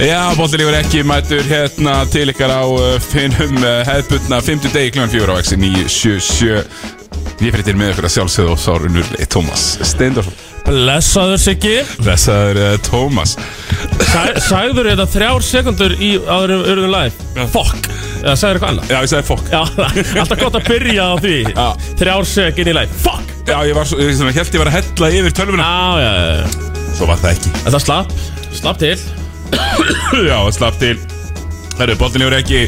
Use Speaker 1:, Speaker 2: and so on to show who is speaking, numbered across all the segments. Speaker 1: Já, Bóllilífur ekki mætur hérna til ykkar á uh, finnum uh, hefðbundna 50 degi kl. 4 á vexi 977 Ég fyrir til með ykkur að sjálfsögðu og sárunur Tómas Steindorsson
Speaker 2: Blessaður Siggi
Speaker 1: Blessaður uh, Tómas
Speaker 2: Sæ- Sagður þetta þrjár sekundur í áðurum urðum live Fuck Eða sagður eitthvað annað
Speaker 1: Já, ég sagði fokk
Speaker 2: Já, alltaf gott að byrja á því
Speaker 1: Já.
Speaker 2: Þrjár sekund í live Fuck
Speaker 1: Já, ég var svo, ég svona, held ég var að hella yfir tölvuna
Speaker 2: Já, já, já já.
Speaker 1: Svo var það ekki
Speaker 2: Þetta slapp Slapp til
Speaker 1: Já, það slapp til Það eru Bóllilífur ekki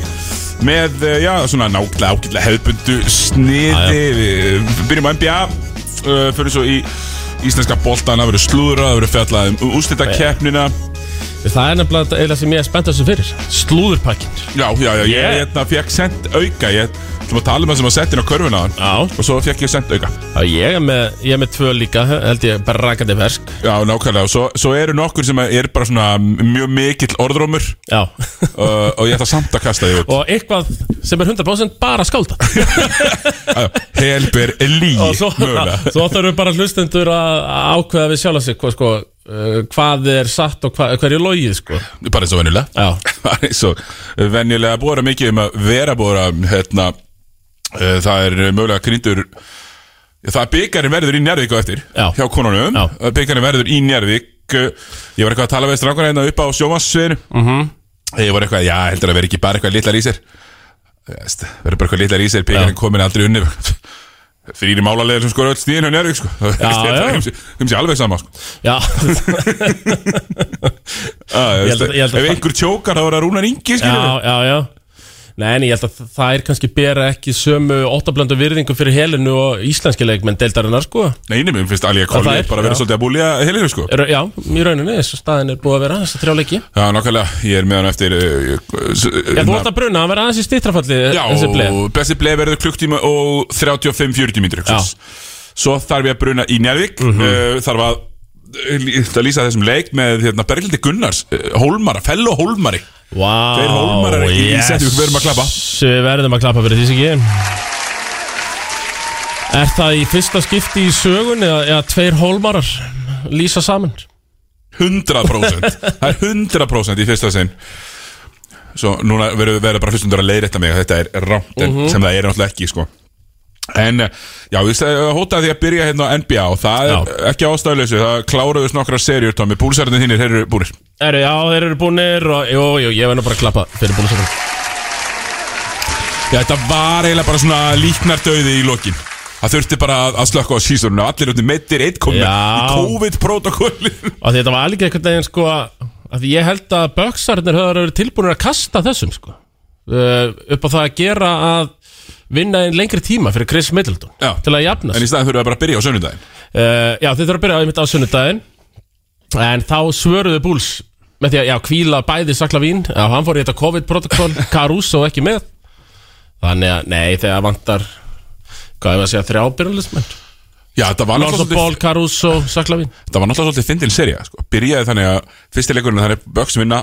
Speaker 1: með, uh, já, svona nákvæmlega ágætlega hefðbundu sniði Við við byrjum á NBA uh, Fyrir svo í íslenska boltan Það verður slúðra, það verður fjallað um úrslitakeppnina
Speaker 2: Það er nefnilega eða sem ég er spennt þessu fyrir Slúðurpakkin
Speaker 1: Já, já, já, ég
Speaker 2: Yeah.
Speaker 1: hérna fekk sendt auka Ég ætlum að tala um það sem að setja inn á körfuna á hann
Speaker 2: Já
Speaker 1: Og svo fekk ég sendt auka
Speaker 2: Já, Ég er með, ég er með tvö líka Held ég bara rakandi fersk
Speaker 1: Já, nákvæmlega, og svo, svo eru nokkur sem er bara svona mjög mikill orðrómur
Speaker 2: Já
Speaker 1: uh, Og ég ætla samt að kasta því út
Speaker 2: Og eitthvað sem er 100% bara skálda
Speaker 1: Já, Eh, Helber Elí,
Speaker 2: og svo,
Speaker 1: mögulega
Speaker 2: svo þurfum bara hlustendur að að ákveða við sjálf sig hvað, sko, uh, hvað er satt og hvað, hverju logið sko.
Speaker 1: Bara eins og venjulega
Speaker 2: já,
Speaker 1: Bara eins og venjulega búið að vera mikið um að vera búið að hérna, uh, Það er mögulega grindur Það er byggarinn verður í Njarvík á eftir
Speaker 2: Já.
Speaker 1: Hjá konunum
Speaker 2: Já.
Speaker 1: Byggarinn verður í Njarvík Uh, Ég var eitthvað að tala við strákar hérna upp á sjómasviðinu
Speaker 2: Mhm.
Speaker 1: Ég var eitthvað, já, heldur að vera ekki bara eitthvað litlar í sér Eh, Veist, Verður bara eitthvað litlar í sér Pekarinn komin aldrei unni Fyrir málarlegar sem skor öll stíðin hjá Njárvík sko.
Speaker 2: já.
Speaker 1: Þeim sé alveg sama sko.
Speaker 2: já,
Speaker 1: ah,
Speaker 2: Ég held að- ég held að-
Speaker 1: Ef einhver tjókar þá er það Rúnar Ingi
Speaker 2: já,
Speaker 1: skilur
Speaker 2: já, já. Nei, en ég held að það er kannski bera ekki sömu óttablöndu virðingu fyrir helinu og íslenski leikmenn deildarinnar sko.
Speaker 1: Nei, nefnum, finnst Alíja
Speaker 2: það
Speaker 1: Kolli
Speaker 2: er,
Speaker 1: bara að vera
Speaker 2: já.
Speaker 1: svolítið að búlja heilir sko.
Speaker 2: er, já, í rauninni, þessu staðin er búið að vera þessu þrjáleiki
Speaker 1: Já, nákvæmlega, ég er með hann eftir uh, uh,
Speaker 2: Já, þú vart að bruna, hann verða aðeins í stýttrafalli
Speaker 1: Já,
Speaker 2: þessi bleið
Speaker 1: og besti bleið verður klukktíma og 35-40 mínútur
Speaker 2: Já. Mhm.
Speaker 1: hugsaðs. Svo þarf ég að bruna í Njarvík uh, Þarf að, eh, að lýsa þessum leik með hérna, Berglindi Gunnars uh, Hólmara, fello Hólmari
Speaker 2: Vá,
Speaker 1: Þeir hólmarar í- í setjum, við verðum að klappa.
Speaker 2: Við verðum að klappa fyrir því sem ekki Er það í fyrsta skipti í sögun eða, eða tveir hólmarar lýsa saman?
Speaker 1: 100% Það er 100% í fyrsta sinn Svo núna verður verður bara hlustundur að leiðrétta mig Þetta er rámt en
Speaker 2: Mhm.
Speaker 1: sem það er náttúrulega ekki sko. En uh, já, ég stæði- hótaði því að byrja hérna á NBA og það er
Speaker 2: Já.
Speaker 1: ekki ástæðuleysu Það kláruðust nokkra serjur, Tommy Púlsarðin þínir, þeir eru búnir
Speaker 2: Eru, já, þeir eru búnir og jú, jú, ég verður bara að klappa fyrir búinu saman
Speaker 1: Já, þetta var eiginlega bara svona líknardauði í lokin Það þurfti bara að, að slökka á sísunum Allir út í meittir, eitt komið
Speaker 2: Já.
Speaker 1: í COVID-protokolli
Speaker 2: Og þetta var alveg einhvern veginn sko að ég held að böksarnir höfður verið tilbúinir að kasta þessum sko uh, upp á það að gera að vinna einn lengri tíma fyrir Chris Middleton
Speaker 1: Já.
Speaker 2: til að jafna sig.
Speaker 1: En í staðin þurfum við bara að byrja á sönnudaginn
Speaker 2: Uh, já, þið þurfum að byrja á einmitt á sunnudaginn En þá svöruðu Búls með því að já, kvíla bæði Saklavín Já, hann fór í þetta COVID-protokoll Caruso ekki með Þannig að, nei, þegar vantar Hvað er að segja, þrjá byrjulismenn
Speaker 1: Já, þetta var
Speaker 2: Lonzo
Speaker 1: náttúrulega
Speaker 2: Ball,
Speaker 1: svolítið,
Speaker 2: Caruso, Saklavín
Speaker 1: þetta var náttúrulega svolítið fyndin serja sko. Byrjaði þannig að fyrsti leikurinn þannig að Böks vinna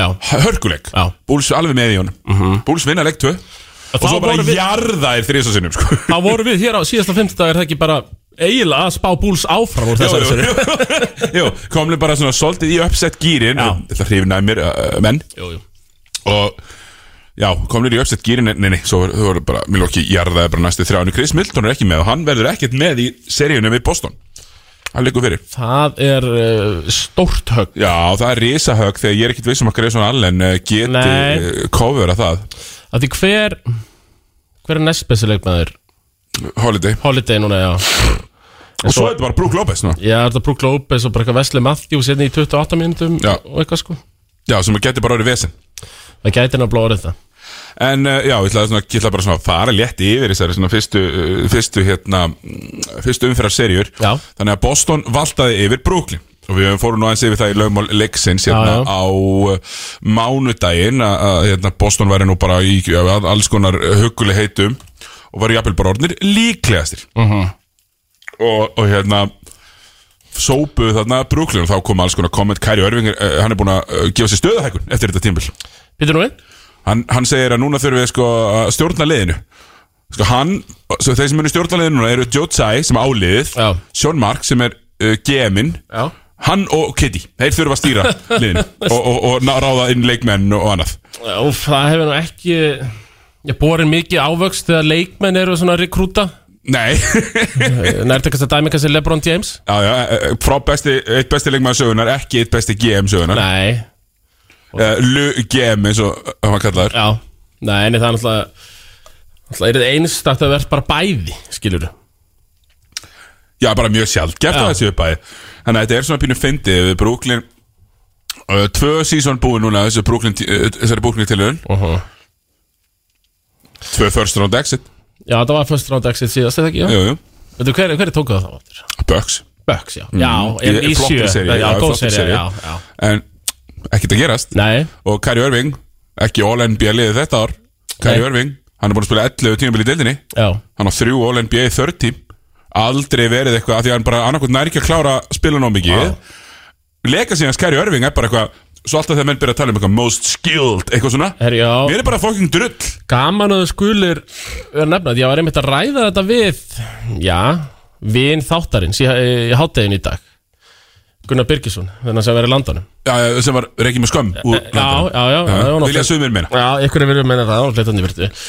Speaker 2: Já,
Speaker 1: hörkuleik
Speaker 2: Já.
Speaker 1: Búls alveg með í honum mm Búls vinna leik 2
Speaker 2: Og
Speaker 1: Og
Speaker 2: þá
Speaker 1: svo bara
Speaker 2: voru við-
Speaker 1: jarðaðir þrjus og sinnum sko.
Speaker 2: þá vorum við hér á síðasta fimmtudag Er það ekki bara eiginlega að spá Búls áfram úr þessari
Speaker 1: Jú,
Speaker 2: serju?
Speaker 1: jú, jú, komlu bara svona svolítið í uppsett gýrin
Speaker 2: Já.
Speaker 1: Þetta hrifnaði mér, uh, menn
Speaker 2: Jú, jú
Speaker 1: og já, komnir í uppsett gýrin nei, nei, svo voru- þau voru bara, Milwaukee jarðaði bara næstu þrjáinu, Chris Milton er ekki með og hann verður ekkert með í seríunum við Boston hann liggur fyrir,
Speaker 2: Það er uh, stórt högg
Speaker 1: já, það er risahög þegar ég er ekkert vissum að Grayson Allen eh, geti
Speaker 2: Nei.
Speaker 1: eh, covera það
Speaker 2: Af Því hver, hver er næstbessi leikmaður?
Speaker 1: Holiday,
Speaker 2: Holiday núna, já En
Speaker 1: og svo er þetta bara Brook Lopez ná.
Speaker 2: Já, er þetta Brook Lopez og bara eitthvað Wesley Matthews hérna í 28 mínútum
Speaker 1: Já.
Speaker 2: og eitthvað sko
Speaker 1: já, sem geti bara orðið vesen
Speaker 2: Það gæti hann að blóða þetta
Speaker 1: En uh, já, ég ætlaði, svona, ég ætlaði bara svona að fara létt yfir þessari svona fyrstu, uh, fyrstu, hérna, mm, fyrstu umferðar serjur
Speaker 2: Já.
Speaker 1: Þannig að Boston valdaði yfir Brooklyn Og við fórum nú aðeins yfir það í lögmál leiksins hérna,
Speaker 2: Já, já.
Speaker 1: á uh, mánudaginn að- að hérna, Boston væri nú bara í að, alls konar huguleg heitum og væri jafnvel bara orðnir líklegastir
Speaker 2: Mhm.
Speaker 1: og, og hérna sópuðu þarna Brooklyn og þá kom alls konar komment Kæri Örvingur, uh, hann er búin að uh, gefa sér stöðahækun eftir þetta tímbil
Speaker 2: Býtur nú við?
Speaker 1: Hann, hann segir að núna þurfum við sko að stjórna liðinu sko, hann, svo þeir sem eru stjórnarliðin núna eru Joe Tsai sem er áliðið
Speaker 2: Já.
Speaker 1: Sean Mark sem er uh, GM-in
Speaker 2: Já.
Speaker 1: hann og Kitty, þeir þurfa að stýra liðin og, og, og ná- ráða inn leikmenn og, og annað
Speaker 2: Úf, það hefur nú ekki Ég borin mikið ávöxt þegar leikmenn eru svona að rekrúta
Speaker 1: Nei,
Speaker 2: Nærtekast að dæmi kannski Lebron James
Speaker 1: já, já, eh, frá besti, eitt besti leikmaður sögunar, ekki eitt besti GM sögunar
Speaker 2: Nei,
Speaker 1: uh, LU-GM eins og eh, hann kallar
Speaker 2: já Nei, en það er náttúrulega Það er einstakt að verð bara bæði, skilur
Speaker 1: Já, bara mjög sjaldgæft
Speaker 2: Já.
Speaker 1: á þessu uppæði Þannig að þetta er svona pínu fyndið við Brooklyn uh, Tvö sísón búið núna þessu Brooklyn, uh, þessari Brooklyn tilhörun
Speaker 2: -huh.
Speaker 1: Tvö first round exit
Speaker 2: Já, það var first round exit síðast, eða ekki? Já.
Speaker 1: Jú, jú,
Speaker 2: Veitu, hver, hver tók það þá áttur?
Speaker 1: Bucks
Speaker 2: Bucks, já Já,
Speaker 1: Mm. Ég-
Speaker 2: en í
Speaker 1: flottri
Speaker 2: sjö
Speaker 1: sería,
Speaker 2: Já,
Speaker 1: já,
Speaker 2: góð
Speaker 1: flottri
Speaker 2: serið,
Speaker 1: sería.
Speaker 2: já, já
Speaker 1: En ekkert að gerast
Speaker 2: Nei,
Speaker 1: Og Kari Irving, ekki All-NBA liðið þetta ár Kari
Speaker 2: Nei.
Speaker 1: Irving, hann er búin að spila 11 tímabil í deildinni
Speaker 2: já
Speaker 1: Hann á þrjú All-NBA í 30 Aldrei verið eitthvað af Því að hann bara annarkvæmt nær ekki að klára spila nóg mikið
Speaker 2: Já.
Speaker 1: Leka síðan Kari Irving er bara eitthvað Svo alltaf þegar menn byrja að tala um eitthvað most skilled Eitthvað svona
Speaker 2: Herri, já
Speaker 1: Mér er bara fokking drull
Speaker 2: Gaman að þú skulir vera nefnað, ég var einmitt að ræða þetta við já, vin þáttarins í, í háttegin í dag Gunnar Birgisson, þennan sem verið í landanum
Speaker 1: Já, já, sem var reikið með skömm úr
Speaker 2: Já, já, já,
Speaker 1: Já,
Speaker 2: já, það var
Speaker 1: vilja
Speaker 2: náttúrulega-
Speaker 1: sumir meina.
Speaker 2: Já, einhverju vilja meina það, það var hlutandi verið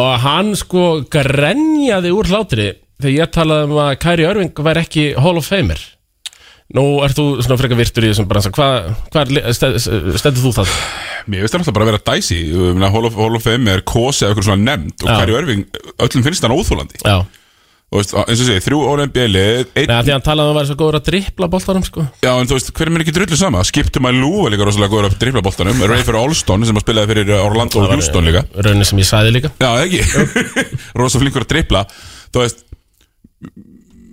Speaker 2: Og hann sko grenjaði úr hlátri þegar ég talaði um að Kæri Örving væri ekki Hall of Famer Nú ert þú svona frekar virtur í þessum bransa Hvað hva stendur þú það?
Speaker 1: Mér finnst það alltaf bara að vera dæsi Ég meina, Hall of, Hall of Fame er kosi eða eitthvað svona nefnd og
Speaker 2: Já.
Speaker 1: hverju örfing, öllum finnst hann óþúlandi
Speaker 2: Já,
Speaker 1: og veist, eins og segja, þrjú orðin bjelið einn,
Speaker 2: Nei, af því að hann talaði um að hann væri svo góður að drippla boltanum sko
Speaker 1: já en þú veist, hver er mér ekki drullu sama Skiptum að Lú er líka rosalega góður að drippla boltanum Rayfer Allston sem að spilaði fyrir eh, Orlando og Houston líka
Speaker 2: Raunin sem ég sæði líka
Speaker 1: Já, eða ekki, rosa flinkur að drippla Þú veist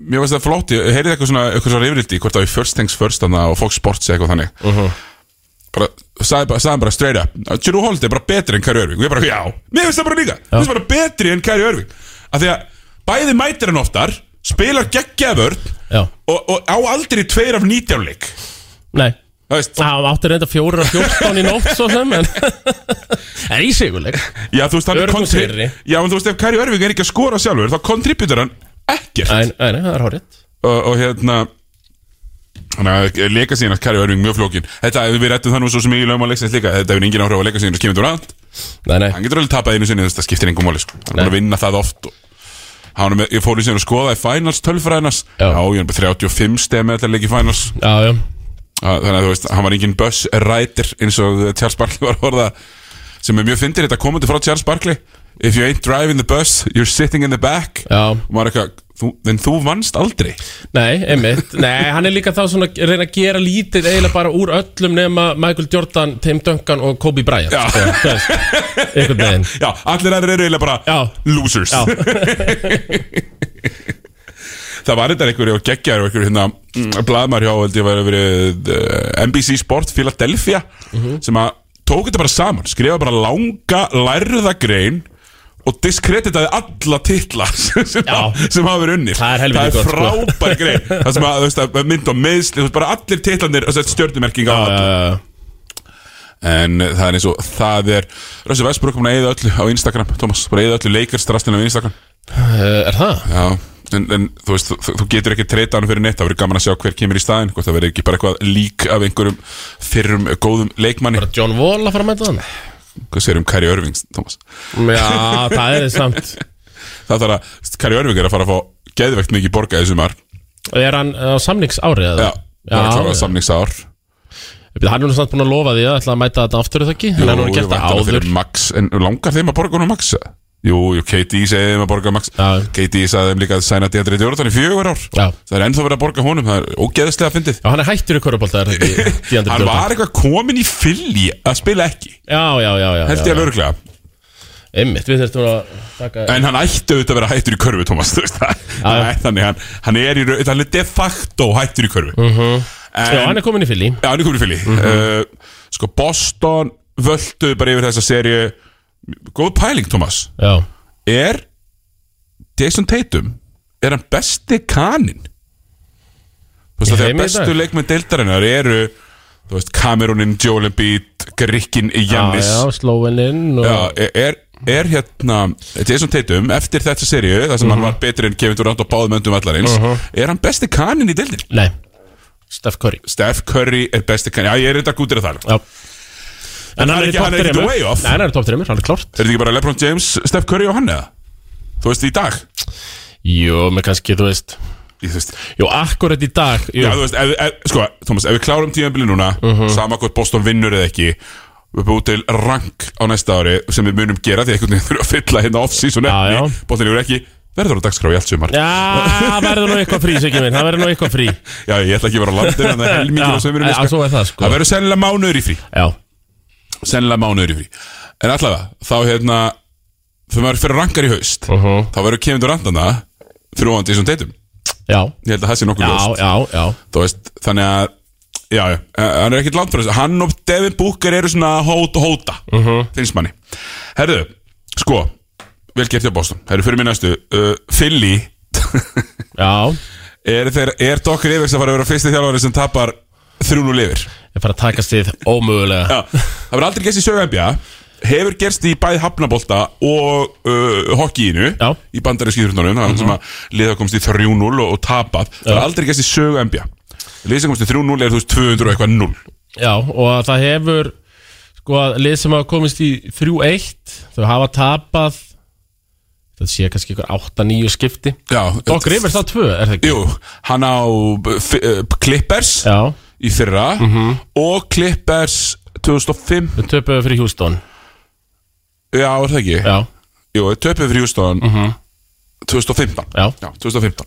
Speaker 1: Mér finnst það flott, ég heyrið eitthvað svona eitthvað svona rifrildi, hvort það er first things first þarna og Fox Sports eða eitthvað þannig bara, sagði, bara, sagði bara straight up Tjörú Holt er bara betri en Kæri Örving og ég bara, já, mér finnst það bara líka mér finnst bara betri en Kæri Örving af því að bæði mætir hann oftar spilar geggjaförn
Speaker 2: Já,
Speaker 1: og, og á aldrei tveir af nítjánleik
Speaker 2: nei
Speaker 1: það veist,
Speaker 2: Það átti reynda fjórir og fjórtán í nótt svo sem En er í sigurleik
Speaker 1: já, þú veist, hann
Speaker 2: Öruggur
Speaker 1: kontri-
Speaker 2: sigri.
Speaker 1: já, en þú veist, ef Kæri Örving er ekki að skora sjálfur þá kontributur hann ekkert
Speaker 2: Nei, nei, nei, það er horrið
Speaker 1: og, og hérna Þannig að leika síðan að Kari Örving mjög flókin Þetta, við rættum það nú svo sem ég í lögum að leiksins líka Þetta hefur engin áhrif á leika síðan og skemmtur rand
Speaker 2: Nei, nei,
Speaker 1: hann getur alveg tapað einu sinni þess að það skiptir engum máli sko. hann er búin
Speaker 2: Nei.
Speaker 1: að vinna það oft og... hann er með, ég fór í sinni að skoða í finals tölfræðinas, já,
Speaker 2: Já.
Speaker 1: ég er bara 35 stemi alltaf leik í finals,
Speaker 2: já, já
Speaker 1: Að- þannig að þú veist hann var engin bus rider eins og Charles Barkley var að orða, sem er mjög fyndir þetta komandi frá Charles Barkley if you ain't driving the bus, you're sitting in the back
Speaker 2: Já,
Speaker 1: og maður eitthvað, þú, en þú vannst aldrei
Speaker 2: nei, einmitt Nei, hann er líka þá svona að reyna að gera lítið eiginlega bara úr öllum nema Michael Jordan, Tim Duncan og Kobe Bryant
Speaker 1: Já.
Speaker 2: sko, þú veist, Einhvern veginn
Speaker 1: já, allir aðrir eru eiginlega bara
Speaker 2: Já.
Speaker 1: losers
Speaker 2: Já.
Speaker 1: það var þetta einhverju og geggjar og einhverju hérna blaðmar hjá held ég var verið uh, NBC Sport Philadelphia
Speaker 2: Mhm.
Speaker 1: sem að tók þetta bara saman skrifa bara langa lærðagrein og diskreditaði alla titla sem,
Speaker 2: Já.
Speaker 1: að- sem hafa verið unni
Speaker 2: Það er helviti gott, sko.
Speaker 1: frábær grein það sem að, þú veist, að mynd og meðsl þú veist, bara allir titlanir og stjörnumerking á
Speaker 2: Já,
Speaker 1: alla.
Speaker 2: já, já, já.
Speaker 1: En það er eins og það er Rössi Vestbruk komin að eða öllu á Instagram Thomas, bara eða öllu leikarstrastinu á Instagram
Speaker 2: Eh, Er það?
Speaker 1: Já, en, en þú veist, þú, þú getur ekki treyta hann fyrir neitt Það verður gaman að sjá hver kemur í staðin Hvort það verður ekki bara eitthvað lík af einhverjum Fyrrum góðum leikmanni
Speaker 2: Bara John Wall að fara að mæta þannig?
Speaker 1: Hvað segir um Kari Örving, Thomas?
Speaker 2: Já, það er samt
Speaker 1: Það þarf að, Kari Örving er að fara að fá Geðvegt mikið borgað í sumar
Speaker 2: Er hann á samningsárið? eða?
Speaker 1: Já, bara að klára
Speaker 2: já.
Speaker 1: samningsár
Speaker 2: Hann er nú samt búin að lofa því að ætla að mæta þetta aftur er það ekki Hann er nú
Speaker 1: Jú,
Speaker 2: gert það
Speaker 1: væntanlega
Speaker 2: áður
Speaker 1: fyrir Max, en langar þeim að borga honum Max? Jú, jú, KD segði þeim að borga Max
Speaker 2: Já.
Speaker 1: KD sagði þeim líka að sæna Deandre Jordan í fjögur ár
Speaker 2: Já.
Speaker 1: Það er ennþá verið að borga honum, það er ógeðislega fyndið
Speaker 2: Já, hann er hættur í körubólta, er það ekki? Deandre
Speaker 1: Hann
Speaker 2: Jordan?
Speaker 1: var eitthvað komin í fylli að spila ekki
Speaker 2: Já, já, já, já
Speaker 1: Held
Speaker 2: já,
Speaker 1: ég alveg örglega
Speaker 2: já. Einmitt, við þurftum að taka
Speaker 1: En hann ætti auðvitað að vera hættur í körfu, Thomas þú veist það.
Speaker 2: Já.
Speaker 1: Nei, Þannig, hann, hann er í raun, hann er de facto hættur í körfu uh -huh.
Speaker 2: Mhm. Já, hann Mhm.
Speaker 1: en,
Speaker 2: er komin í fylli
Speaker 1: Já, hann er komin í fylli uh, Sko, Boston völdu bara yfir þessa serju Góð pæling, Thomas
Speaker 2: Já
Speaker 1: er Jason Tatum er hann besti kaninn þú veist
Speaker 2: Í
Speaker 1: að þegar
Speaker 2: heimi í
Speaker 1: bestu
Speaker 2: dag?
Speaker 1: leikmenn deildarinnar eru þú veist Cameronin, Joel Embiid Grikkin,
Speaker 2: Já,
Speaker 1: Jannis
Speaker 2: já, Slóveninn og...
Speaker 1: Já, er, er er hérna Jason Tatum eftir þetta seríu þar sem hann
Speaker 2: Mhm.
Speaker 1: var betri en Kevin Durant og báðum öndum allarins er hann besti kanin í dildin
Speaker 2: Nei, Steph Curry
Speaker 1: Steph Curry er besti kanin, já ég er enda gútir að það
Speaker 2: Já
Speaker 1: hann
Speaker 2: En
Speaker 1: er
Speaker 2: hann er í
Speaker 1: ekki-
Speaker 2: top
Speaker 1: hann er
Speaker 2: 3
Speaker 1: ekki the way off.
Speaker 2: Nei, hann er í top 3, hann er klárt
Speaker 1: er þetta ekki bara Lebron James, Steph Curry og hann eða þú veist í dag
Speaker 2: Jú, með kannski, þú veist
Speaker 1: Ég, þú veist,
Speaker 2: Jú, akkurat í dag
Speaker 1: já,
Speaker 2: Jú, Mhm.
Speaker 1: þú veist, ef, ef, sko, Thomas, ef við klárum tíðanbili núna sama hvort Boston vinnur eða ekki við búum til rank á næsta ári sem við munum gera því einhvern veginn þurfum að fylla hérna off-season
Speaker 2: Já, já.
Speaker 1: efni. Boston hefur ekki verður á dagskrá í allt sumar
Speaker 2: Já, það verður nú eitthvað frí, Siggi minn Það verður nú eitthvað frí
Speaker 1: Já, ég ætla ekki að vera á landinu en það er helmingur
Speaker 2: Já,
Speaker 1: á sömurinn
Speaker 2: já, svo er það, sko.
Speaker 1: Það verður sennilega mánuður í frí
Speaker 2: Já,
Speaker 1: Sennilega mánuður í frí En allavega, þá hérna Þegar maður fyrir rankar í haust
Speaker 2: Mhm.
Speaker 1: Þá verður Kevin Durant þarna Fyrir ofan Jason Tatum
Speaker 2: já,
Speaker 1: Ég held að það sé nokkuð
Speaker 2: já,
Speaker 1: ljóst
Speaker 2: já, já
Speaker 1: Þú veist, þannig að Já, já, eh, hann er ekkit langt frá þessu Hann og Devin Booker eru svona hóta, hóta Finnst manni Herðu, sko, vel gert hjá Boston Herðu, fyrir mér næstu uh, Philly
Speaker 2: Já,
Speaker 1: Er, þeir, er Dokker Evers að fara að vera fyrsti þjálfari sem tapar 3-0 lifir?
Speaker 2: ég fara að takast þið ómögulega
Speaker 1: Já, það verður aldrei gerst í sögambja Hefur gerst í bæði hafnabólta og uh, hokkíinu
Speaker 2: Já.
Speaker 1: í bandarinski þrjóttunum, það er sem að liða komst í 3-0 og, og tapað Það verður aldrei gerst í sögambja Liða sem komst í 3-0 er þú veist 200 og eitthvað 0
Speaker 2: Já, og að það hefur Sko, að lið sem hafa komist í 3-1 Þau hafa tapað Þetta sé kannski ykkur 8-9 skipti
Speaker 1: Já,
Speaker 2: Dokk Rivers á 2, er það ekki?
Speaker 1: Jú, hann á uh, fi- uh, Clippers
Speaker 2: Já, Mhm.
Speaker 1: í fyrra og Clippers 2005
Speaker 2: við töpuðu fyrir Houston
Speaker 1: Já, er það ekki?
Speaker 2: Já, Mhm.
Speaker 1: Jú, töpuð fyrir Houston 2015
Speaker 2: já,
Speaker 1: Já, 2015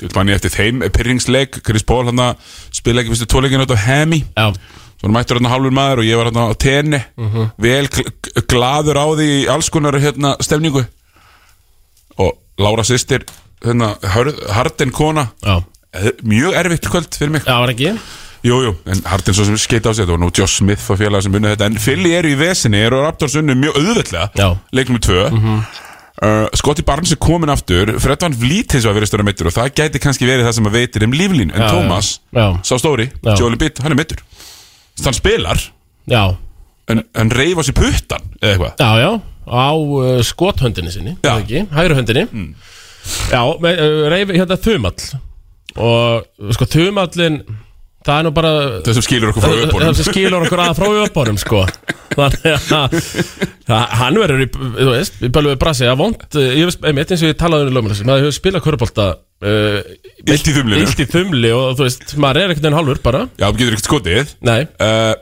Speaker 1: Þú veit manni eftir þeim pyrringsleik Chris Paul hann að spila ekki fyrstu tóleikin út af Hemi
Speaker 2: já
Speaker 1: Svo hann mættur hann hálfur maður og ég var hann á tenni
Speaker 2: Mhm.
Speaker 1: Vel gl- gl- glaður á því í alls konar hérna stefningu Og Lára sýstir hérna, hörð, Harden kona
Speaker 2: Já,
Speaker 1: Eh, Mjög erfitt kvöld fyrir mig
Speaker 2: já, var ekki?
Speaker 1: Jú, jú, en Harden svo sem skeita á sér og nú Josh Smith og félagar sem unna þetta en Philly eru í vesinni, eru Raptors unnu mjög auðveldlega
Speaker 2: Já. Mhm.
Speaker 1: leiknum í tvö uh, Scotty Barnes er komin aftur Fred Van Vliet hins vegar verið störa meittur og það gæti kannski verið það sem að veitir um líflín en
Speaker 2: Já,
Speaker 1: Thomas,
Speaker 2: já. Já.
Speaker 1: sá stóri
Speaker 2: Já.
Speaker 1: Joel Embiid, hann er meittur hann spilar,
Speaker 2: Já,
Speaker 1: en, en reyfa sér puttan eða eitthvað,
Speaker 2: já, já Á uh, skothöndinni sinni, er
Speaker 1: Já. Mm.
Speaker 2: það ekki? Hægri höndinni Já, með, uh, reyfi hérna þumall Og uh, sko, þumallin Það er nú bara
Speaker 1: það sem skilur okkur frá
Speaker 2: Það það
Speaker 1: upphónum
Speaker 2: sem skilur okkur að frá uppbónum sko Þannig að það- Hann verður í, þú veist, í bölvu brasi að vond, eh, ég veist, einmitt eins og ég talaði um lögmælisum, maður hefur spilað körubólta uh,
Speaker 1: Illt í þumlinu.
Speaker 2: Illt í þumli og þú veist, maður er ekkert enn hálfur bara
Speaker 1: Já, þú getur ekkert skotið
Speaker 2: Nei,
Speaker 1: uh,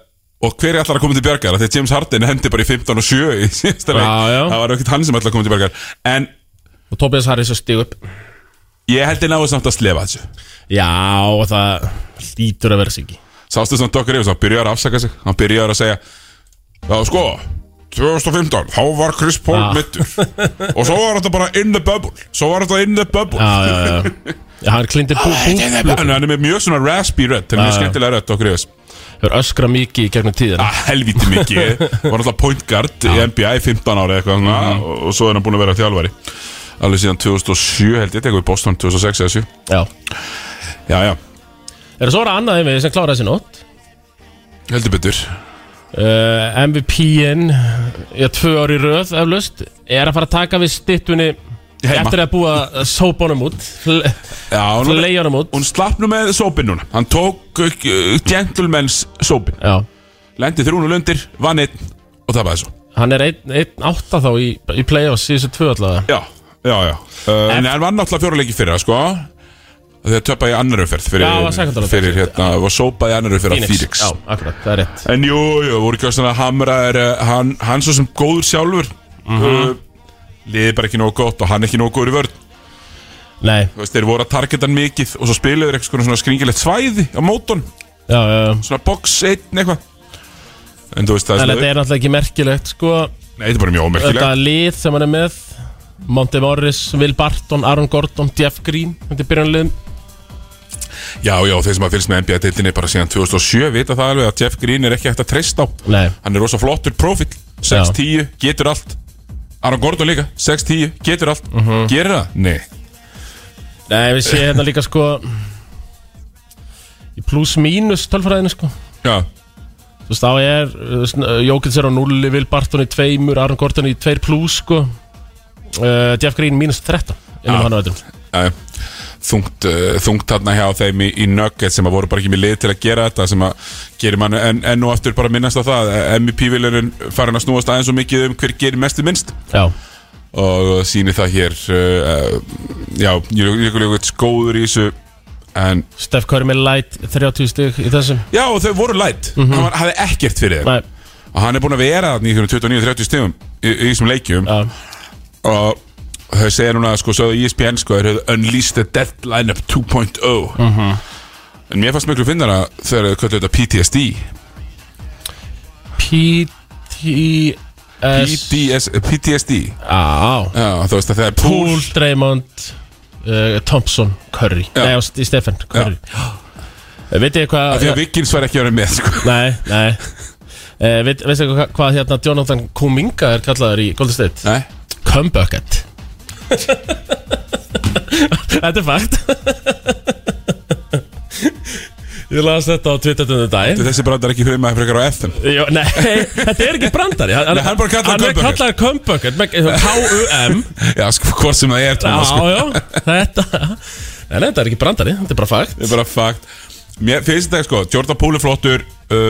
Speaker 1: Og hver er allar að koma til bjargar Þegar James Harden hendi bara í 15 og 7 í síðasta leik
Speaker 2: Já, já.
Speaker 1: Það var ekkert hann sem allar að koma til bjargar En
Speaker 2: og Tobias Harris að stíg upp
Speaker 1: Ég held ég náðu samt að slefa þessu
Speaker 2: Já, og það lítur að vera sig ekki
Speaker 1: Sástu samt okkur yfir, hann byrjar að afsaka sig Hann byrjar að segja Já sko, 2015, þá var Chris Paul
Speaker 2: Ah.
Speaker 1: mittur Og svo var þetta bara in the bubble Svo var þetta in the bubble
Speaker 2: Já, já, já Já, hann klindi bú, bú,
Speaker 1: En hann er með mjög svona raspy rödd Hann er mjög
Speaker 2: Ah.
Speaker 1: skemmtilega rödd okkur yfir
Speaker 2: hefur öskra mikið í gegnum tíðina
Speaker 1: ah, Helvíti mikið Var náttúrulega point guard í NBA í 15 ára eitthvað, mm og, og svo er hann búin að vera þjálfari Alveg síðan 2007 held ég Tekur í Boston 2006 eða 7
Speaker 2: Já,
Speaker 1: Já, já,
Speaker 2: er svo ára annað einveg sem kláraði sér nótt
Speaker 1: heldur betur
Speaker 2: uh, MVP-in Já, tvö ári röð eflaust Er að fara að taka við stittunni
Speaker 1: Heima.
Speaker 2: Eftir að búa að sópa honum út fle-
Speaker 1: Já, nú-
Speaker 2: Fleja honum út
Speaker 1: Hún slapp nú með sópin núna Hann tók uh, gentleman's sópin
Speaker 2: Já
Speaker 1: Lendi þrjúnu lundir, vann einn og tapaði svo
Speaker 2: Hann er einn ein, átta þá í, í play-offs síðustu tvö allavega
Speaker 1: Já, já, já uh, En hann vann náttúrulega fjóra leiki fyrir sko Þegar töpaði í annar umferð fyrir,
Speaker 2: Já, var sekundalegt.
Speaker 1: fyrir hérna, var sópaði í annar umferð af Phoenix
Speaker 2: Já, akkurat, það er rétt
Speaker 1: En jú, jú, voru ekki að svona hamraðir uh, hann, hann svo sem góður sjálfur uh, Liði bara ekki nógu gott og hann ekki nógu góður í vörð
Speaker 2: Nei,
Speaker 1: Þú veist, þeir voru að targeta hann mikið og svo spiluðu þeir eitthvað svona skringilegt svæði á mótun
Speaker 2: já, já, já
Speaker 1: Svona box 1 eitthvað En þú veist, það
Speaker 2: En
Speaker 1: svona-
Speaker 2: þetta er náttúrulega ekki merkilegt sko
Speaker 1: Nei, þetta er bara mjög
Speaker 2: Þetta
Speaker 1: ómerkilegt
Speaker 2: lið sem hann er með Monte Morris, Will Barton, Aaron Gordon, Jeff Green Þetta er byrjanlegin
Speaker 1: Já, já, þeir sem að fylgst með NBA-deildinni bara síðan 2007 vita það alveg að Jeff Green er ekki hægt að treysta á
Speaker 2: Nei,
Speaker 1: Hann er rosa flottur profil 6-10, getur allt Aron Gordon líka, 6-10, getur allt
Speaker 2: Mhm.
Speaker 1: Gerir það? Nei
Speaker 2: Nei við séum hérna líka sko Í pluss mínus tölfræðinu sko
Speaker 1: Já,
Speaker 2: Þú veist, þá er eh, Jókins er á 0, Will Barton í 2, Arn Gordon í 2 plus, sko uh, Jeff Green mínus 13 innan
Speaker 1: Já.
Speaker 2: hann á öllum
Speaker 1: Já, já. þungt, uh, þungt þarna hjá þeim í, í nugget sem að voru bara ekki með lið til að gera þetta sem að gerir mann en, en nú aftur bara minnast á það MVP-vilurinn farin að snúast aðeins og mikið um hver gerir mest í minnst
Speaker 2: Já,
Speaker 1: og sýnir það hér uh, uh, já, ég er eitthvað góður í þessu en
Speaker 2: Steph Curry með light 30 stig í þessum
Speaker 1: já, og þau voru lætt hann var, hafði ekkert fyrir þeim
Speaker 2: Nei,
Speaker 1: og hann er búin að vera þarna í 29-30 stegum í, í þessum leikjum
Speaker 2: já,
Speaker 1: og þau segja núna sko, sögðu ESPN sko, þeir höfðu Unleash the Death Lineup 2.0 oh. en mér fannst miklu finnara þegar þau köllu þetta PTSD
Speaker 2: PTS
Speaker 1: PTS, PTSD
Speaker 2: Já,
Speaker 1: já, þú veist að það er
Speaker 2: Poole,
Speaker 1: pool
Speaker 2: Draymond uh, Thompson, Curry
Speaker 1: Já.
Speaker 2: Nei, ást, Stephen, Curry Já. Veit ég hvað
Speaker 1: því að Vikings var ekki að vera með sko.
Speaker 2: Nei, nei uh, veit, Veistu hvað, hvað hérna Jonathan Kuminga er kallaður í Golden State?
Speaker 1: nei,
Speaker 2: Comebucket Þetta er fakt Ég las þetta á Twitter um þetta daginn
Speaker 1: þessi brandar ekki fyrir maður frekar á FM
Speaker 2: Jó, nei, þetta er ekki brandari Hann,
Speaker 1: Nei, hann er bara kallaður
Speaker 2: hann er
Speaker 1: Kumbucket.
Speaker 2: kallaður Kumbucket, með- eins og K-U-M
Speaker 1: já, sko, hvort sem það er
Speaker 2: Já,
Speaker 1: tóma, sko.
Speaker 2: já, þetta Nei, nei, þetta er ekki brandari, þetta er bara fakt
Speaker 1: það er bara fakt mér finnst þetta sko, Jordan Poole er flottur uh,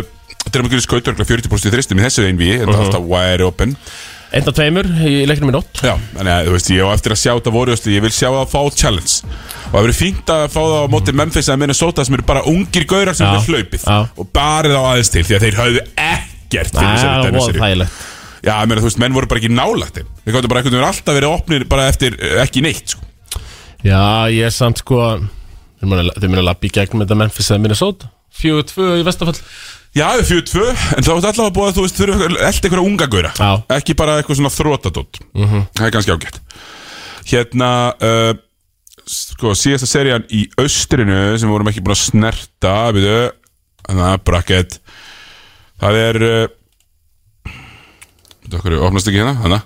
Speaker 1: Dremur Gjörs Kautur 40% í þristum í þessu einví, þetta er alltaf wide open
Speaker 2: Einn af tveimur í leiknum í nótt
Speaker 1: Já, þannig að þú veist, ég á eftir að sjá þetta voru þú veist, Ég vil sjá það að fá challenge Og það verður fínt að fá það á móti Memphis eða Minnesota sem eru bara ungir gaurar sem
Speaker 2: Já,
Speaker 1: eru hlaupið
Speaker 2: já.
Speaker 1: Og barið á aðeins til því að þeir höfðu ekkert fyrir
Speaker 2: Það
Speaker 1: þessari
Speaker 2: er voða
Speaker 1: tennisseríu.
Speaker 2: þægilegt
Speaker 1: Já, ég meina, þú veist, menn voru bara ekki nálægt þeim Þeir gáttu bara einhvern veginn alltaf verið opnir bara eftir eh, ekki neitt sko.
Speaker 2: Já, ég er samt sko Þeir muna, þeir muna lappi í gegnum þetta Memphis eða Minnesota 4-2 í Vestafall
Speaker 1: Já, fjöðu tvö, en þá ætla að búa að þú veist þurfa elda einhverja unga gaura
Speaker 2: Já.
Speaker 1: Ekki bara eitthvað svona þrótadótt Það er kannski ágætt Hérna, uh, sko, síðasta serían í austrinu sem við vorum ekki búin að snerta Við þau, þannig að bracket Það er uh, veitu, af hverju opnast ekki hérna, hana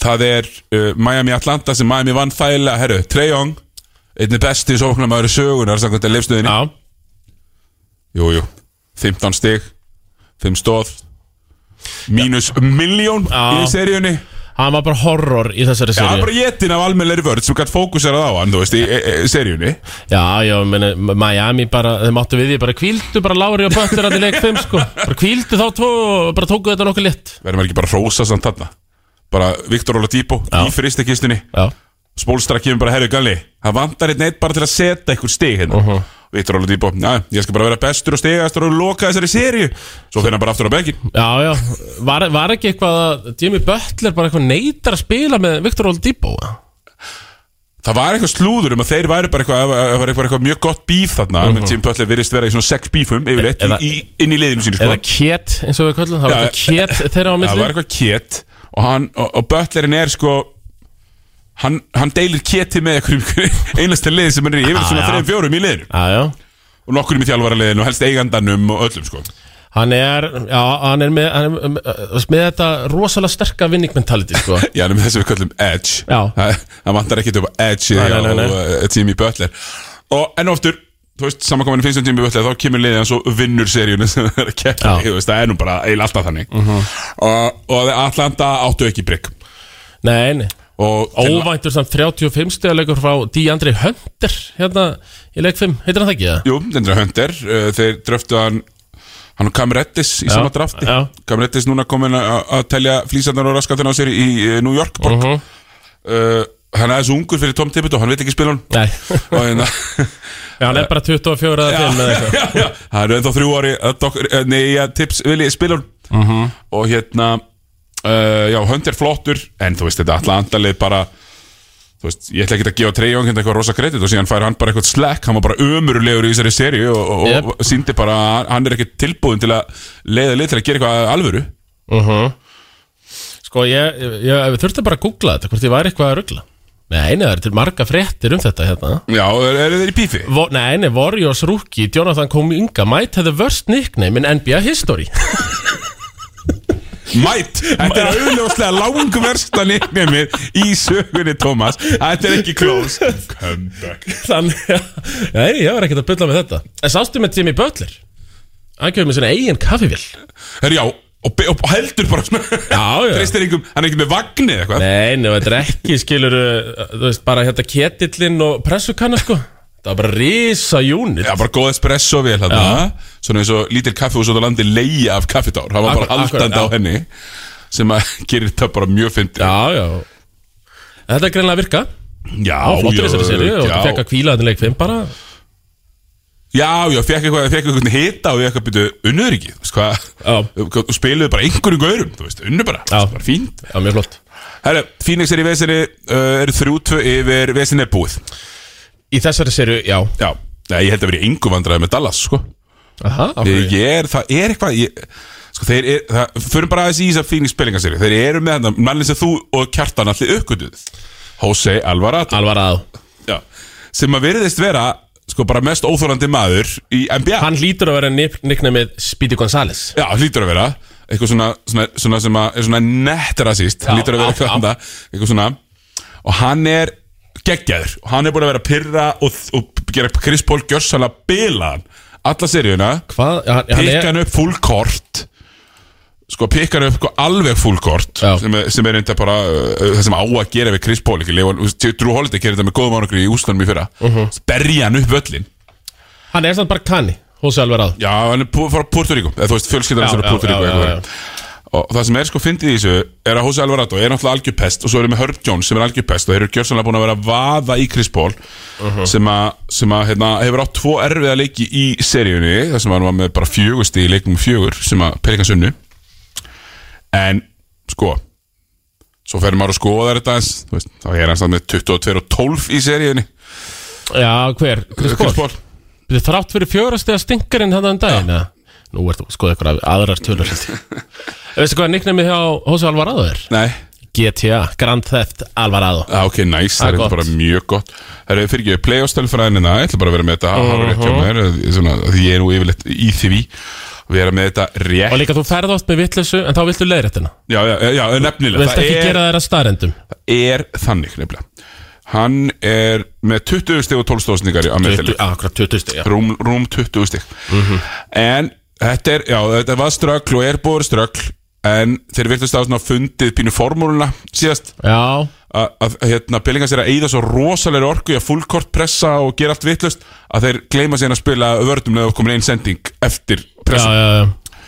Speaker 1: Það er uh, Miami Atlanta sem Miami vann þægilega Herru, Treyong, einnig besti sóknamaður sögunar samkvæmt að leifstuðinni
Speaker 2: Já,
Speaker 1: Jú, jú, 15 stig 5 stóð Mínus miljón
Speaker 2: Já.
Speaker 1: í seríunni
Speaker 2: hann var bara horror í þessari
Speaker 1: Það er
Speaker 2: séri
Speaker 1: bara jetin af almennleiri vörð sem gætt fókuserað á hann, þú veist, í e, e, seríunni
Speaker 2: Já, já, meni, Miami bara Þeir máttu við því, bara kvíldu bara Lári og Böttur að í leik 5 sko Bara kvíldu þá tvo og bara tóku þetta nokkuð létt
Speaker 1: Verðum við ekki bara að hrósa samt þarna Bara Viktor Óla Dípo í fristekistunni
Speaker 2: Já,
Speaker 1: Spólstra kemur bara herri galli Það vantar einn eitt bara til að setja einhver stig hérna
Speaker 2: Mhm.
Speaker 1: Viktor Óla Dípo, já, ég skal bara vera bestur og stigastur og loka þessari seríu Svo finna bara aftur á bekkin
Speaker 2: já, já Var, var ekki eitthvað að Jimmy Butler bara eitthvað neytar að spila með Victor Oladipo eða?
Speaker 1: Það var eitthvað slúður um að þeir væri bara eitthvað, það var eitthvað, eitthvað mjög gott bíf þarna mm -hmm. Tim Butler virðist vera í svona sex bífum yfirleitt
Speaker 2: Mhm. Eða-
Speaker 1: í, í, inn í liðinu sínu sko.
Speaker 2: Eða két, eins og við köllum Það var
Speaker 1: Já,
Speaker 2: eitthvað két þeirra
Speaker 1: Það
Speaker 2: á
Speaker 1: var
Speaker 2: milli
Speaker 1: eitthvað két og, hann, og, og Butlerin er sko hann, hann deilir kéti með einhverjum einasta liðin sem hann er í yfir svona
Speaker 2: Ah, já.
Speaker 1: þreim fjórum í liðinu
Speaker 2: Já, já
Speaker 1: og nokkurum í þjálfara liðinu og helst eigandanum og öllum sko
Speaker 2: Hann er, já, hann er með, hann er með, með þetta rosalega sterka vinningmentality, sko.
Speaker 1: Já, en með þessu við köllum Edge
Speaker 2: Já.
Speaker 1: Það það vantar ekki upp á Edge
Speaker 2: Nei,
Speaker 1: nei,
Speaker 2: nei, nei, nei.
Speaker 1: Jimmy E Butler Og enn og aftur Þú veist, samankominu finnst um Jimmy Butler Þá kemur liðið hans og vinnur seríunum sem það er að keppa
Speaker 2: Já. Mhm.
Speaker 1: í, þú veist, Það er nú bara eiginlega alltaf þannig og, og Atlanta áttu ekki brygg
Speaker 2: Nei, nei.
Speaker 1: Og til-
Speaker 2: Óvæntur samt 35 stegalegur frá D.Andrei Hunter, hérna í leik 5, heitir hann það ekki, eða?
Speaker 1: Jú, þetta er Hunter uh, Þeir dröftu hann Hann og Cam Reddish í sama drafti
Speaker 2: já.
Speaker 1: Cam Reddish núna komin að að telja flýsarnar og raskatina á sér í eh, New York borg
Speaker 2: Mhm.
Speaker 1: uh, Hann er þessu ungur fyrir Tom Tippett og hann veit ekki spila hann
Speaker 2: Nei,
Speaker 1: Og hérna
Speaker 2: já, hann er bara 24 eða 5 eða eitthvað.
Speaker 1: Eh, já, já. Það eru ennþá þrjú ári að dok- eh, Nei, að tips vilji spila hún
Speaker 2: Mhm.
Speaker 1: Og hérna uh, Já, hönd er flottur En þú veist, þetta allandalið bara Þú veist, ég ætla ekki að gefa treyjón hérna eitthvað rosa kredit og síðan fær hann bara eitthvað slack hann var bara ömurulegur í þessari seri og, og,
Speaker 2: Jep.
Speaker 1: og síndi bara að hann er ekki tilbúin til að leiða lið til að gera eitthvað alvöru
Speaker 2: Uh Sko, ég, ég, ég þurfti bara að googla þetta, hvort ég væri eitthvað að ruggla. Nei, nei, það er til marga fréttir um þetta, hérna.
Speaker 1: Já, eru er þeir í pífi?
Speaker 2: Vo, nei, nei, Warriors rookie, Jonathan Kuminga, might have the worst nickname in NBA history.
Speaker 1: Mætt! Þetta er auðljóslega langversta nicknamið í sögunni, Thomas Þetta er ekki close Come back
Speaker 2: Þannig að, nei, ég var ekkert að bylla með þetta En sástu með Jimmy Butler Hann kemur með sinna eigin kaffivél
Speaker 1: Herri, já, og, be- og heldur bara svona
Speaker 2: Já, já.
Speaker 1: Treystir einhver, hann er ekki með vagnið eða eitthvað
Speaker 2: Nei, nefnir, þetta er ekki, skilur Þú veist, bara hérna ketillinn og pressukanna, sko Það var bara risa júnit
Speaker 1: Já, bara góð espresso vel hann Svona eins og lítil kaffi út á landi leia af kaffitár Það var bara
Speaker 2: Akkur- akkur-
Speaker 1: haldandi á
Speaker 2: já.
Speaker 1: henni Sem að gerir þetta bara mjög fyndi
Speaker 2: Já, já Þetta er greinlega að virka
Speaker 1: já,
Speaker 2: Á flottur í þessari seri og
Speaker 1: já,
Speaker 2: þú fekk að kvíla þetta leik 5 bara
Speaker 1: já, já, fekk eitthvað, fekk eitthvað hita og ég eitthvað byrju unnuður ekki, þú veist hvað
Speaker 2: Já.
Speaker 1: og spiluðu bara einhverjum gaurum, þú veist, unnu bara,
Speaker 2: Já.
Speaker 1: bara fínt
Speaker 2: Já, mjög flott
Speaker 1: Herra, Phoenix er í vesinni, uh, eru þrjú-tvö yfir vesinni er búið
Speaker 2: Í þessari seri, já
Speaker 1: Já, Nei, ég held að vera í engu vandræði með Dallas, sko
Speaker 2: Aha, af
Speaker 1: ég,
Speaker 2: hverju?
Speaker 1: ég er, það er eitthvað ég, sko, þeir er, það, förum bara aðeins í þess að Phoenix spilingaseri, þeir eru með þetta mannlinn sem þú og Kjartan allir uppgötuð Jose Alvarado
Speaker 2: Alvarado
Speaker 1: já, sem að veriðist vera sko bara mest óþólandi maður í NBA
Speaker 2: Hann hlýtur að vera nikna með Speedy Gonzales
Speaker 1: já, hlýtur að vera eitthvað svona, svona, svona sem að er svona nett rasist,
Speaker 2: Já,
Speaker 1: hlýtur að vera
Speaker 2: já, já.
Speaker 1: eitthvað handa, eitthvað svona og hann er geggjaður og hann er búin að vera að pyrra og, og gera Chris Paul gjörsalega bilaðan alla seríuna
Speaker 2: Hvað? Já, hann- hann er-
Speaker 1: pikka hann upp full court sko pikka hann upp sko, alveg full court
Speaker 2: Já.
Speaker 1: sem er, sem er enda bara uh, það sem á að gera við Chris Paul ekki Leifan, Drew Holiday gerir þetta með góðum ánokri í úslanum í fyrra uh
Speaker 2: Mhm.
Speaker 1: berja hann upp völlin
Speaker 2: Hann er samt bara kanni Húsi Alvarado
Speaker 1: já, hann er pú- frá Puerto Rico eða þú veist, fjölskyldan
Speaker 2: Já,
Speaker 1: hans er
Speaker 2: já,
Speaker 1: frá Puerto
Speaker 2: já,
Speaker 1: Rico
Speaker 2: já,
Speaker 1: eitthvað
Speaker 2: já.
Speaker 1: verið. og það sem er sko fyndið í þessu er að Jose Alvarado er náttúrulega algjörpest og svo erum við Herb Jones sem er algjörpest og þeir eru gjörsanlega búin að vera að vaða í Chris Paul
Speaker 2: Uh-huh.
Speaker 1: sem að, sem að hérna, hefur átt tvo erfiða leiki í seríunni þar sem hann var með bara fjögusti í leikum fjögur sem að Pelikan sunnu en sko svo ferum maður að skoða þetta eins, þú veist, þá er hann samt með 22 og 12 í seríunni
Speaker 2: Já, hver? Chris Paul
Speaker 1: Paul
Speaker 2: Þetta er þrátt fyrir fjórastega stinkarinn hann þann daginn ja. Nú ert þú að skoða ykkur af aðrar tölur held ég. Veistu hvað nicknamið hjá Hósi Alvarado er?
Speaker 1: Nei,
Speaker 2: GTA, Grand Theft Alvarado
Speaker 1: Já, Ah, ok, næs, nice.
Speaker 2: Það
Speaker 1: það
Speaker 2: er
Speaker 1: er
Speaker 2: gott.
Speaker 1: bara mjög gott Það er fyrir ekki playoff-stælfræðinina Ég ætla bara að vera með þetta að hafa rétt hjá mér eh, svona, Því ég er nú yfirleitt í því ví Vera með þetta
Speaker 2: Og
Speaker 1: rétt
Speaker 2: líka þú ferð oft með vitleysu en þá viltu leiðrættina
Speaker 1: Já, já, já, eh, nefnilega
Speaker 2: Vilt
Speaker 1: Það
Speaker 2: ekki
Speaker 1: er,
Speaker 2: gera þeirra starrendum
Speaker 1: er þannig nefnilega Hann er með 20 stig og 12 stóðsningar á meðtali
Speaker 2: Akkurat 20 stig
Speaker 1: rúm, rúm 20 stig
Speaker 2: Mhm.
Speaker 1: En þetta er, já, þetta var ströggl og er búið ströggl En þeir virtust á svona fundið pínu formúluna síðast
Speaker 2: Já,
Speaker 1: að, að hérna, Billingans er að eyða svo rosalegri orku í að fullkort pressa og gera allt vittlust að þeir gleyma síðan að spila vördum neða komin einn sending eftir
Speaker 2: já,
Speaker 1: pressa.
Speaker 2: já, já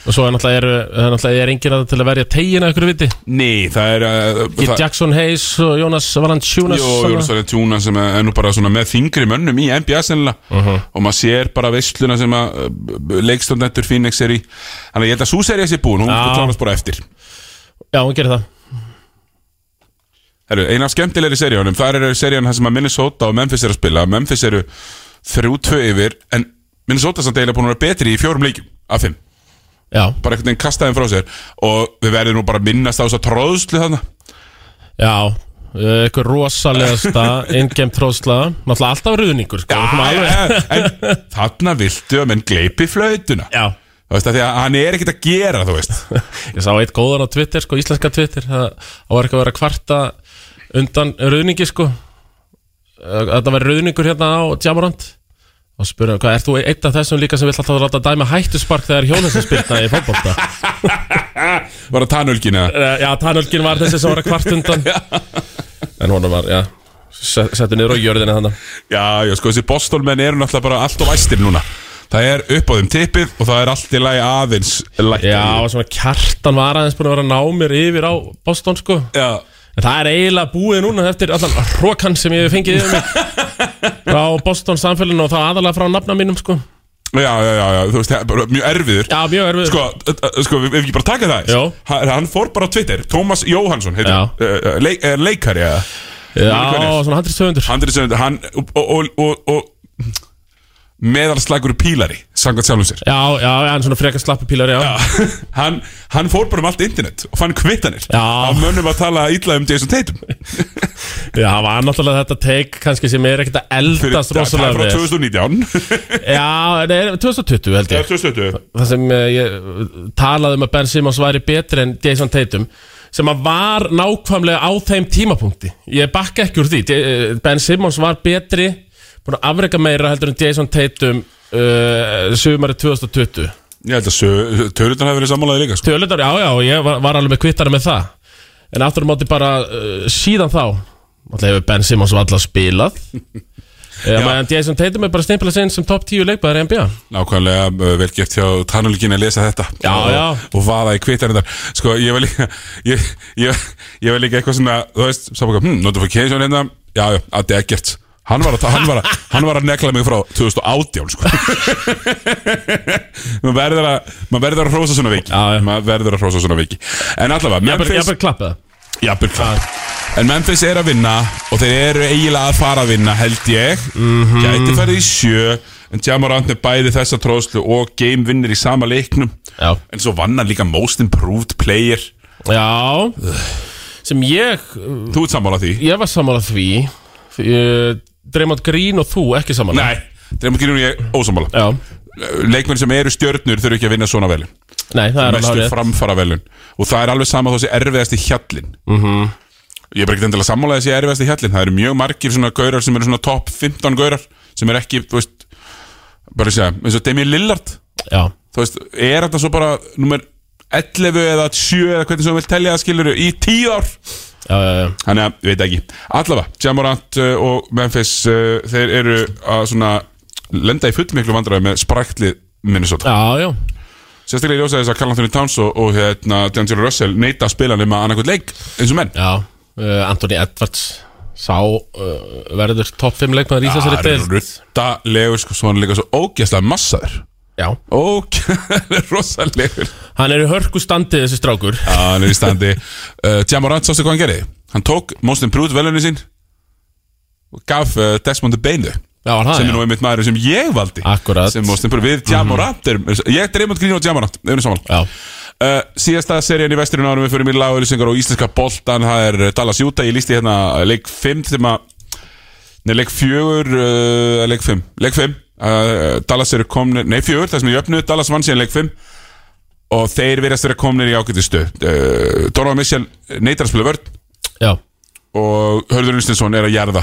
Speaker 2: Og svo er náttúrulega, er, er, náttúrulega er enginn að til að verja tegina ykkur viti
Speaker 1: Nei, það er uh,
Speaker 2: Git
Speaker 1: það,
Speaker 2: Jackson Hayes og Jonas Valanciunas
Speaker 1: Jó,
Speaker 2: svona.
Speaker 1: Jónas Valið Tjúna sem er nú bara svona með þingri mönnum í NBA sennilega
Speaker 2: Mhm.
Speaker 1: og maður sér bara veisluna sem að uh, leikstofnendur Phoenix er í þannig að ég held að svo serið sé búin, hún
Speaker 2: Já.
Speaker 1: klárast bara eftir
Speaker 2: Já, hún gerir það
Speaker 1: Herru, eina af skemmtilegri seríunum, þar eru seríun þar sem að Minnesota og Memphis eru að spila Memphis eru 3-2 yfir en Minnesota samt eiginlega búin að vera betri í fjórum leikjum af fimm
Speaker 2: Já,
Speaker 1: bara einhvern veginn kastaði frá sér og við verðum nú bara að minnast á þess að tróðslu þarna
Speaker 2: já eh, Ykkur rosalegasta Ingame tróðsla Náttúrulega alltaf ruðningur sko. Svona
Speaker 1: Æ,
Speaker 2: alveg-
Speaker 1: æ, æ, en þarna viltu að menn gleipi flautuna
Speaker 2: Já
Speaker 1: þú veist að því að hann er ekkert að gera þú veist
Speaker 2: Ég sá eitt góðan á Twitter, sko, íslenska Twitter Það það var ekki að vera að kvarta undan ruðningi, sko Að Þetta var ruðningur hérna á Jamorant Og spurði, hann, hvað, ert þú eitt af þessum líka sem vill alltaf láta dæma hættuspark þegar hjónin sem spyrna í fótbolta?
Speaker 1: var það tannulgin eða
Speaker 2: Eh, já, tannölgin var þessi sem var að kvart undan En honum var, já se- Settu niður á jörðinni þannig
Speaker 1: já, já, sko þessi bostólmenn eru náttúrulega bara allt of æstir núna það er upp á þeim tippið og það er allt í lagi aðeins lægt
Speaker 2: Já, og svona kjartan var aðeins búin að vera að ná mér yfir á Boston, sko
Speaker 1: já,
Speaker 2: En það er eiginlega búið núna eftir allan hrókan sem ég hef fengið yfir mig frá Boston samfélaginu og það aðalega frá nafna mínum sko.
Speaker 1: já, já, já, já þú veist, það er bara mjög erfiður
Speaker 2: Já, mjög erfið
Speaker 1: Sko, ö- ö- sko, við við ekki bara taka það
Speaker 2: Jó.
Speaker 1: aðeins? hann, hann fór bara á Twitter, Tómas Jóhansson heitir,
Speaker 2: Já.
Speaker 1: uh, leik, eh, leikari eða
Speaker 2: Já,
Speaker 1: hver er?
Speaker 2: svona 100-200
Speaker 1: Andri Söndur, hann og, og, og, og meðalslagur pílari, samkvæmt sjálfum sér
Speaker 2: Já, já, en svona frekar slappupílar, já. já
Speaker 1: hann, hann fór bara um allt internet og fann kvittanir
Speaker 2: Já.
Speaker 1: af mönnum að tala illa um Jason Tatum
Speaker 2: Já, það var náttúrulega þetta teik kannski sem er ekkert að eldast
Speaker 1: það er
Speaker 2: rosalega
Speaker 1: frá
Speaker 2: við
Speaker 1: 2019
Speaker 2: Já, nei, 2020 held
Speaker 1: Eða
Speaker 2: ég
Speaker 1: 2020
Speaker 2: Það sem eh, ég eh, talaði um að Ben Simmons væri betri en Jason Tatum sem að var nákvæmlega á þeim tímapunkti Ég bakka ekki úr því De- eh, Ben Simmons var eh, betri búin að afreka meira heldur en Jason Tatum uh, sumari 2020
Speaker 1: Ég held að tölutan hafi verið sammálaði líka sko.
Speaker 2: Tölundar, já, já, og ég var, var alveg með kvittara með það En aftur á móti bara uh, síðan þá Alltaf hefur Ben Simmons alltaf spilað
Speaker 1: Já.
Speaker 2: Já, en Jason Tatum er bara stimplað sinn sem top 10 leikbæðar í NBA
Speaker 1: Nákvæmlega uh, vel gert hjá tannulíkinni að lesa þetta
Speaker 2: Já,
Speaker 1: og,
Speaker 2: já.
Speaker 1: Og vaða í kvittarindar Sko, ég var líka Ég, ég, ég var líka eitthvað svona Þú veist, samfaka, hm, notification hérna Já, já, að það er gert Hann var, að, ta- hann, var að, hann var að negla mig frá 2018 sko. maður verður að maður verður að hrósa svona viki
Speaker 2: Já, já.
Speaker 1: maður verður að hrósa svona viki en allavega,
Speaker 2: Ég bara,
Speaker 1: Memphis
Speaker 2: ég bara klappa það
Speaker 1: Jafnvel klart En Memphis er að vinna og þeir eru eiginlega að fara að vinna held ég Gæti farið í sjö En Jamarant með bæði þessa tróðslu og game vinnir í sama leiknum
Speaker 2: Já,
Speaker 1: En svo vann hann líka most improved player
Speaker 2: já Sem ég,
Speaker 1: Þú ert sammála því?
Speaker 2: ég var sammála því uh, Dreymond Green og þú ekki sammála
Speaker 1: Nei, Dremur Grínur ég ósammála
Speaker 2: Já,
Speaker 1: Leikmenn sem eru stjörnur þurfa ekki að vinna svona velun
Speaker 2: nei, það er alveg
Speaker 1: Mestu
Speaker 2: hárið
Speaker 1: framfara velun Og það er alveg sama þá sé erfiðasti hjallin
Speaker 2: Mhm.
Speaker 1: Ég er bara ekki endilega sammála þessi erfiðasti hjallin Það eru mjög margir svona gaurar sem eru svona top 15 gaurar Sem eru ekki, þú veist Bara að segja, eins og Demi Lillard
Speaker 2: Já,
Speaker 1: þú veist, er þetta svo bara nummer 11 eða 7 eða hvernig sem þú vilt telja það skilur í 10 ár
Speaker 2: já, já, já
Speaker 1: þannig að, ég veit ekki, allavega Jamorant uh, og Memphis uh, þeir eru að svona lenda í fullmiklu vandræði með spraklið Minnesota,
Speaker 2: Já, já,
Speaker 1: sérstaklega í ljósa þess að Carl Anthony Towns og, og hérna D'Angelo Russell neita að spila nema annarkvæmt leik eins og menn
Speaker 2: já uh, Anthony Edwards Sá uh, verður top 5 leikmaður í þessari
Speaker 1: það er
Speaker 2: deild
Speaker 1: ruttalegur sko, svo hann er líka svo ógeðslega massaður
Speaker 2: Já,
Speaker 1: ógeðslega rosalegur
Speaker 2: Hann er í hörku standi þessi strákur
Speaker 1: Já, hann er í standi uh, Jamorant, sástu hvað hann gerði? Hann tók Most Improved velunni sín og gaf uh, Desmond Bain þau
Speaker 2: Já, var það
Speaker 1: sem
Speaker 2: já. Mhm.
Speaker 1: er nú einmitt maður sem ég valdi
Speaker 2: Akkúrat.
Speaker 1: sem Most Improved við Jamorant erum ég dreymund grín og Jamorant erum saman
Speaker 2: Já,
Speaker 1: uh, síðasta serían í vesturinn árum við fyrir mér lagauðlýsingar og íslenska boltan það er uh, Dallas Júta ég lísti hérna leik 5 þeim að Nei, leik fjögur, uh, leik fimm Leik fimm, uh, Dallas eru komnir Nei, fjögur, það sem ég öfnuð, Dallas vann síðan leik fimm Og þeir verðast vera komnir í ágæti stöð uh, Donovan Mitchell neitar að spila vörn
Speaker 2: já
Speaker 1: Og Hörður Unstinsson er að jarða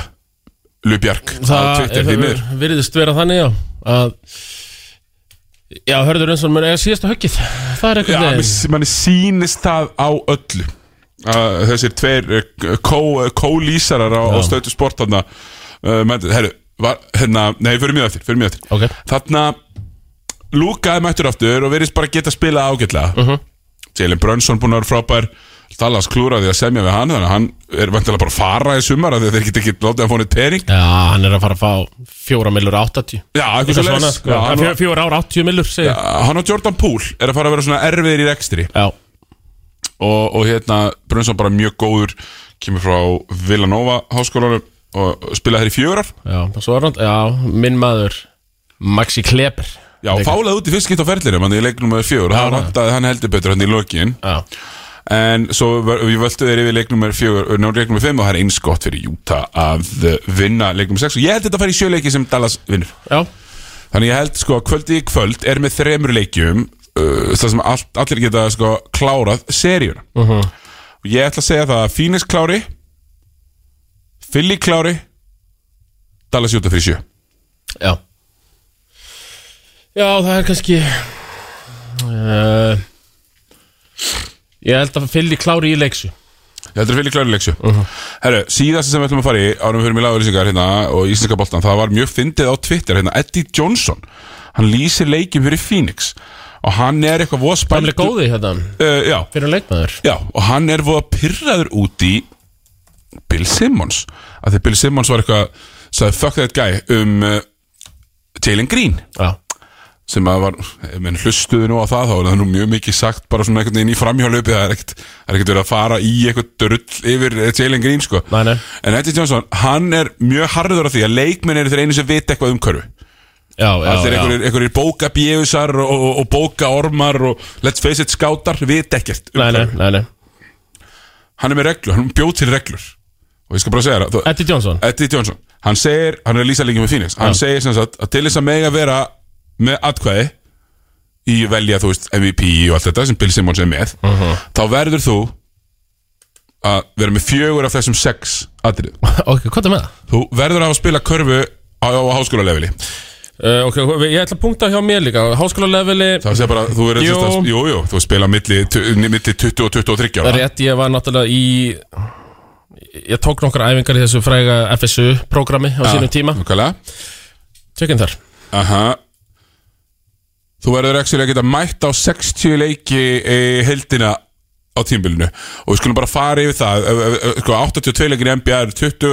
Speaker 1: Lubjark á
Speaker 2: Það
Speaker 1: Twitter því miður
Speaker 2: hefur- virðist vera þannig, já að, Já, hörður eins og mér eða síðasta höggið Það er
Speaker 1: Já,
Speaker 2: eitthvað
Speaker 1: mér s- manni sýnist það á öllu uh, Þessir tveir uh, kó- kólýsarar á, á stöðu sport Þarna, uh, menn, herru, var, hérna Nei, fyrir mjög eftir, fyrir mjög eftir
Speaker 2: Ok,
Speaker 1: Þarna Luka er mættur aftur og verðist bara geta spila ágætlega uh
Speaker 2: Mhm.
Speaker 1: -huh. Jalen Brunson búin að vera frábær Dallas klúraði að semja við hann þannig að hann er vantilega bara að fara í sumar af því að þeir geta ekki látið að fóna tering
Speaker 2: já, hann er að fara að fá fjóra millur áttatíu
Speaker 1: Já, eitthvað
Speaker 2: Eitthvað
Speaker 1: svo
Speaker 2: svona,
Speaker 1: les
Speaker 2: sko Fjó- Fjóra ára áttatíu millur, segir Já,
Speaker 1: Hann og Jordan Poole er að fara að vera svona erfiðir í rekstri
Speaker 2: já,
Speaker 1: og, og hérna Brunson bara mjög góður kemur frá Villanova háskólanum og spilaði þær í fjögurar
Speaker 2: og svo er hann Já, minn maður Maxi Kleber
Speaker 1: Já, fálaði út í fyrst skipt á ferlinum hann í leiknum með fjögur, það vantaði hann heldur betur hann í lokin
Speaker 2: Já,
Speaker 1: en svo ver- við völdum þeir yfir leiknum með fjögur og náður leiknum með fimm og það er eins gott fyrir Júta að eh, vinna leiknum með sex og ég held þetta að fara í sjöleiki sem Dallas vinnur
Speaker 2: já,
Speaker 1: þannig ég held sko að kvöldi í kvöld er með þremur leikjum uh, það sem all, allir geta sko klárað seríuna og ég ætla að segja það að Phoenix klári Philly klári Dallas Júta fyrir sjö
Speaker 2: já Já, það er kannski uh, Ég held að fylgdi klári í leiksu
Speaker 1: Ég heldur að Philly klári leik sjö Herru, síðast sem við ætlum að fara í árum fyrir mig lagurlýsingar hérna og íslenska boltan það var mjög fyndið á Twitter hérna Eddie Johnson, hann lýsir leikin fyrir Phoenix og hann er eitthvað voða
Speaker 2: Hann
Speaker 1: spældur
Speaker 2: er góði hérna
Speaker 1: uh, já,
Speaker 2: fyrir leikmaður
Speaker 1: Já, og hann er voða pyrraður út í Bill Simmons af því Bill Simmons var eitthvað sagði fuck that guy um uh, Jalen Green
Speaker 2: Já,
Speaker 1: sem að var, ef menn hlustuðu nú á það þá er það nú mjög mikið sagt bara svona einhvern veginn í framhjálöpi það er ekkert, það er ekkert verið að fara í eitthvað drull yfir eh, Jalen Green sko
Speaker 2: Nei, nei.
Speaker 1: en Eddie Johnson, hann er mjög harður á því að leikmenn eru þeir einu sem vita eitthvað um körfu
Speaker 2: já, já,
Speaker 1: allir
Speaker 2: já.
Speaker 1: einhverjir, einhverjir bóka bjöðusar og, og, og bóka ormar og let's face it skátar, vita ekkert um
Speaker 2: Nei, nei,
Speaker 1: körfu.
Speaker 2: nei, nei.
Speaker 1: hann er með reglur, hann bjóð til reglur og ég skal bara segja þér það
Speaker 2: Eddie Johnson
Speaker 1: Eddie Johnson, hann segir, hann er að lýsa líka með Phoenix hann segir sem sagt að til þess að mega vera með atkvæði í velja, þú veist, MVP og allt þetta sem Bill Simmons er með þá verður þú að vera með fjögur af þessum sex atrið
Speaker 2: Ok, hvað er með það?
Speaker 1: þú verður að hafa að spila körfu á, á háskóla leveli
Speaker 2: Uh, ok, ég ætla að punkta hjá mér líka Háskóla leveli
Speaker 1: Það sé bara, þú er
Speaker 2: Jú.
Speaker 1: að, jú, jú, þú spila milli, tu- milli 20 og 23
Speaker 2: Það er
Speaker 1: ára
Speaker 2: rétt, ég var náttúrulega í Ég tók nokkra æfingar í þessu fræga FSU-programmi á sínum tíma
Speaker 1: Nákvæmlega
Speaker 2: Tjökinn þar
Speaker 1: Aha Þú verður ekki að geta mætt á 60 leiki e, heldina á tímbilinu og við skulum bara fara yfir það Ef- ef- ef- sko, 82 leikir í NBA er 20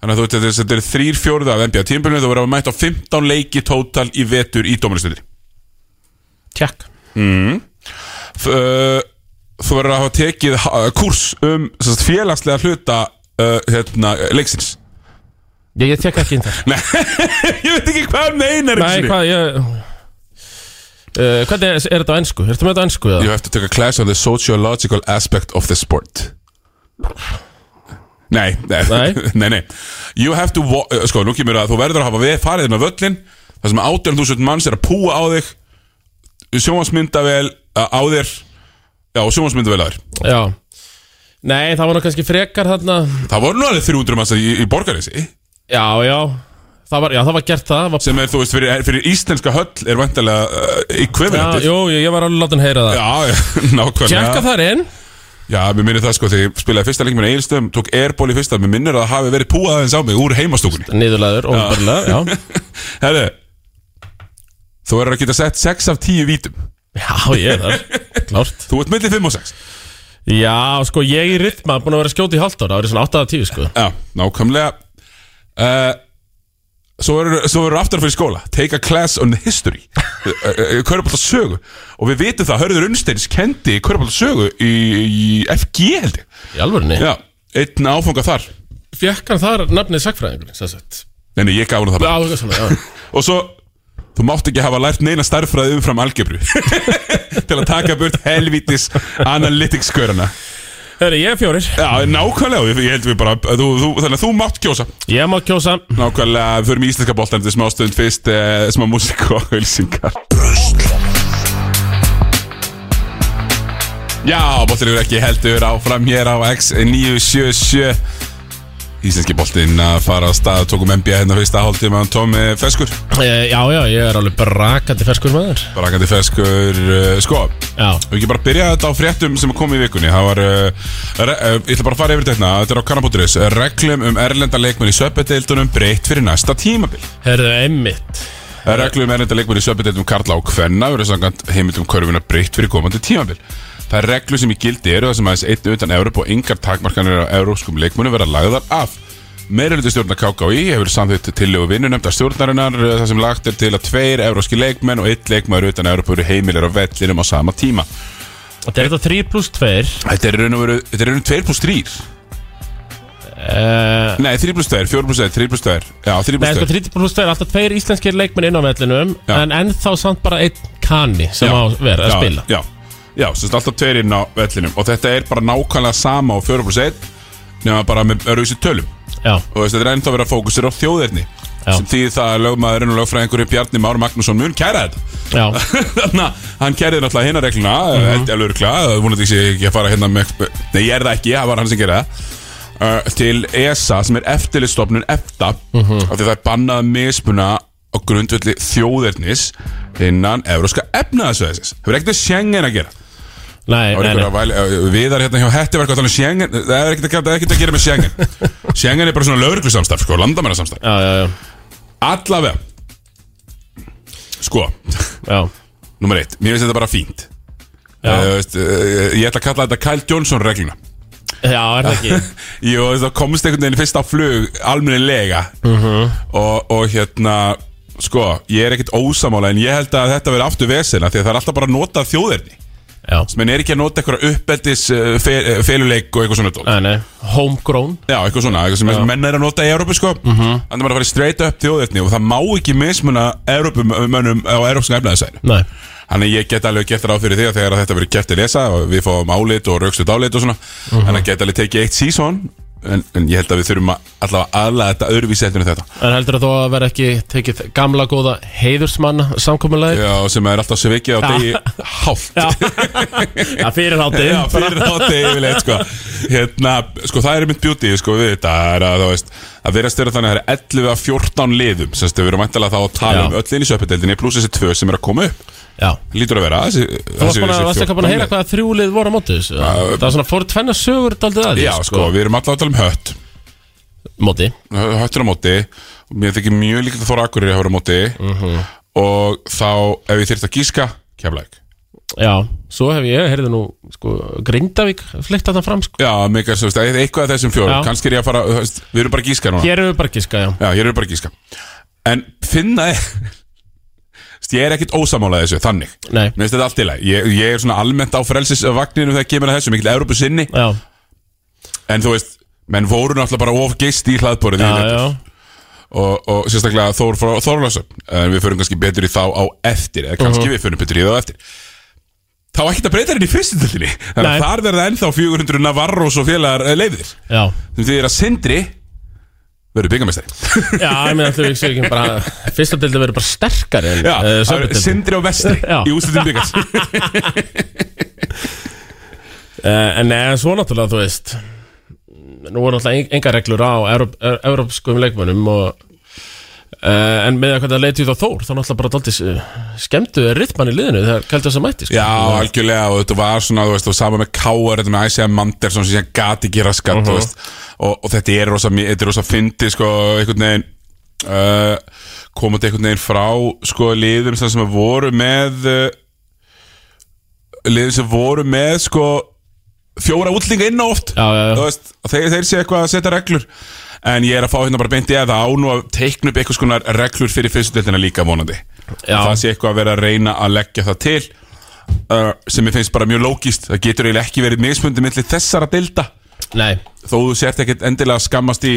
Speaker 1: þannig að þú veist þetta er- þetta er þrír fjórða af NBA tímbilinu þú verður að mætt á 15 leiki tótal í vetur í dómarastundir
Speaker 2: Tjekk
Speaker 1: uh, þú verður að hafa tekið uh, kurs um sem sagt, félagslega hluta uh, hérna, leiksins
Speaker 2: Ég, ég tjekk ekki inn þar
Speaker 1: Nei, ég veit ekki hvað hann einar
Speaker 2: Nei, hvað, ég uh, Hvernig er, er þetta á ennsku? Er þetta með þetta á ennsku?
Speaker 1: You
Speaker 2: eða?
Speaker 1: have to take a class on the sociological aspect of the sport Nei, nei,
Speaker 2: Nei.
Speaker 1: nei, nei. You have to, wa- uh, sko, nú kemur að þú verður að hafa við farið inn á völlin þar sem 18.000 manns er að púa á þig sjónvansmyndavel á þér Já, sjónvansmyndavel á þér
Speaker 2: Já Nei, það var nú kannski frekar þarna
Speaker 1: Það voru nú alveg 300 manns í, í borgarinsi
Speaker 2: Já, já Það var, já, það var gert það, það var,
Speaker 1: sem er, þú veist, fyrir, fyrir íslenska höll er vantarlega uh,
Speaker 2: já,
Speaker 1: equivalentið
Speaker 2: Jú, jú, ég var alveg látin heyra það
Speaker 1: Já, já, nákvæmlega
Speaker 2: Tjekka þar inn
Speaker 1: Já, mér minnir það sko, þegar ég spilaði fyrsta leikminn á Egilstöðum, tók airból í fyrsta, mér minnir að það hafi verið púað aðeins á mig úr heimastúkunni
Speaker 2: Niðurlegaður, óbörlega, já
Speaker 1: Herri, þú verður að geta sett 6 af 10 vítum
Speaker 2: Já, ég er þar, klárt
Speaker 1: Þú ert milli 5 og 6
Speaker 2: Já, sko, ég í rytma búin að vera að skjóta í halvt ára, það verið svona 8 að 10, sko
Speaker 1: Já, nákvæmlega uh, Svo verður svo verður aftur fyrir skóla Take a class on history Eh, Körbólta sögu Og við vitum það, Hörður Unnsteins kendi Körbólta sögu í, í FG held ég
Speaker 2: Í alvörunni
Speaker 1: Já, einn áfanga þar
Speaker 2: Fekk hann þar nafnið sagfræðingur sem sagt
Speaker 1: Nei, nei, ég gaf hún það
Speaker 2: Já,
Speaker 1: bara
Speaker 2: eitthvað svona, já
Speaker 1: Og svo, þú mátt ekki hafa lært neina starffræði umfram algebru Til að taka burt helvítis analytics-skörana
Speaker 2: Hörru, ég er fjórir
Speaker 1: Já, nákvæmlega, ég, ég held við bara þú, þú, Þannig að þú mátt kjósa
Speaker 2: Ég má kjósa
Speaker 1: Nákvæmlega, við förum í íslenska boltan Þetta er smá stund fyrst, eh, smá músík og hölsingar Já, boltin eru ekki heldur áfram hér á X977 Íslenski boltinn að fara á stað Tókum NBA hérna fyrsta hálftíma Tómi Feskur
Speaker 2: e, Já, já, ég er alveg brakandi ferskur maður
Speaker 1: Brakandi feskur, uh, sko
Speaker 2: Já
Speaker 1: Við ekki bara byrja þetta á fréttum sem kom í vikunni Það var, uh, re- uh, ég ætla bara að fara yfir þetta hérna. Þetta er á kannabóturis Reglum um erlenda leikmenn í söpbedeildunum breytt fyrir næsta tímabil
Speaker 2: Hörru, einmitt
Speaker 1: Reglum um erlenda leikmenn í söpbedeildunum Karla og Kvenna verður samkvæmt heimildum körfuna breytt fyrir komandi tímabil Það er reglu sem í gildi eru það sem aðeins einn utan Evróp og yngar takmarkanir á európskum leikmennu verða lagðar af Meiruluti stjórnar KKÍ hefur samþýtt tillögu vinnunemnda stjórnarinnar eh, þar sem lagt er til að tveir euróski leikmenn og einn leikmaður utan Evrópu eru heimilir á vellinum á sama tíma.
Speaker 2: Þetta er þetta 3 pluss 2
Speaker 1: Þetta er í raun og veru, þetta er í raun 2 pluss 3
Speaker 2: uh,
Speaker 1: Nei, 3 pluss 2, 4 pluss 1, 3 pluss 2 Já, 3
Speaker 2: Nei,
Speaker 1: pluss 2
Speaker 2: sko, 3 pluss 2 er alltaf tveir íslenskir leikmenn inn á vellinum
Speaker 1: Já.
Speaker 2: En ennþá samt bara einn kanni sem
Speaker 1: Já.
Speaker 2: á verið að spila
Speaker 1: Já, já, já sem sagt alltaf tveir inn á vellinum Og þetta er bara nákvæmlega sama á 4 pluss 1 Nefna bara með öruvísi tölum
Speaker 2: Já,
Speaker 1: Og þessi, þetta er ennþá verið að fókusir á þjóðirni
Speaker 2: Já.
Speaker 1: Sem þýðir það að lögmaðurinn og lögfræðingur Bjarni Már Magnússon mun kæra þetta
Speaker 2: já,
Speaker 1: Þannig að hann kæriði náttúrulega hérna regluna
Speaker 2: Mhm.
Speaker 1: mm -hmm. Alveg örgla, vonandi ekki ekki að fara hérna með Nei, ég er það ekki, það var hann sem gerði það uh, til ESA sem er eftirlistofnun EFTA
Speaker 2: Mhm.
Speaker 1: af því það er bannað að mismuna á grundvöldi þjóðernis innan Evróska efnaðasvæðisins hefur ekkert að Schengen að gera
Speaker 2: nei,
Speaker 1: Það var
Speaker 2: nei,
Speaker 1: einhver
Speaker 2: nei
Speaker 1: að væla- uh, viðar hérna hjá hettiverk þannig Schengen, eh, það er ekkert að, gera- það er ekkert að gera með Schengen Schengen er bara svona lögreglusamstarf sko, landamærasamstarf,
Speaker 2: Já, já, já,
Speaker 1: allavega sko
Speaker 2: já,
Speaker 1: nummer eitt, mér finnst þetta bara fínt
Speaker 2: Já.
Speaker 1: uh, veist, uh, ég ætla að kalla þetta Kyle Johnson regluna
Speaker 2: já er það ekki
Speaker 1: Jú, það komst einhvern veginn fyrst á flug almennilega og, og hérna sko, ég er ekkert ósamála en ég held að þetta verði aftur vesina því að það er alltaf bara að nota þjóðerni
Speaker 2: Já,
Speaker 1: menn er ekki að nota einhverja uppeldis uh, fe- eh, feluleik og eitthvað svona dót.
Speaker 2: nei, nei Homegrown
Speaker 1: Já, eitthvað svona, eitthvað sem menn er að nota í Európu sko þannig -hmm. að maður að fara straight up þjóðerni og það má ekki mismuna Európumönnum á Európskum efnaðisæri
Speaker 2: Nei,
Speaker 1: Þannig að ég get alveg gert ráð fyrir því að
Speaker 2: Mhm.
Speaker 1: þegar þetta verður gert til lesa og við fáum álit og raukstuð álit og svona Þannig að get alveg tekið eitt sísón en, en ég held að við þurfum að allavega aðlaða þetta öðruvísi eftir en þetta
Speaker 2: En heldur að þó að vera ekki tekið gamla góða heiðursmanna samkomulega
Speaker 1: Já, sem er alltaf sveikið á degi hálft
Speaker 2: Já, já fyrir hátti
Speaker 1: Já, fyrir þátti yfirleitt sko. Hérna, sko það er mitt beauty sko, við þetta það er að, þú veist, að vera styrra þannig að það er 11 af 14 liðum sem við erum mæntalega þá að tala
Speaker 2: Já.
Speaker 1: um öll inn í söpindeldinni pluss þessi tvö sem er að koma upp
Speaker 2: Já
Speaker 1: lítur að vera þessi,
Speaker 2: Þú varst búin að, varst ekki búin að heyra
Speaker 1: lið.
Speaker 2: hvaða þrjúlið voru á móti þessu Það var svona fór tvenna sögur daldið að því
Speaker 1: Já, sko, við erum alltaf að tala um hött
Speaker 2: Móti
Speaker 1: höttur á móti og mér þykir mjög líka að þóra akkurir að höra á móti
Speaker 2: Mhm.
Speaker 1: og þá, ef ég þyrft að gíska keflæk
Speaker 2: Já, svo hef ég, heyrði nú, sko, Grindavík flykt þarna fram, sko
Speaker 1: Já, mikið, þú veist, eitthvað af þessum fjórum
Speaker 2: Já.
Speaker 1: kannski er ég að fara, þú veist, við erum bara að gíska núna
Speaker 2: Hér erum við bara giska, já
Speaker 1: Já, ég er bara að gíska En finna er Þú veist, Ég er ekkit ósamála þessu, þannig
Speaker 2: Nei,
Speaker 1: Mér finnst þetta allt í lagi ég, ég er svona almennt á frelsisvagninu þegar kemur að þessu Mikil Európu sinni
Speaker 2: já,
Speaker 1: En þú veist, menn voru náttúrulega bara of geist í hlaðborið
Speaker 2: já,
Speaker 1: í vetur.
Speaker 2: já
Speaker 1: og, og sérstaklega Þór frá Þórlásöp En við förum kannski betur í þá á eftir Eða kannski
Speaker 2: Mhm.
Speaker 1: við förum betur í þá á eftir Þá ekkert að breyta henni í fyrstundildinni Þannig
Speaker 2: Nei.
Speaker 1: að þar verða ennþá 400 Navarros og félagar eh, leiðir
Speaker 2: Já,
Speaker 1: Sem því að Sindri verður byggamestari
Speaker 2: já, ég meina allir við séum ekki bara Fyrsta dildi verður bara sterkari en
Speaker 1: Já,
Speaker 2: eh,
Speaker 1: það
Speaker 2: seinni
Speaker 1: er
Speaker 2: deildin.
Speaker 1: Sindri og Vestri
Speaker 2: Já.
Speaker 1: í úslitum byggast
Speaker 2: Eh, En eh, svo náttúrulega, þú veist Nú er náttúrulega en- engar reglur á Evróp- eh, Evrópskum leikmönnum og Uh, en með að hvernig að leiti út á Þór þá náttúrulega bara daldið skemmtu er rittmann í liðinu þegar kældi þess að mætti sko.
Speaker 1: Já, algjörlega og þetta var svona, þú veist, og sama með Káar þetta með Æsja Mandersson sem síðan gati ekki raskat, þú veist, og, og þetta er rosa, mi- þetta er rosa fyndi, sko, einhvern veginn uh, komandi einhvern veginn frá, sko, liðum sem, sem voru með uh, liðum sem voru með, sko fjóra útlinga inn á oft
Speaker 2: Já, já, já.
Speaker 1: þú veist, og þeir, þeir sé eitthvað að setja reglur en ég er að fá hérna bara beint í að það á nú að teikna upp eitthvað skonar reglur fyrir fyrstudeldina líka vonandi
Speaker 2: Já.
Speaker 1: það sé eitthvað að vera að reyna að leggja það til uh, sem ég finnst bara mjög lógist það getur eiginlega ekki verið mismundi millir þessara deilda
Speaker 2: Nei,
Speaker 1: þó þú sért ekkert endilega að skammast í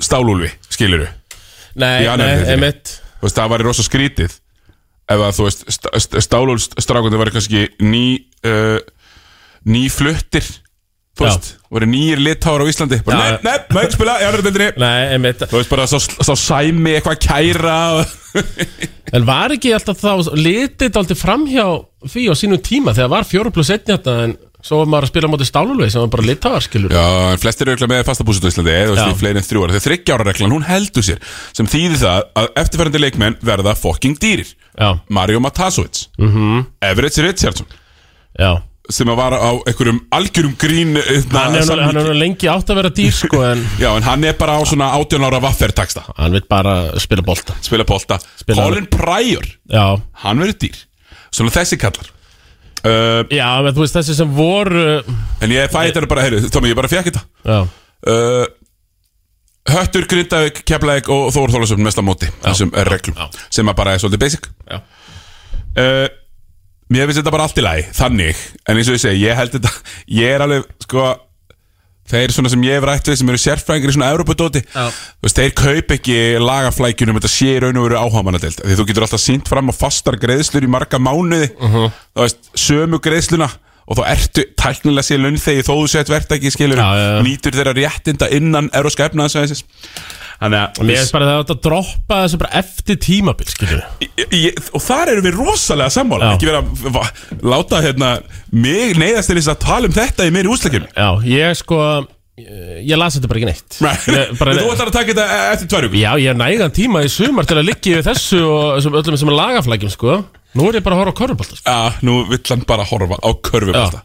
Speaker 1: stálúlfi, skilur
Speaker 2: nei,
Speaker 1: Í annarri
Speaker 2: nei,
Speaker 1: deildinni.
Speaker 2: einmitt
Speaker 1: þú veist, það væri rosa skrítið ef að þú veist, st st stálúlstrákundi væri kannski ný uh, ný fluttir þú
Speaker 2: Já.
Speaker 1: veist, voru nýjir litáður á Íslandi bara,
Speaker 2: Já.
Speaker 1: nei, nei, maður ekki spila, ég er reyndinni
Speaker 2: Nei, einmitt
Speaker 1: þú veist bara, sá, sá sæmi eitthvað kæra og...
Speaker 2: En var ekki alltaf þá litið daldið framhjá því á sínum tíma þegar var 4 plus 1 hérna en svo var maður að spila á móti stálulvei sem var bara litáar skilur
Speaker 1: Já, en flestir eru örugglega með fasta búsetu á Íslandi eða þú veist,
Speaker 2: Já.
Speaker 1: í fleiri en þrjú ára. Þegar þryggjára reglan, hún heldur sér sem þýðir það að eftirferðandi leikmenn verða fokking dýrir.
Speaker 2: Já,
Speaker 1: Mario Matasovic, mm -hmm. Everett Richardson
Speaker 2: já
Speaker 1: sem að vara á einhverjum algjörum grín
Speaker 2: Hann
Speaker 1: hann
Speaker 2: er nú- hann er nú lengi átt að vera dýr sko en
Speaker 1: Já, en hann er bara á svona 18 ára vaffertaksta
Speaker 2: hann vil bara spila bolta
Speaker 1: spila bolta.
Speaker 2: Spila-
Speaker 1: Colin Pryor,
Speaker 2: Já,
Speaker 1: hann verður dýr svona þessi kallar uh,
Speaker 2: já, en þú veist þessi sem voru
Speaker 1: En ég fæði þetta bara, heyru, Tómi, ég bara fekk þetta
Speaker 2: Já,
Speaker 1: uh, Höttur, Grindavík, Keflæk og Þór Þólasöfn mesta móti þessum
Speaker 2: já,
Speaker 1: reglum
Speaker 2: já.
Speaker 1: sem að bara er svolítið basic
Speaker 2: já
Speaker 1: uh, Mér finnst þetta bara allt í lagi þannig, en eins og ég segi, ég held þetta ég er alveg, sko þeir svona sem ég hef rætt við sem eru sérfræðingar í svona Evropadóti,
Speaker 2: Já.
Speaker 1: þú veist, þeir kaup ekki lagaflækjunum, þetta sé í raun og veru áhamanadelt, því þú getur alltaf sínt fram á fastar greiðslur í marga mánuði
Speaker 2: Mhm.
Speaker 1: þú veist, sömu greiðsluna og þá ertu tæknilega sér laun þegi þó þú sett verktæki skilur,
Speaker 2: Já, já, já.
Speaker 1: nýtur þeirra réttinda innan eroska efnaðansvæðisins Þannig að
Speaker 2: Mér finnst bara að það átt að droppa þessu bara eftir tímabil skilur
Speaker 1: Ég- ég, og þar erum við rosalega sammála
Speaker 2: Já.
Speaker 1: ekki vera að va- láta hérna mig neyðast til þess að tala um þetta í meiri úslakjum
Speaker 2: Já, ég sko, ég, ég las þetta bara ekki neitt Ég- bara-
Speaker 1: þú ætlar að taka þetta e- eftir tvær vikur
Speaker 2: Já, ég hef nægan tíma í sumar til að liggja við þessu og þessum öllum sem er lagaflækjum, sko. Nú er ég bara að horfa á körfubolta, sko.
Speaker 1: já, nú vill hann bara horfa á körfum
Speaker 2: Já.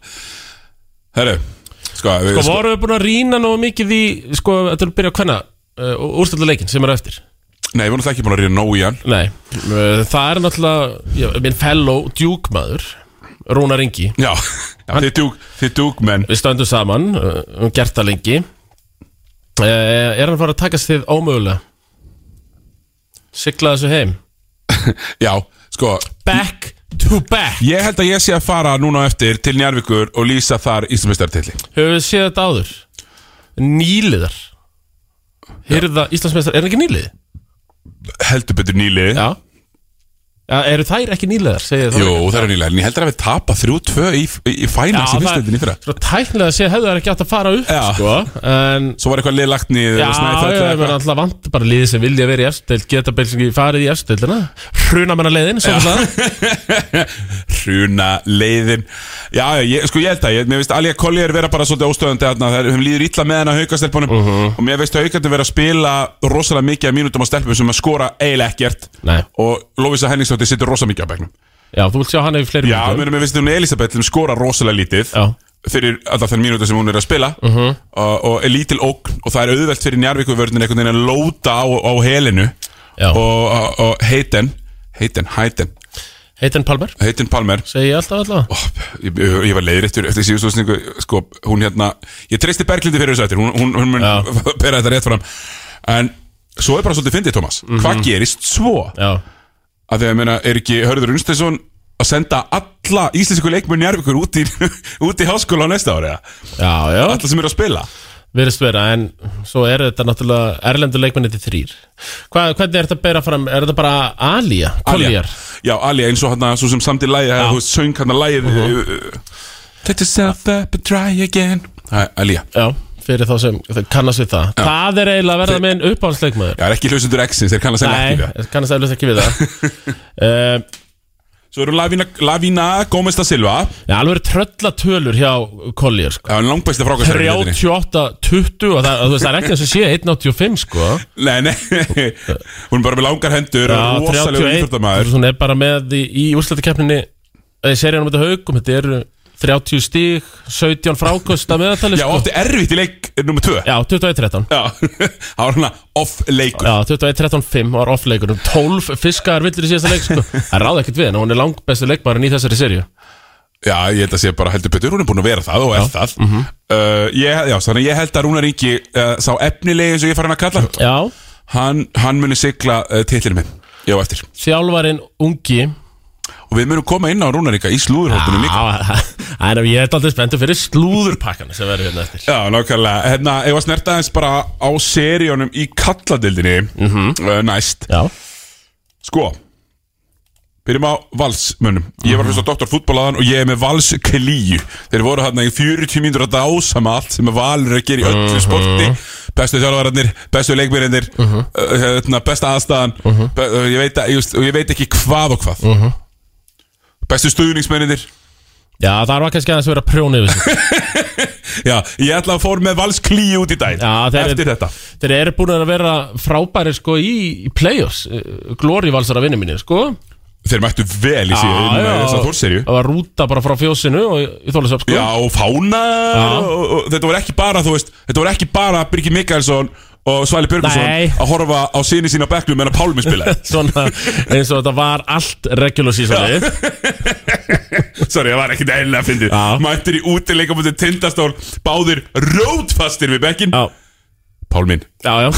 Speaker 1: herru sko, við,
Speaker 2: Og voru við búin að rýna nógu mikið í, sko, þetta er að byrja að hvenna, uh, úrstölduleikin sem er á eftir.
Speaker 1: nei, við erum alltaf ekki búin að reyna nóg í hann
Speaker 2: Nei, uh, það er náttúrulega, já, minn fellow djúkmaður, Rúnar Ingi.
Speaker 1: já, já þið dúk, þið dúk menn
Speaker 2: Við stöndum saman, uh, um gert það lengi. Uh, er hann að fara að takast þið ómögulega? Sigla þessu heim.
Speaker 1: já, sko,
Speaker 2: Back to back.
Speaker 1: ég held að ég sé að fara núna á eftir til Njarvíkur og lýsa þar Íslandsmeistartilli
Speaker 2: Höfum við séð þetta áður? Nýliðar Hyrða Íslandsmeistar, er það ekki nýlið?
Speaker 1: heldur betur nýli
Speaker 2: Já ja, eru þær ekki nýlegar, segir það
Speaker 1: Jú, það er nýlega En ég heldur að við tapa 3-2 í, í, í finals í fyrstendin í fyrra
Speaker 2: Svo tæknilega sé hefðu þær ekki átt að fara upp
Speaker 1: Já.
Speaker 2: sko, en
Speaker 1: Svo var eitthvað liðlagt niður
Speaker 2: Já,
Speaker 1: og Snæfell
Speaker 2: já,
Speaker 1: eða
Speaker 2: ég
Speaker 1: eitthvað.
Speaker 2: meina alltaf vant bara liðið sem vilja verið í efstild geta beilsingi farið í efstildina hruna menna leiðin, svo alltaf
Speaker 1: hruna leiðin Já, já, ég, sko ég held að, ég, mér veist Alja Collier vera bara svolítið óstöðandi þarna Það er, hún líður illa með hennar haukastelpunum uh
Speaker 2: Mhm.
Speaker 1: Og mér veist haukandi vera að spila rosalega mikið af mínútum á stelpum sem að skora eiginlega ekkert
Speaker 2: Nei.
Speaker 1: Og Lovisa Henningsdóttir situr rosalega mikið á bekknum
Speaker 2: Já, þú vilt sjá hann yfir fleiri
Speaker 1: Já,
Speaker 2: mínútum.
Speaker 1: mér mér veist hún Elisabeth sem skora rosalega lítið
Speaker 2: Já.
Speaker 1: Fyrir alltaf þann mínútu sem hún er að spila
Speaker 2: Mhm.
Speaker 1: -huh. og, og er lítil ógn Og það er auðvelt fyrir Njarvíkuvörnin einhvern veginn að lóta á, á helinu
Speaker 2: Já.
Speaker 1: Og, og, og heitin, heitin, heitin,
Speaker 2: Heitin Palmer,
Speaker 1: heitin Palmer
Speaker 2: segi ég alltaf alltaf
Speaker 1: Ó, ég, ég var leiðréttur eftir síðustu útsendingu, sko, hún hérna ég treysti Berglindi fyrir þessu eftir hún, hún, hún mun
Speaker 2: Já.
Speaker 1: bera þetta rétt fram en svo er bara svolítið fyndið Thomas
Speaker 2: Mhm.
Speaker 1: hvað gerist svo?
Speaker 2: Já,
Speaker 1: að því að meina, er ekki Hörður Unsteinsson að senda alla íslensku leikmenn Njárvíkur út í, út í háskóla á næsta ári eða?
Speaker 2: já, já,
Speaker 1: alla sem eru að spila
Speaker 2: verðist vera en svo er þetta náttúrulega erlendu leikmenni til þrýr Hva, Hvernig er þetta að bera fram, er þetta bara Alía,
Speaker 1: Alía.
Speaker 2: Collier?
Speaker 1: Já, Alía eins og hann svo sem samt í lægi þú veist, söng eh, hann að
Speaker 2: Mhm.
Speaker 1: lægi Let yourself up and try again Æ, Alía
Speaker 2: Já, fyrir þá sem kannast við það Það er eiginlega að verða minn uppáhaldsleikmaður
Speaker 1: Já, það er ekki hlustendur X-ins, þeir kannast henni
Speaker 2: Nei,
Speaker 1: ekki við það.
Speaker 2: ég kannast eflust ekki við það um,
Speaker 1: Svo eru Lavina, Lavina Gómez da Silva
Speaker 2: Já, alveg tröllatölur hjá Collier sko.
Speaker 1: Það var langbæsta frákvæmstari
Speaker 2: 38, 20 og það, þú veist, það er ekki eins og sé 185 sko
Speaker 1: Nei, nei Hún er bara með langar hendur
Speaker 2: Já,
Speaker 1: og rosalega
Speaker 2: 31
Speaker 1: íþjóttamæður
Speaker 2: Hún er bara með í, í úrslutakeppninni eða í seríanum þetta haugum þetta eru 30 stíg 17 frákost að meðatali
Speaker 1: Já,
Speaker 2: sko.
Speaker 1: átti erfitt í leik nummer 2
Speaker 2: Já, 21-13
Speaker 1: Já, það var hana off-leikur
Speaker 2: Já, 21-13-5 var off-leikunum 12 fiskar villir í síðasta leik sko. Það ráði ekkert við en hún er langbæstu leikmarin í þessari serju
Speaker 1: Já, ég held að sé bara heldur betur Hún er búin að vera það og er það
Speaker 2: Mhm.
Speaker 1: uh, ég, Já, þannig að ég held að Rúnar Ingi uh, Sá efnilegi eins og ég er farin að kalla hann.
Speaker 2: Já,
Speaker 1: hann, hann muni sigla uh, titlinu minn Já, eftir
Speaker 2: þjálfarin ungi
Speaker 1: Og við munum koma inn á Rúnar Inga í
Speaker 2: Ah.
Speaker 1: slúðurhóttunum líka
Speaker 2: Já, það er að ég er aldrei spenntur fyrir slúðurpakkan sem verður hérna eftir
Speaker 1: Já, nákvæmlega, hérna, ef að snerta aðeins bara á seríunum í kalladildinni uh, næst
Speaker 2: Já,
Speaker 1: Sko Byrjum á valsmönnum Ég var fyrst á Dr. Fútbolaðan og ég er með valsklíu Þeir voru hérna í 40 mínútur að dásama allt sem að valur er að gera í öllu
Speaker 2: Mhm.
Speaker 1: sporti Bestu þjálfararnir, bestu leikmyrindir uh
Speaker 2: Mhm.
Speaker 1: hérna, Besta aðstæðan be uh, ég, veit að, ég, veist- og ég veit ekki hvað og hvað
Speaker 2: Mhm.
Speaker 1: Bestu stuðningsmönindir
Speaker 2: Já það var kannski aðeins að vera prjónu yfir sig
Speaker 1: Já, ég ætla að fór með valsklíu út í dag
Speaker 2: Já, þeir-
Speaker 1: Eftir þetta
Speaker 2: Þeir eru búin að vera frábæri sko í, í play-offs Eh, Glóri valsara vinnu mínir sko
Speaker 1: Þeir mættu vel í síðan
Speaker 2: Já, já,
Speaker 1: þess að þórserju
Speaker 2: Það var rúta bara frá fjósinu og í þólasöf sko
Speaker 1: Já, og fána og, og, Þetta voru ekki bara, þú veist Þetta voru ekki bara Birgir Mikkelsson og Svæli
Speaker 2: Nei.
Speaker 1: Björgvinsson að horfa á sinni sína á bekknum meðan Pálmi spilaði
Speaker 2: Svona eins og þetta var allt regular season lið
Speaker 1: Sorry, það var ekkit eðlilega að fyndi
Speaker 2: Já.
Speaker 1: Mættir í útileika mútið tindastól Báðir rótfastir við bekkin
Speaker 2: Já,
Speaker 1: Pálmin
Speaker 2: já, já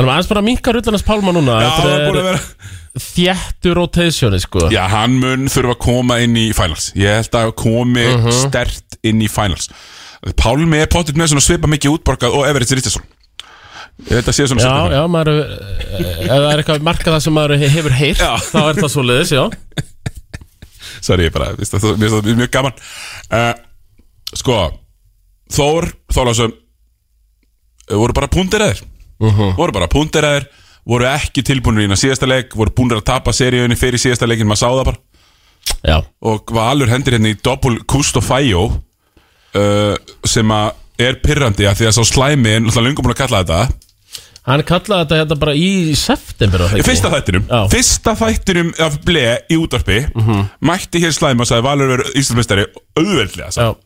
Speaker 2: Þannig að aðeins bara minkar utanast Pálma núna
Speaker 1: Já, það er búin
Speaker 2: Þetta
Speaker 1: að
Speaker 2: er
Speaker 1: vera
Speaker 2: þjættu rotationi sko
Speaker 1: Já, hann mun þurfa að koma inn í finals Ég held að komi uh
Speaker 2: Mhm.
Speaker 1: stert inn í finals Pálmi er pottit með svona svipa mikið útborgað og Everett Rittisson Ég held að sé svona
Speaker 2: Já,
Speaker 1: svipa.
Speaker 2: já, maður er, ef það er eitthvað marka það sem maður hefur heyrt
Speaker 1: Já.
Speaker 2: þá er það svo liðis, já
Speaker 1: Sorry, ég bara, veist, það, mér finnst það mjög gaman uh, Sko Þór, Þólasum voru bara púndiræðir
Speaker 2: Mhm.
Speaker 1: voru bara púndiræðir voru ekki tilbúinir í að síðasta leik voru búinir að tapa seríunni fyrir síðasta leikin maður sá það bara
Speaker 2: Já,
Speaker 1: og Valur hendir hérna í doppul Kust og Fæjó uh, sem að er pyrrandi að því að sá slæmi en alltaf lungum búin að kalla þetta
Speaker 2: hann kallaði þetta hérna bara í september var
Speaker 1: Í
Speaker 2: það ekki?
Speaker 1: fyrsta þættinum
Speaker 2: Já. Mhm.
Speaker 1: Fyrsta þættinum af ble í útvarpi mætti hér slæma og sagði Valur verið Íslandsmeistari auðveldlega sagði
Speaker 2: Já,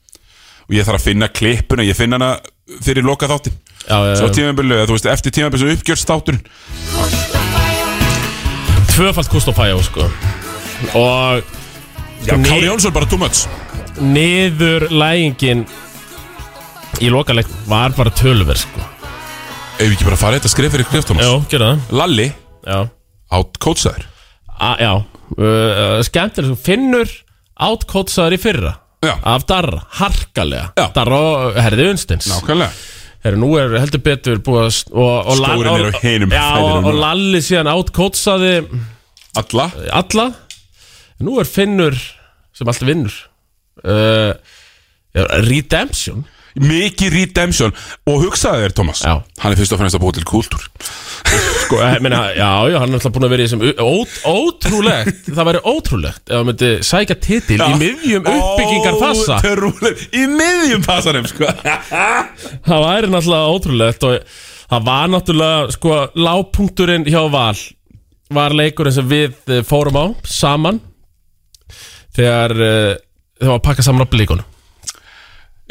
Speaker 1: og ég þarf að finna klippuna, ég finna hana fyrir loka þáttin
Speaker 2: já, já,
Speaker 1: svo
Speaker 2: já.
Speaker 1: tímabili, þú veist, eftir tímabili svo uppgjörstáttur
Speaker 2: tvöfalt Kustofæjó sko og
Speaker 1: Já,
Speaker 2: Nei.
Speaker 1: Kári Jónsson bara too much
Speaker 2: niður lægingin í lokaleg var bara tölver sko
Speaker 1: Ef við ekki bara farið þetta skrif fyrir skrif, Thomas
Speaker 2: Jó, gera það
Speaker 1: Lalli,
Speaker 2: Já,
Speaker 1: át kótsaður
Speaker 2: A, já. Uh, uh, skemmtileg sko. Finnur átkótsaður í fyrra
Speaker 1: Já.
Speaker 2: af Darra, harkalega
Speaker 1: Já.
Speaker 2: Darra og Herði Unstins
Speaker 1: Nákvæmlega
Speaker 2: Heru, nú er heldur betur búið að s- og, og
Speaker 1: Skórinn
Speaker 2: Lall-
Speaker 1: er á hinum
Speaker 2: Já, og,
Speaker 1: fætinum
Speaker 2: og
Speaker 1: núna.
Speaker 2: Lalli síðan átkótsaði
Speaker 1: Alla
Speaker 2: alla Nú er Finnur sem alltaf vinnur uh, já, Redemption
Speaker 1: Mikið redemption Og hugsaði þér, Thomas
Speaker 2: Já.
Speaker 1: Hann er fyrst og fremst að búa til kúltúr
Speaker 2: Sko, eh, meina, já, já, hann er alltaf búin að vera í þessum ó, Ótrúlegt, það væri ótrúlegt Ef hann myndi sækja titil í miðjum uppbyggingarfasa
Speaker 1: Ótrúlegt. Í miðjum fasanum, sko
Speaker 2: Það væri náttúrulega ótrúlegt og það var náttúrulega sko lágpunkturinn hjá Val var leikurinn sem við eh, fórum á saman þegar eh, þegar var að pakka saman á blíkunum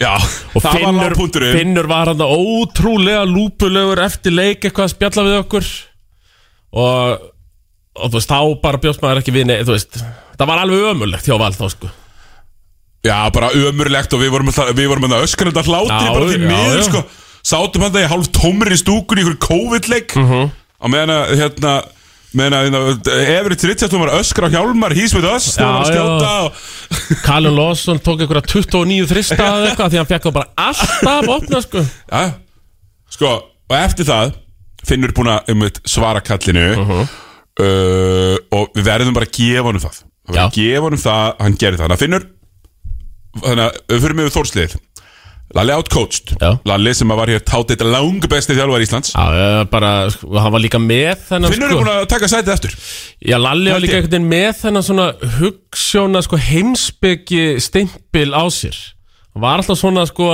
Speaker 1: Já,
Speaker 2: og
Speaker 1: það var
Speaker 2: Finnur,
Speaker 1: lágpunkturinn
Speaker 2: Finnur var hann ótrúlega lúpulegur eftir leik eitthvað að spjalla við okkur og, og þú veist þá bara bjóst maður ekki við nei, þú veist það var alveg ömulegt hjá Val þá sko
Speaker 1: Já, bara ömurlegt og við vorum alltaf- við vorum að öskra þetta hlátri
Speaker 2: Já,
Speaker 1: bara því
Speaker 2: já,
Speaker 1: miður,
Speaker 2: já.
Speaker 1: sko Sátum hann það í hálf tómri stúkur í ykkur COVID-leik
Speaker 2: Mhm.
Speaker 1: Á meðan að, hérna meðan að, hérna, Everett Richardson var að öskra á Hjálmar, he's with us
Speaker 2: Já,
Speaker 1: þegar hann var að
Speaker 2: já.
Speaker 1: skjóta og
Speaker 2: Callum Lawson tók einhverja 29 þrista eða eitthvað því hann fekk það bara alltaf opna sko
Speaker 1: Já, sko, og eftir það Finnur er búin að um svara kallinu
Speaker 2: Mhm.
Speaker 1: uh, Og við verðum bara að gefa honum það Við verðum
Speaker 2: Já.
Speaker 1: að gefa honum það, hann gerir það Þannig að Finnur, þannig að við fyrir mig við Þórslið Lalli outcoached
Speaker 2: Já.
Speaker 1: Lalli sem að var hér tát eitt langbesti þjálfar Íslands
Speaker 2: Já, eh, bara, sko, hann var líka með þennan
Speaker 1: Finnur
Speaker 2: sko,
Speaker 1: er búin að taka sætið eftir
Speaker 2: Já, Lalli var
Speaker 1: Held
Speaker 2: líka
Speaker 1: ég.
Speaker 2: einhvern veginn með þennan svona hugssjóna sko, heimsbyggi steimpil á sér Hann var alltaf svona sko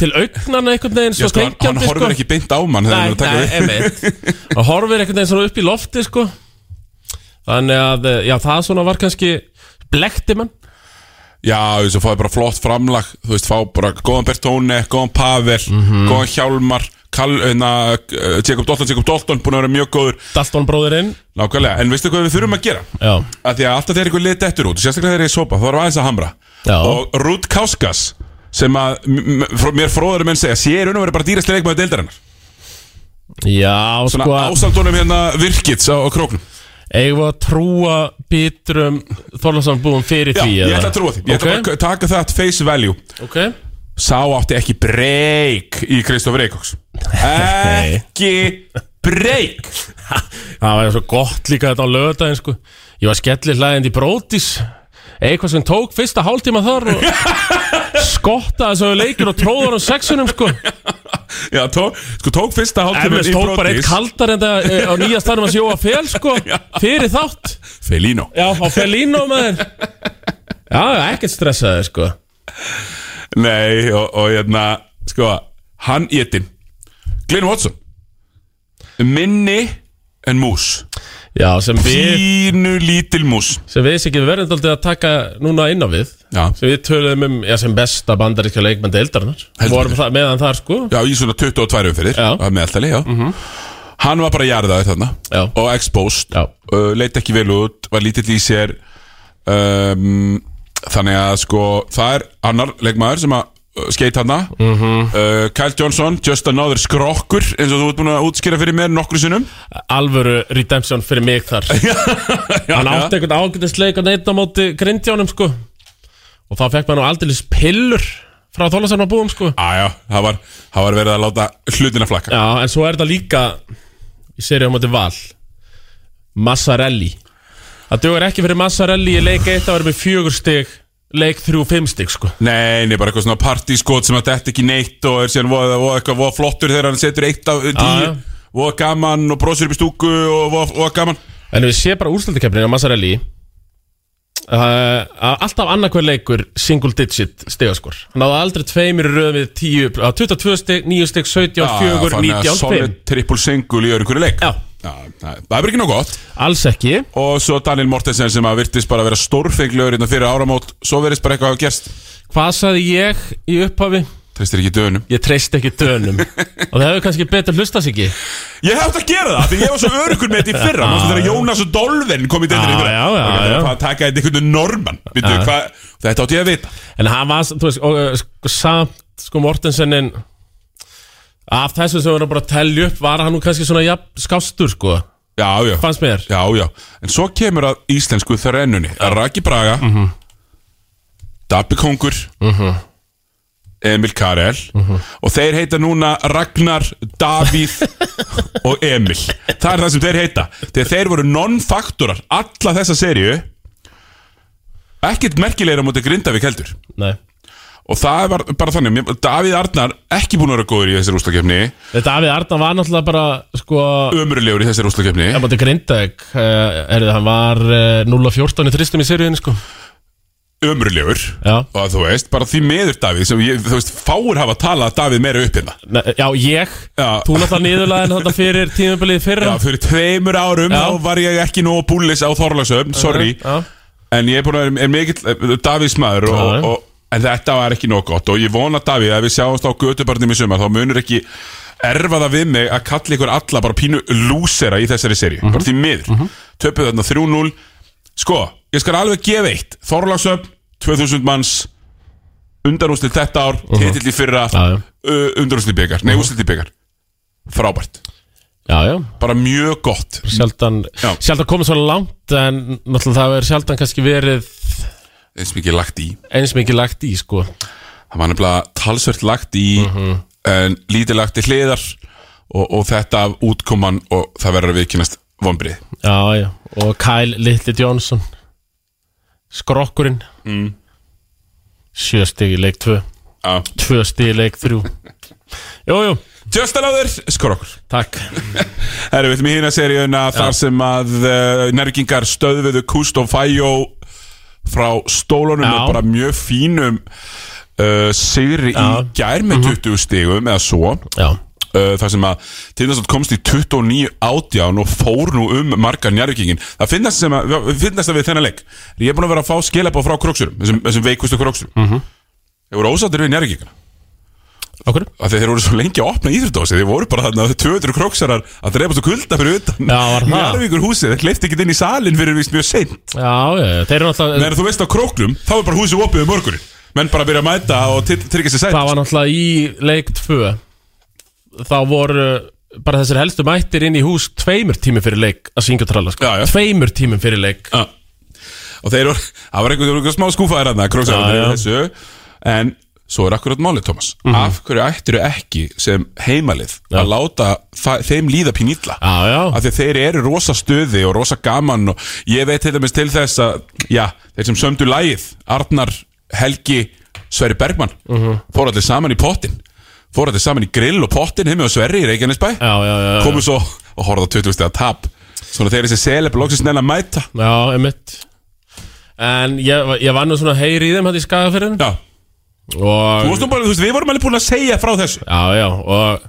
Speaker 2: til augnana einhvern veginn
Speaker 1: Já,
Speaker 2: svo
Speaker 1: sko, hann, hann
Speaker 2: þenkjandi,
Speaker 1: horfir ekki beint á mann þegar hann
Speaker 2: Nei,
Speaker 1: er að taka
Speaker 2: nei,
Speaker 1: við.
Speaker 2: einmitt Hann horfir einhvern veginn svona upp í lofti sko Þannig að, eh, já, það svona var kannski blekti mann
Speaker 1: Já, þú veist, og fáið bara flott framlag Þú veist, fá bara góðan Bertone, góðan Pavel
Speaker 2: Mhm.
Speaker 1: Góðan Hjálmar Kall, na, Jacob Dalton, Jacob Dalton Búin að vera mjög góður
Speaker 2: Dalton bróðirinn
Speaker 1: Nákvæmlega, en veistu hvað við þurfum að gera?
Speaker 2: Já,
Speaker 1: Að því að alltaf þegar ykkur liðið dettur út, sérstaklega þegar ég sopa, þá erum aðeins að hamra
Speaker 2: Já.
Speaker 1: Og Rút Káskas, sem að m- m- frá- mér fróður menn segja, sé er unum verið bara dýrasti leikmaður deildarinnar
Speaker 2: já
Speaker 1: Svona
Speaker 2: sko
Speaker 1: ásaldunum hérna virkits á, á króknum
Speaker 2: Eigum við að trúa bitrum Þorlásan búum fyrir
Speaker 1: Já,
Speaker 2: því
Speaker 1: ég
Speaker 2: eða?
Speaker 1: ætla að trúa því, ég ætla
Speaker 2: Ok,
Speaker 1: bara að taka það at face value
Speaker 2: ok
Speaker 1: Sá átti ekki breyk í Kristofur Eikóks Ekki breyk
Speaker 2: Það var svo gott líka þetta á lögadaginn sko Ég var skellir hlæðind í brótis Eitthvað sem tók fyrsta hálftíma þar og skottaði þessu leikir og tróður á sexunum sko
Speaker 1: Já, tók, sko tók fyrsta hálftíma
Speaker 2: Eflust tók bara eitt kaldar en það eh, á nýja staðnum að sjóa fel sko Fyrir þátt
Speaker 1: Felino
Speaker 2: Já, á Felino maður Já, ekkert stressaði sko
Speaker 1: Nei, og, og hérna, sko, hann étin Glenn Watson Minni en mús
Speaker 2: Já, sem við,
Speaker 1: Pínu lítil mús
Speaker 2: sem við sikið verðum daldið að taka núna inn á við
Speaker 1: Já,
Speaker 2: sem við töluðum um, já, sem besta bandaríkja leikmann deildarinnar
Speaker 1: Heldur
Speaker 2: Vorum það, meðan þar sko
Speaker 1: já í svona 22 fyrir
Speaker 2: Já. Mhm.
Speaker 1: að meðaltali, já Hann var bara jarðaður þarna
Speaker 2: Já.
Speaker 1: og exposed
Speaker 2: Já.
Speaker 1: uh, leit ekki vel út, var lítill í sér um, þannig að sko, það er annar leikmaður sem að uh, skeit hana
Speaker 2: Mhm.
Speaker 1: uh, Kyle Johnson, just another skrokkur eins og þú ert búin að útskýra fyrir mér nokkru sinnum
Speaker 2: alvöru redemption fyrir mig þar hann átti einhvern ágætisleik að neyta móti grindjánum sko og þá fekk maður nú aldeilis pillur frá þólasarna búum sko
Speaker 1: Æja, það var, það var verið að láta hlutina flakka
Speaker 2: já, en svo er þetta líka í serið á móti val Massarelli það dugur ekki fyrir Massarelli í leik 1 að vera með fjögur stig leik 3-5 stig sko
Speaker 1: Nei, nei, bara eitthvað svona partískot sem að þetta ekki neitt og er síðan voða, voða eitthvað voða flottur þegar hann setur eitt af
Speaker 2: já.
Speaker 1: tíu voða gaman og brosir upp í stúku og voða, voða gaman
Speaker 2: en við sé bara úrslöldakefnin á Massarelli Uh, alltaf annarkveð leikur single digit stigaskor hann hafði aldrei tveimur í röðum við eh, 10, á 22 stig, 9 stig, 17,
Speaker 1: Já,
Speaker 2: 4,
Speaker 1: Ah, þannig að
Speaker 2: 19, 5
Speaker 1: Solid triple single í öðru hverju leik
Speaker 2: Já.
Speaker 1: það það er bara ekki nóg gott
Speaker 2: alls ekki
Speaker 1: Og svo Daniel Mortensen sem að virtist bara að vera stórfenglegur innan fyrir áramót Svo verðist bara eitthvað að hafa gerst
Speaker 2: hvað saði ég í upphafi?
Speaker 1: Tristir ekki döðunum
Speaker 2: ég treyst ekki dönum og það hefur kannski betur hlustast ekki
Speaker 1: Ég hefði átt að gera það, því ég var svo örugur með þetta í fyrra Mástu þegar Jónas og Dolven kom í deildinni í fyrra
Speaker 2: Já, já, já,
Speaker 1: Það er
Speaker 2: já.
Speaker 1: bara að taka þetta einhvern norman Býtu,
Speaker 2: Já.
Speaker 1: hvað, þetta átti ég að vita
Speaker 2: en hann var þú veist, og, uh, sko, samt sko Mortensenin af þessu sem við erum bara að telja upp var hann nú kannski svona jafn skástur sko
Speaker 1: Já, já,
Speaker 2: fannst mér
Speaker 1: já, já En svo kemur að íslensku þrennunni Raki Braga mm -hmm. Dabbi Kongur Emil Karel og þeir heita núna Ragnar, Davíð og Emil það er það sem þeir heita þegar þeir voru non-faktorar alla þessa seríu ekkert merkilegra mútið Grindavík heldur
Speaker 2: Nei.
Speaker 1: og það var bara þannig mér- Davíð Arnar ekki búin að vera góður í þessari úslakefni
Speaker 2: Þetta Afið Arna var náttúrulega bara sko
Speaker 1: ömurlegur í þessari úslakefni
Speaker 2: Það mátti Grindag, er það, hann var eh, 0-14 í þristum í seríunni sko
Speaker 1: ömurlegur
Speaker 2: Já,
Speaker 1: og þú veist, bara því meður Davíð sem ég, þú veist, fáur hafa talað að Davíð meira upp hérna
Speaker 2: Ne já ég,
Speaker 1: Já.
Speaker 2: þú náttúrulega niðurlaðin þetta fyrir tímabilið fyrra
Speaker 1: Já, fyrir tveimur árum
Speaker 2: Já.
Speaker 1: þá var ég ekki nógu búlis á Þorlasöfn, sorry
Speaker 2: Já.
Speaker 1: En ég er búin að vera er mikill Davís maður og,
Speaker 2: Já.
Speaker 1: og, En þetta var ekki nóg gott Og ég vona Davíð að ef við sjáumst á götubarnum í sumar Þá munur ekki erfa það við mig Að kalla ykkur alla bara pínu lúsera í þessari serju
Speaker 2: Mhm.
Speaker 1: Bara því miður mm Töpuð þarna 3-0 Sko, ég skal alveg gefa eitt Þorlagsöfn, 2000 manns Undanústil þetta ár, titill í fyrra
Speaker 2: Mhm. Já, Mhm. já.
Speaker 1: uh, Undanústil byggar, nei ústil byggar Frábært,
Speaker 2: Já, já,
Speaker 1: bara mjög gott
Speaker 2: sjaldan,
Speaker 1: Já.
Speaker 2: sjaldan komið svo langt en náttúrulega það er sjaldan kannski verið
Speaker 1: eins mikið lagt í
Speaker 2: eins mikið lagt í sko
Speaker 1: það var nefnilega talsvert lagt í en lítið lagt í hliðar og, og þetta af útkoman og það verður að viðkynast vonbrið
Speaker 2: Já, já, og Kyle Little Johnson Skrokkurinn mm. Sjö stig í leik 2 Tvö stig í leik 3 Jú, jú,
Speaker 1: Justin Áður, skor okkur
Speaker 2: takk
Speaker 1: Herru, við ætlum í hýna seríuna þar sem að uh, nergingar stöðviðu Kust og Fæjó frá stólunum
Speaker 2: Já.
Speaker 1: og bara mjög fínum uh, sigri í gær með 20 stigum eða svo
Speaker 2: Já,
Speaker 1: uh, þar sem að Tindastótt komst í 29 átján og fór nú um marga njárvíkingin það finnast sem að, við- finnast að við þennan leik ég er búin að vera að fá skilabóð frá króksurum þessum, þessum veikustu króksurum mm
Speaker 2: Mhm.
Speaker 1: -hmm. ég voru ósattur við njárvíkingina
Speaker 2: okkur
Speaker 1: að þeir voru svo lengi að opna íþjóttósi þeir voru bara þarna 200 króksarar að dreipast og kulda fyrir utan
Speaker 2: Já, var það?
Speaker 1: njárvíkur húsið, þeir hleyfti ekki inn í salin fyrir vist mjög seint
Speaker 2: Já, já, já, þeir eru náttúrulega
Speaker 1: en þú veist á króknum, þá er bara húsið opið um morgunin menn bara byrja að mæta og til- tryggja sér sæt
Speaker 2: Það var náttúrulega í leik 2 Þá voru bara þessir helstu mættir inn í hús Tveimur tímum fyrir leik að syngja og tralla sko.
Speaker 1: Já, já.
Speaker 2: Tveimur tímum fyrir leik
Speaker 1: Já. Og þeir voru, það var einhvern veginn smá skúfaðir að það,
Speaker 2: Já, já. Mhm.
Speaker 1: króksarður þessu En svo er akkurat málið, Thomas Af hverju ættiru ekki sem heimalið
Speaker 2: Já.
Speaker 1: að láta þa- þeim líða pínilla?
Speaker 2: Já, já,
Speaker 1: Af því að þeir eru rosa stuði og rosa gaman og ég veit til dæmis til þess að, já, þeir sem sömdu lagið, Arnar, Helgi, Sverri Bergmann,
Speaker 2: Mhm.
Speaker 1: fóru allir saman í pottin, fóru allir saman í grill og pottin heim með Sverri í Reykjanesbæ,
Speaker 2: já, já, já, já.
Speaker 1: komu svo og horfðu á 20 stega tap, svona þeir þessi seleb loksins neina að mæta.
Speaker 2: já einmitt En ég, ég var nú svona heyri í þeim Hætti í skagaferðin
Speaker 1: Já,
Speaker 2: Og
Speaker 1: Þú veist, þú bara, þú veist, við vorum alveg búin að segja frá þessu
Speaker 2: Já, já, og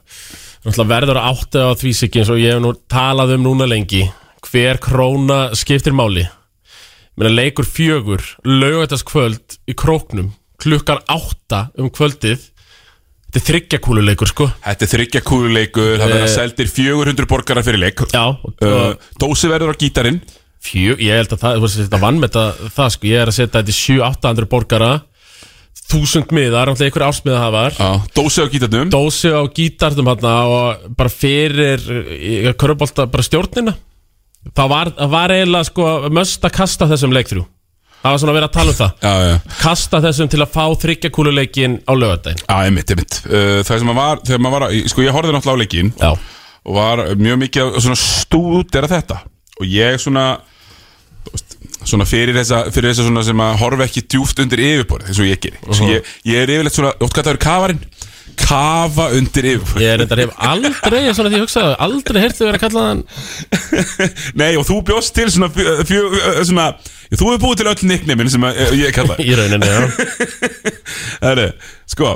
Speaker 2: náttúrulega verður að átta á því sig eins og ég hef nú talað um núna lengi hver króna skiptir máli menna leikur fjögur laugatask kvöld í króknum klukkan átta um kvöldið þetta er þryggjakúlu leikur sko
Speaker 1: Þetta er þryggja kúluleikur, það verða seldir 400 borgarar fyrir leik
Speaker 2: Eh. Já, og,
Speaker 1: uh,
Speaker 2: og
Speaker 1: Dósi verður á gítarinn
Speaker 2: fjö, ég held að það, þú veist, þetta vann með það, það sko, ég er að setja þetta í 7-800 borgara þúsund miðar, náttúrulega ykkur ársmiða hafar
Speaker 1: uh. Dósi á gítarnum
Speaker 2: dósi á gítarnum hérna og bara fyrir körubólta bara stjórnina það var, það var eiginlega sko möst að kasta þessum leikþrjú það var svona að vera að tala um það
Speaker 1: Já, já,
Speaker 2: kasta þessum til að fá þryggjakúluleikin á lögadaginn
Speaker 1: já, einmitt, einmitt uh, Það sem að var, þegar maður var, að- sko ég horfði náttúrulega á leikinn
Speaker 2: já,
Speaker 1: og var mjög mikið að svona stúdera þetta og ég svona þú veist, svona fyrir þessa, fyrir þessa svona sem að horfa ekki djúft undir yfirborðið eins og ég geri uh ég, ég er yfirleitt svona, ótt hvað það eru kafarinn kafa undir yfirborðið
Speaker 2: ég er enda hef aldrei svona því ég hugsaði, aldrei heyrtu verið að kalla þann
Speaker 1: Nei og þú bjóst til svona, fjö, fjö, eh, svona Þú hefur búið til öll nickneimin sem að, eh, ég kalla
Speaker 2: í rauninni, já,
Speaker 1: Herri, sko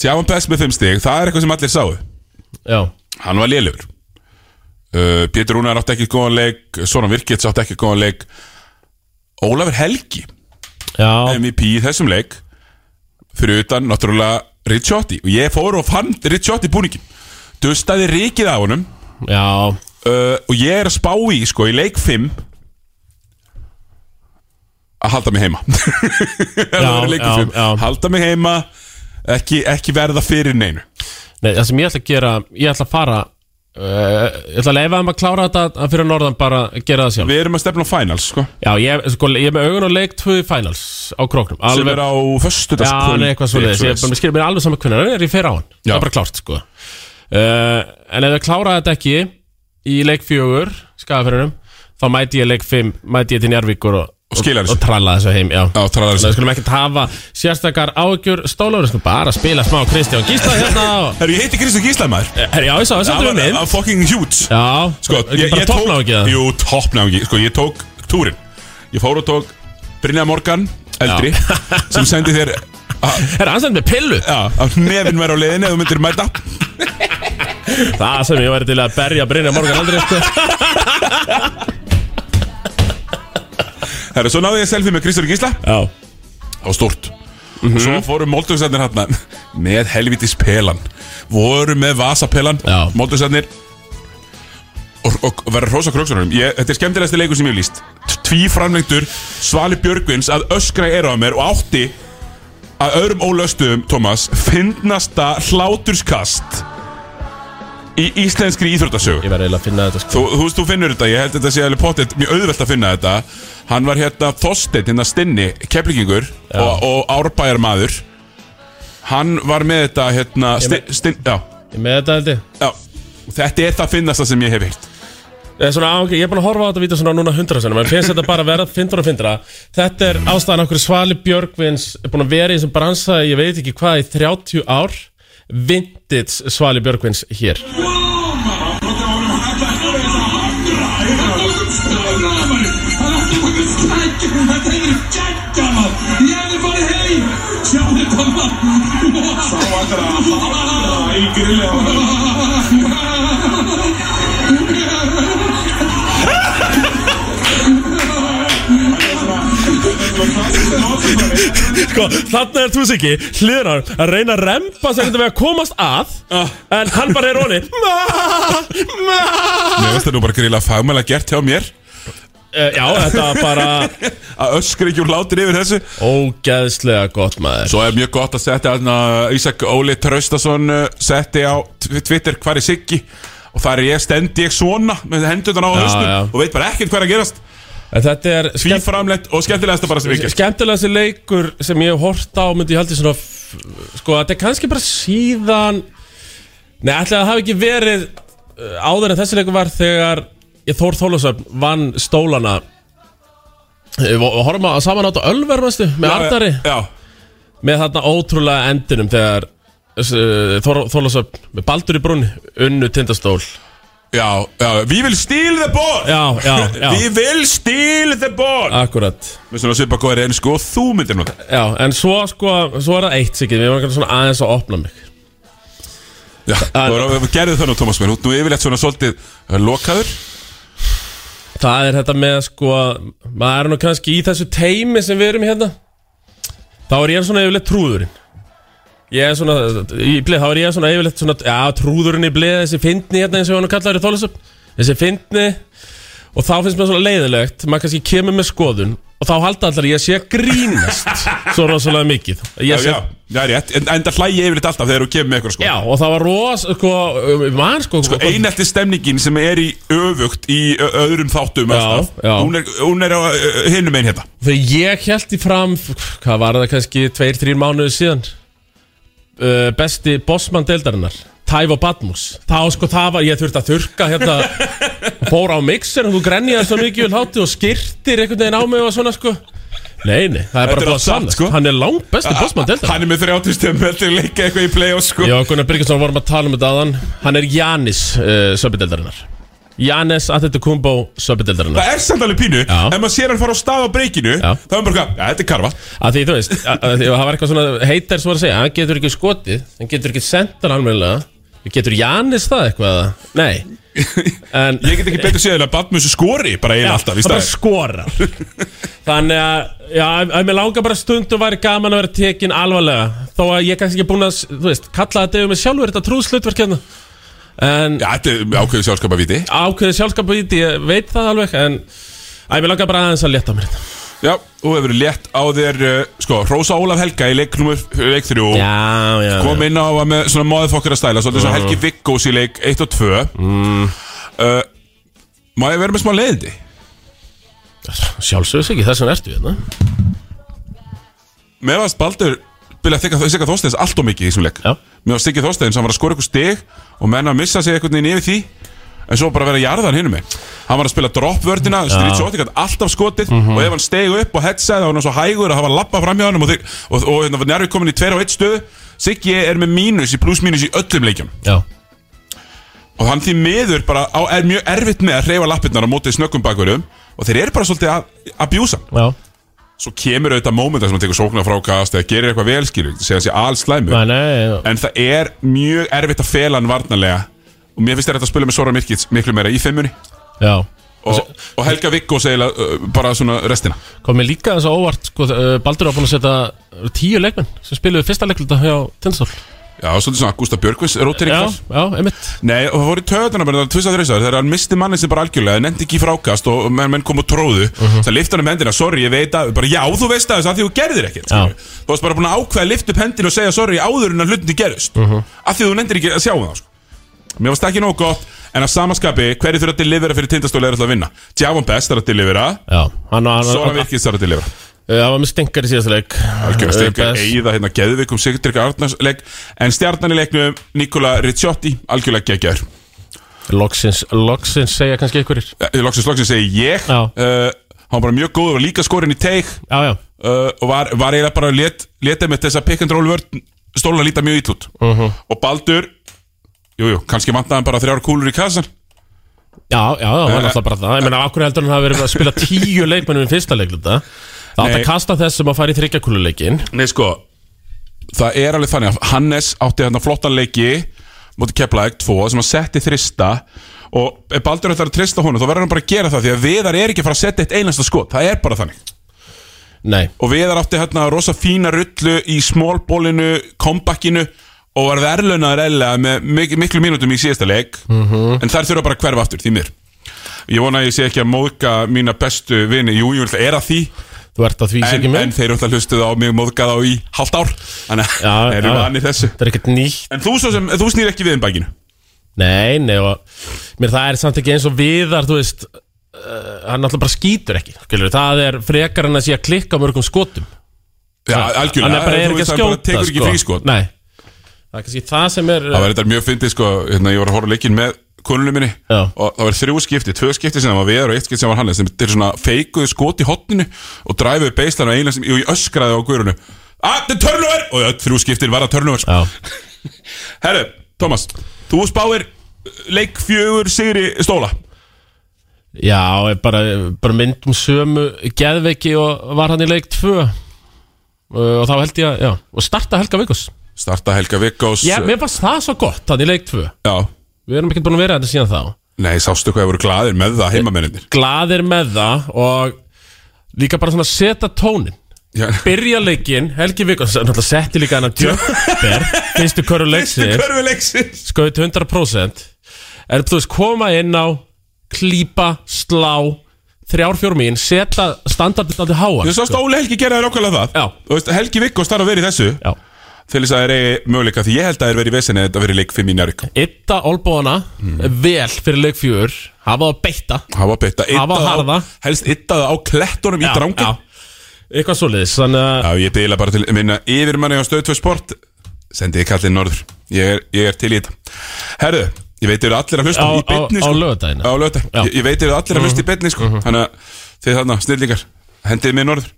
Speaker 1: Tjáum Pess með fimm stig, það er eitthvað sem allir sáu
Speaker 2: já.
Speaker 1: Hann var lélugur uh, Pétur Rúnar átti ekki góðan leik Svona Virkits átti ekki góðan leik Ólafur Helgi
Speaker 2: já.
Speaker 1: MVP í þessum leik Fyrir utan, náttúrulega, Ricciotti Og ég fór og fann Ricciotti búningin Dustaði rikið af honum
Speaker 2: já
Speaker 1: uh, og ég er að spá í sko í leik 5 að halda mig heima
Speaker 2: Já,
Speaker 1: já,
Speaker 2: já,
Speaker 1: já,
Speaker 2: já.
Speaker 1: halda mig heima ekki, ekki verða fyrir neinu
Speaker 2: Nei, það sem ég ætla að gera, ég ætla að fara uh, Ég ætla að leifa þeim að klára þetta að fyrir norðan bara gera það sjálf
Speaker 1: Við erum að stefna á finals, sko
Speaker 2: Já, ég, sko, ég er með augun og leik tvö í finals á króknum
Speaker 1: Sem
Speaker 2: Alveg,
Speaker 1: er á
Speaker 2: já,
Speaker 1: föstudagskvöld
Speaker 2: nei, eitthvað svo leiðis Ég er bara, skilur mér alveg saman hvernig Það er ég fer á hann, það
Speaker 1: Já.
Speaker 2: er bara klárt, sko uh, En ef þau klára þetta ekki í leik fjögur, skafafyrinum þá mæti ég leik fimm, mæti ég til Njarvíkur og,
Speaker 1: Og skilar þessu.
Speaker 2: og tralla þessu heim, já
Speaker 1: Já, træðar
Speaker 2: Þannig að við
Speaker 1: þessu
Speaker 2: skulum ekkert hafa sérstakar ágjör stólaur, við skulum bara spila smá Kristján Gísla hérna og...
Speaker 1: Herru, ég heiti Kristján Gísla, maður
Speaker 2: Herri, já, ég sá, þessu
Speaker 1: Það
Speaker 2: við
Speaker 1: var
Speaker 2: minn
Speaker 1: það var fucking huge
Speaker 2: Já,
Speaker 1: Sko,
Speaker 2: ekki bara topna ekki það
Speaker 1: Jú, toppnáðingi Sko, ég tók túrin Ég fór og tók Brynja Morgan, eldri Sem sendi þér
Speaker 2: Herra, hann sendi með pillu
Speaker 1: Já, að nefinn væri á leiðinni Ef þú myndir mæta
Speaker 2: Það sem ég væri til að berja Brynja Morgan aldrei sko.
Speaker 1: Herru, svo náði ég selfie með Kristján Gísla Mhm.
Speaker 2: Já
Speaker 1: á stórt Svo fóru Moldóksarnir hérna með helvitis pelan voru með vasapelan
Speaker 2: Já.
Speaker 1: Moldóksarnir og, og verður hrósa kröksunum ég, þetta er skemmtilegasti leikur sem ég hef líst tví framlengtur Svali Björgvins að öskra í eyrað á mér og átti að öðrum ólöstuðum Thomas fyndnasta hláturskast í íslenskri íþróttasögu
Speaker 2: Ég verði eiginlega að finna þetta sko.
Speaker 1: Þú, þú veist, þú finnur þetta, ég held þetta sé alveg pottet mjög auðvelt að finna þetta Hann var hérna Þorsteinn, hérna Stinni, keflingingur og, og árbæjarmaður Hann var með þetta hérna sti,
Speaker 2: Ég
Speaker 1: stin, já,
Speaker 2: Ég er með þetta held ég
Speaker 1: já Og Þetta er það finnasta sem ég hef hýrt
Speaker 2: Ég er, svona, á, okay, ég er búin að horfa á þetta vídeo svona núna hundra senum en finnst þetta bara að vera fyndra og fyndra Þetta er ástæðan okkur Svali Björgvins er búin að vera í þessum bransa ég veit ekki hvað í 30 ár Vintage Svali Björgvins hér Sko, þarna er Tusiki hliðnar að reyna að rempa sem getur við að komast að en hann bara er honi
Speaker 1: Mér veist þetta nú bara gríla fagmæla gert hjá mér
Speaker 2: Eh, Já, þetta var bara
Speaker 1: Að öskra ekki úr látir yfir þessu
Speaker 2: ógeðslega gott maður
Speaker 1: Svo er mjög gott að setja hérna, Ísak Óli Traustason uh, setti á tw- Twitter hvar er Siggi og þar er ég stendi ég svona með hendutan á
Speaker 2: já.
Speaker 1: hausnum og veit bara ekkert hvað er að gerast
Speaker 2: en Þetta er
Speaker 1: Því framlegt og skemmtilegasta bara sem ég gerst
Speaker 2: skemmtilega þessi leikur sem ég hef hort á myndi ég haldi svona f- sko, þetta er kannski bara síðan Nei, ætli að það hafi ekki verið uh, áður en þessi leikur var þegar ég Þór Þólasöfn vann stólana Eh, og og horfum að saman átt á Ölver, manstu, með Ardari
Speaker 1: Já,
Speaker 2: með þarna ótrúlega endinum þegar uh, Þor- Þorlákshöfn með Baldur í brunni unnu tindastól
Speaker 1: já, já Við vil steal the ball
Speaker 2: Já, já, já.
Speaker 1: Við vil steal the ball
Speaker 2: akkurat
Speaker 1: Mér svona svipa góðir ennsku og þú myndir nota
Speaker 2: já, en svo, sko, svo er það eitt sikið við varum svona aðeins að opna mig
Speaker 1: Já, þú er að gerðu það nú Thomas Mér, þú er yfirleitt svona svolítið uh, lokaður
Speaker 2: það er þetta með, sko maður er nú kannski í þessu teimi sem við erum hérna þá er ég svona yfirleitt trúðurinn ég er svona, í bleið, þá er ég svona yfirleitt svona, já, trúðurinn í bleið þessi fyndni hérna eins og hann kallar í Þorlákshöfn þessi fyndni og þá finnst mér svona leiðilegt maður kannski kemur með skoðun og þá halda allar að ég sé að grínast svo rosalega mikið
Speaker 1: Já,
Speaker 2: Ég sé-
Speaker 1: já, já, rétt En enda hlægi yfirleitt alltaf þegar þú kemur með eitthvað sko
Speaker 2: já, og það var ros sko, mann sko, sko
Speaker 1: Einelti stemningin sem er í öfugt í ö, öðrum þáttum
Speaker 2: Já,
Speaker 1: alltaf,
Speaker 2: já.
Speaker 1: Hún, er, hún er á ö, hinum einn hérna
Speaker 2: þegar ég held í fram hvað var það kannski tveir, þrír mánuði síðan uh, besti bossmann deildarinnar Tæf og Batmus þá sko það var, ég þurfti að þurka hérna, fór á mixer og þú grenjaði svo mikið við hátu og skirtir einhvern veginn á mig og svona sko nei, nei, það er
Speaker 1: Þetta er
Speaker 2: bara búið
Speaker 1: allt
Speaker 2: að
Speaker 1: satt,
Speaker 2: sanna
Speaker 1: sko.
Speaker 2: hann er langt besti bossmann deildarinnar
Speaker 1: Hann er með 30 stöðum Þetta er leika eitthvað í play-off sko
Speaker 2: Já, Gunnar Birgisson vorum að tala um þetta aðan Hann er Janis uh, söpideldarinnar Janis Antetokumbo söpideldarinnar
Speaker 1: Það er samt alveg pínu,
Speaker 2: Já.
Speaker 1: ef maður sér hann fara á stað á breykinu
Speaker 2: Já.
Speaker 1: þá er bara hvað, ja, þetta er karfa
Speaker 2: að Því þú veist, að, að, því- það var eitthvað svona heitar sem var að segja Hann getur ekki skotið, hann getur ekki sendan almennilega Getur Janis það eitthvað? eða? Nei en,
Speaker 1: Ég get ekki betur séð en að Badmus skori bara einn alltaf í
Speaker 2: hann bara
Speaker 1: stað
Speaker 2: skorar Þannig að, já, að að mér langar bara stundum væri gaman að vera tekin alvarlega Þó að ég er kannski ekki búin að, þú veist, kalla þetta yfir mig sjálfur Þetta trúðslutverk hérna En
Speaker 1: Já, þetta er ákveðu sjálfskapa viti
Speaker 2: ákveðið sjálfskapu í því, ég veit það alveg en Æ, mér hérna. langar bara aðeins að leta á mér þetta
Speaker 1: Já, þú hefur létt á þér uh, Sko, Rósa Ólaf Helga í leik nummer Leik 3
Speaker 2: Já, já,
Speaker 1: kom inn á að með svona móðið fokkar að stæla Svolítið svo Helgi Viggós í leik 1 og 2 mm. uh, Má ég vera með smá leiðindi?
Speaker 2: Sjálfsögðs ekki, þess vegna ertu hérna
Speaker 1: Mér varst Baldur byrja að þykka Sigga Þorsteins allt og mikið í þessum leik
Speaker 2: Já.
Speaker 1: Mér varst Siggi Þorsteins, hann var að skora eitthvað stig og menn að missa sig eitthvað niður yfir því en svo bara vera jarðan hinum með Hann var að spila droppvördina, strýtsóti, gætt alltaf skotið og ef hann steg upp og hetsaði þá var hann svo hægur að hafa að lappa fram hjá hann og, þeir- og, og, og hérna var nærvið komin í 2 og 1 stöðu Siggi er með mínus í pluss mínus í öllum leikjum
Speaker 2: Já,
Speaker 1: og hann því miður bara á, er mjög erfitt með að hreyfa lappirnar á mótið snöggum bakverjum og þeir eru bara svolítið að abjúsa hann.
Speaker 2: já,
Speaker 1: svo kemur auðvitað mómenta sem hann tekur sóknar frá kast eða gerir eitthvað velskýr, segja sér allslæmu
Speaker 2: nei, nei, já.
Speaker 1: en það er mjög erfitt að fela hann varnarlega og mér finnst þetta að spila með Sora Mirkits miklu meira í fimmunni
Speaker 2: já
Speaker 1: og, og Helga Viggo segja uh, bara svona restina
Speaker 2: Kom mér líka þess að óvart, sko, uh, Baldur var búin að setja uh, tíu leikmenn sem spiluðu fyrsta leikluta hjá Tindstól
Speaker 1: já, svolítið svona Gustaf Björkvins rótir
Speaker 2: Já,
Speaker 1: ykkur
Speaker 2: já, einmitt
Speaker 1: Nei, og það voru í töðuna bara tvist að þreysar þegar hann misti manni sem bara algjörlega, nefndi ekki í frákast og menn, menn kom og tróðu,
Speaker 2: Mhm.
Speaker 1: það lifta hann um hendina sorry, ég veit að, bara já, þú veist að þess að því þú gerðir ekkert,
Speaker 2: Já.
Speaker 1: skilur. þú varst bara búin að ákveða að lifta upp hendina og segja sorry áður en að hlutinni gerust,
Speaker 2: Mhm.
Speaker 1: af því þú nefndir ekki að sjá það, sko. Mér varst ekki nóg gott, en að samaskapi, hverju þurfa að delivera fyrir tindastóli er alltaf að vinna? Djavon Best er að delivera,
Speaker 2: Já, hann var,
Speaker 1: Sona
Speaker 2: hann, hann,
Speaker 1: Virkis er að delivera.
Speaker 2: hann var með stenkar í síðasta leik
Speaker 1: Algjörlega steikar
Speaker 2: Eh, Best.
Speaker 1: eigða hérna Geðvikum Sigurdrykk Arnarsleik, en stjarnan í leiknum Nikola Ricciotti, algjörlega geggjær.
Speaker 2: Loksins, loksins segja kannski einhverjir
Speaker 1: Eh, Loksins loksins segi ég
Speaker 2: Já.
Speaker 1: uh, Hann var bara mjög góð, var líka skorinn í teik
Speaker 2: Já, já,
Speaker 1: uh, Og var, var eiginlega bara let, letið með þessa pick and roll vörn Stóla líta mjög ítlut uh -huh. Og Baldur Jújú, jú, kannski vantaði hann bara þrjár kúlur í kassan
Speaker 2: já, já, það
Speaker 1: Eh.
Speaker 2: var alltaf bara það Ég meina, af hverju heldur hann hafi verið að spila tíu leikmennum í fyrsta leikluta Það átt
Speaker 1: Nei.
Speaker 2: að kasta þessum að fara í þryggjakúluleikin
Speaker 1: Nei sko Það er alveg þannig að Hannes átti hérna flottan leiki Móti Keflæk 2 sem hann setti þrista Og ef Baldur ætlar að trista honum Þá verður hann bara að gera það Því að Viðar er ekki að fara að setja eitt einasta skot Það er bara þannig
Speaker 2: Nei,
Speaker 1: og Viðar átti hérna rosa fína rullu í smólbólinu, kompakkinu og var verðlunar eðlilega með mik miklu mínútum í síðasta leik
Speaker 2: Mhm.
Speaker 1: en þær þurfa bara að hverfa aftur, því mér ég vona að ég sé ekki að móðka mína bestu vini, jú, ég vil það er að því
Speaker 2: þú ert að því
Speaker 1: en,
Speaker 2: ekki með
Speaker 1: en þeir eru alltaf hlustuð á mig móðkað á í halvt ár, þannig
Speaker 2: Já,
Speaker 1: að erum
Speaker 2: já.
Speaker 1: vanir þessu
Speaker 2: Það er ekkert nýtt
Speaker 1: en þú, svo sem, þú snýr ekki við um bækinu
Speaker 2: Nei, nei, og mér það er samt ekki eins og viðar, þú veist uh, hann náttúrulega bara skýtur ekki skilur. það er frekar en að sé að klikka á mörgum skotum
Speaker 1: Já, algjörlega,
Speaker 2: hann er bara
Speaker 1: þú
Speaker 2: er ekki
Speaker 1: veist,
Speaker 2: að
Speaker 1: hann bara
Speaker 2: skjóta sko.
Speaker 1: tekur ekki frískot.
Speaker 2: Nei, það er kannski það sem er
Speaker 1: Það var þetta mjög fyndið sko, hérna, ég var að horfa á leikinn með konunum minni
Speaker 2: Já.
Speaker 1: og það var þrjú skipti, tvö skipti sem það var viðar og eitt skipti sem var Hannes sem til svona feikuðu skot í hotninu og dræfuðu beislan og eiginlega sem jú, ég öskraði á guðrunu að þetta er törnúver og öll þrjú skiptin var að törnúver sko.
Speaker 2: eh, Já,
Speaker 1: Herru, Thomas, þú spáir leik fjögur sigri stóla
Speaker 2: já er bara, bara myndum sömu geðveiki og var hann í leik 2 uh, og þá held ég að, já, og starta Helga Vikos
Speaker 1: starta Helga Vikkós
Speaker 2: Já, mér fannst það svo gott, hann í leik 2
Speaker 1: Já.
Speaker 2: Við erum ekkert búin að vera þetta síðan þá
Speaker 1: Nei, sástu hvað þið voru glaðir með það heimamennir
Speaker 2: glaðir með það og líka bara svona setja tónin
Speaker 1: Já,
Speaker 2: byrja leikinn, Helgi Vikons náttúrulega setti líka hennar djöpper fyrstu
Speaker 1: fyrstu
Speaker 2: körur leiksins,
Speaker 1: körfi leiksins
Speaker 2: skauðt 100% er þú veist koma inn á klípa, slá þrjár fjórum mín, setja standardið aldrei háa
Speaker 1: Þú sást Óli Helgi gera þér ákvæmlega það
Speaker 2: Já.
Speaker 1: Þú veist, Helgi Vikkós þarf að vera í þessu
Speaker 2: Já.
Speaker 1: til þess að það er möguleika því ég held að það er verið í vesinni þetta verið leik 5 í njárvík
Speaker 2: Ytta olbóðana vel fyrir leik fjör hafa það að beita
Speaker 1: hafa betta
Speaker 2: Hafa
Speaker 1: yddað á-
Speaker 2: harða.
Speaker 1: helst yttaða á klettunum í
Speaker 2: Já,
Speaker 1: drangi já.
Speaker 2: já. eitthvað svoleiðis þannig að
Speaker 1: ég deila bara til minna yfirmanni á stöðtvö sport sendiði kallinn norður ég er, ég er til í þetta herðu ég veit eru allir að hlusta
Speaker 2: Á-
Speaker 1: í bytni
Speaker 2: á-
Speaker 1: sko.
Speaker 2: á laugardaginn?
Speaker 1: á lögða
Speaker 2: Já. Mhm.
Speaker 1: ég, ég veit eru allir að hlusta í bytni sko. þannig að þið þarna snillingar hendiði mig norður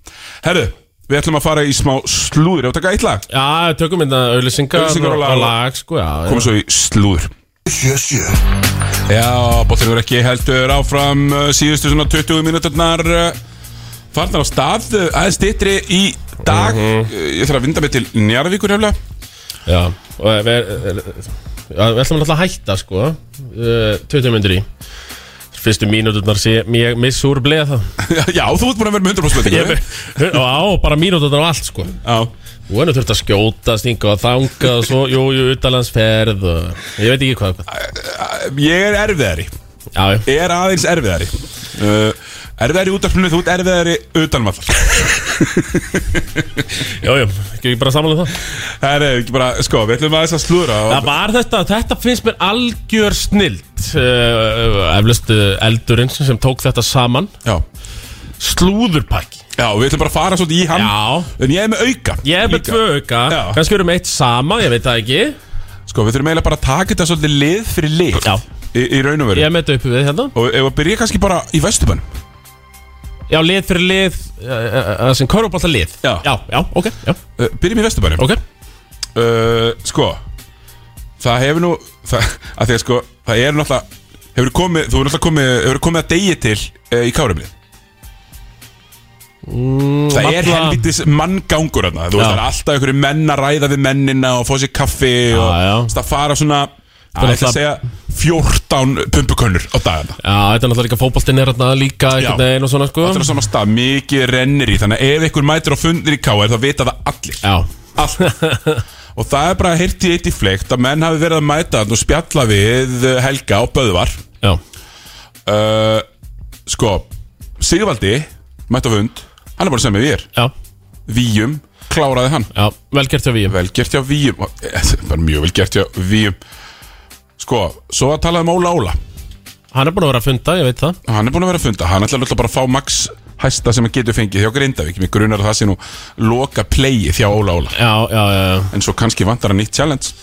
Speaker 1: herðu við ætlum að fara í smá slúður og taka eitt lag
Speaker 2: já, tökum mynda auðlýsingar
Speaker 1: Auglýsingar og lag.
Speaker 2: lag sko, já,
Speaker 1: komum svo í slúður
Speaker 3: 77
Speaker 1: Já, Bóttirgur ekki heldur áfram uh, síðustu svona 20 mínúturnar uh, farnar á stað uh, aðeins dittri í dag uh, Ég þarf að vinda mig til Njarðvíkur hefla
Speaker 2: Já, og við, við, við ætlum alltaf að hætta sko uh, 20 myndir í Fyrstu mínúturnar sé ég missa úr bleið það
Speaker 1: Já, þú ert búin að vera með 100%
Speaker 2: Ég
Speaker 1: ekki?
Speaker 2: Og á, bara mínúturnar á allt sko
Speaker 1: Já,
Speaker 2: Og henni þurft að skjóta, stinga og þanga og svo, jú, jú, utalandsferð og ég veit ekki hvað, hvað.
Speaker 1: ég Uh, er erfiðari
Speaker 2: Já, já,
Speaker 1: Er aðeins erfiðari uh, Erfiðari útarpinu, þú ert erfiðari utan vallar
Speaker 2: Jújú, ekki ekki bara samanlega það
Speaker 1: Það er ekki bara, sko, við ætlum aðeins að slúra
Speaker 2: Það var þetta, þetta finnst mér algjör snilt uh, Eflust uh, eldurinn sem tók þetta saman
Speaker 1: Já,
Speaker 2: Slúðurpakki
Speaker 1: já, við ætlum bara að fara svolítið í hann
Speaker 2: Já,
Speaker 1: En ég er með auka
Speaker 2: ég er með
Speaker 1: líka.
Speaker 2: tvö auka
Speaker 1: Já.
Speaker 2: Kannski erum eitt sama, ég veit það ekki
Speaker 1: Sko, við þurfum eiginlega bara að taka þetta svolítið lið fyrir lið
Speaker 2: Já.
Speaker 1: Í, í raun og veru
Speaker 2: Ég er með þetta uppi við hérna
Speaker 1: Og ef að byrja kannski bara í vestubann
Speaker 2: Já, lið fyrir lið, uh, uh, uh, sem korfbólta lið
Speaker 1: Já.
Speaker 2: já, já, ok, já,
Speaker 1: uh, Byrjum í vesturbænum
Speaker 2: ok
Speaker 1: uh, Sko Það hefur nú það, að því að sko, það er náttúrulega Hefur komið, þú hefur náttúrulega komið Hefur komið að degi til uh, í kárumlið mm, Það er
Speaker 2: alla-
Speaker 1: helvitis manngangur þarna Þú veist,
Speaker 2: Já.
Speaker 1: það er alltaf einhverju menn að ræða við mennina og fá sér kaffi og
Speaker 2: já.
Speaker 1: þú veist, það fara svona Það er
Speaker 2: náttúrulega-
Speaker 1: að segja 14 pumpukönnur á dagana
Speaker 2: Já, þetta er náttúrulega líka fótboltinn er hérna líka einhvern
Speaker 1: Já.
Speaker 2: veginn og svona sko
Speaker 1: Það er á sama stað, mikið rennir í Þannig að ef einhver mætir á fundir í KR þá vita það allir
Speaker 2: Já,
Speaker 1: Og það er bara hirt í eitt í fleikt að menn hafi verið að mæta þarna og spjalla við eh, Helga og Böðvar
Speaker 2: já,
Speaker 1: uh, Sko, Sigvaldi mæta á fund, hann er bara sem við er
Speaker 2: já,
Speaker 1: Víum, kláraði hann
Speaker 2: já, velgert hjá við
Speaker 1: Vel gert hjá Víum og- eh, Bara mjög vel gert hjá Víum Sko, svo að talaði um Óla Óla
Speaker 2: Hann er búin að vera að funda, ég veit það
Speaker 1: Hann er búin að vera að funda, hann ætlar alltaf bara að fá max hæsta sem hann getur fengið hjá Grindavík Mér grunar að það sé nú loka playið hjá Óla Óla
Speaker 2: Já, já, já, já
Speaker 1: En svo kannski vantar hann nýtt challenge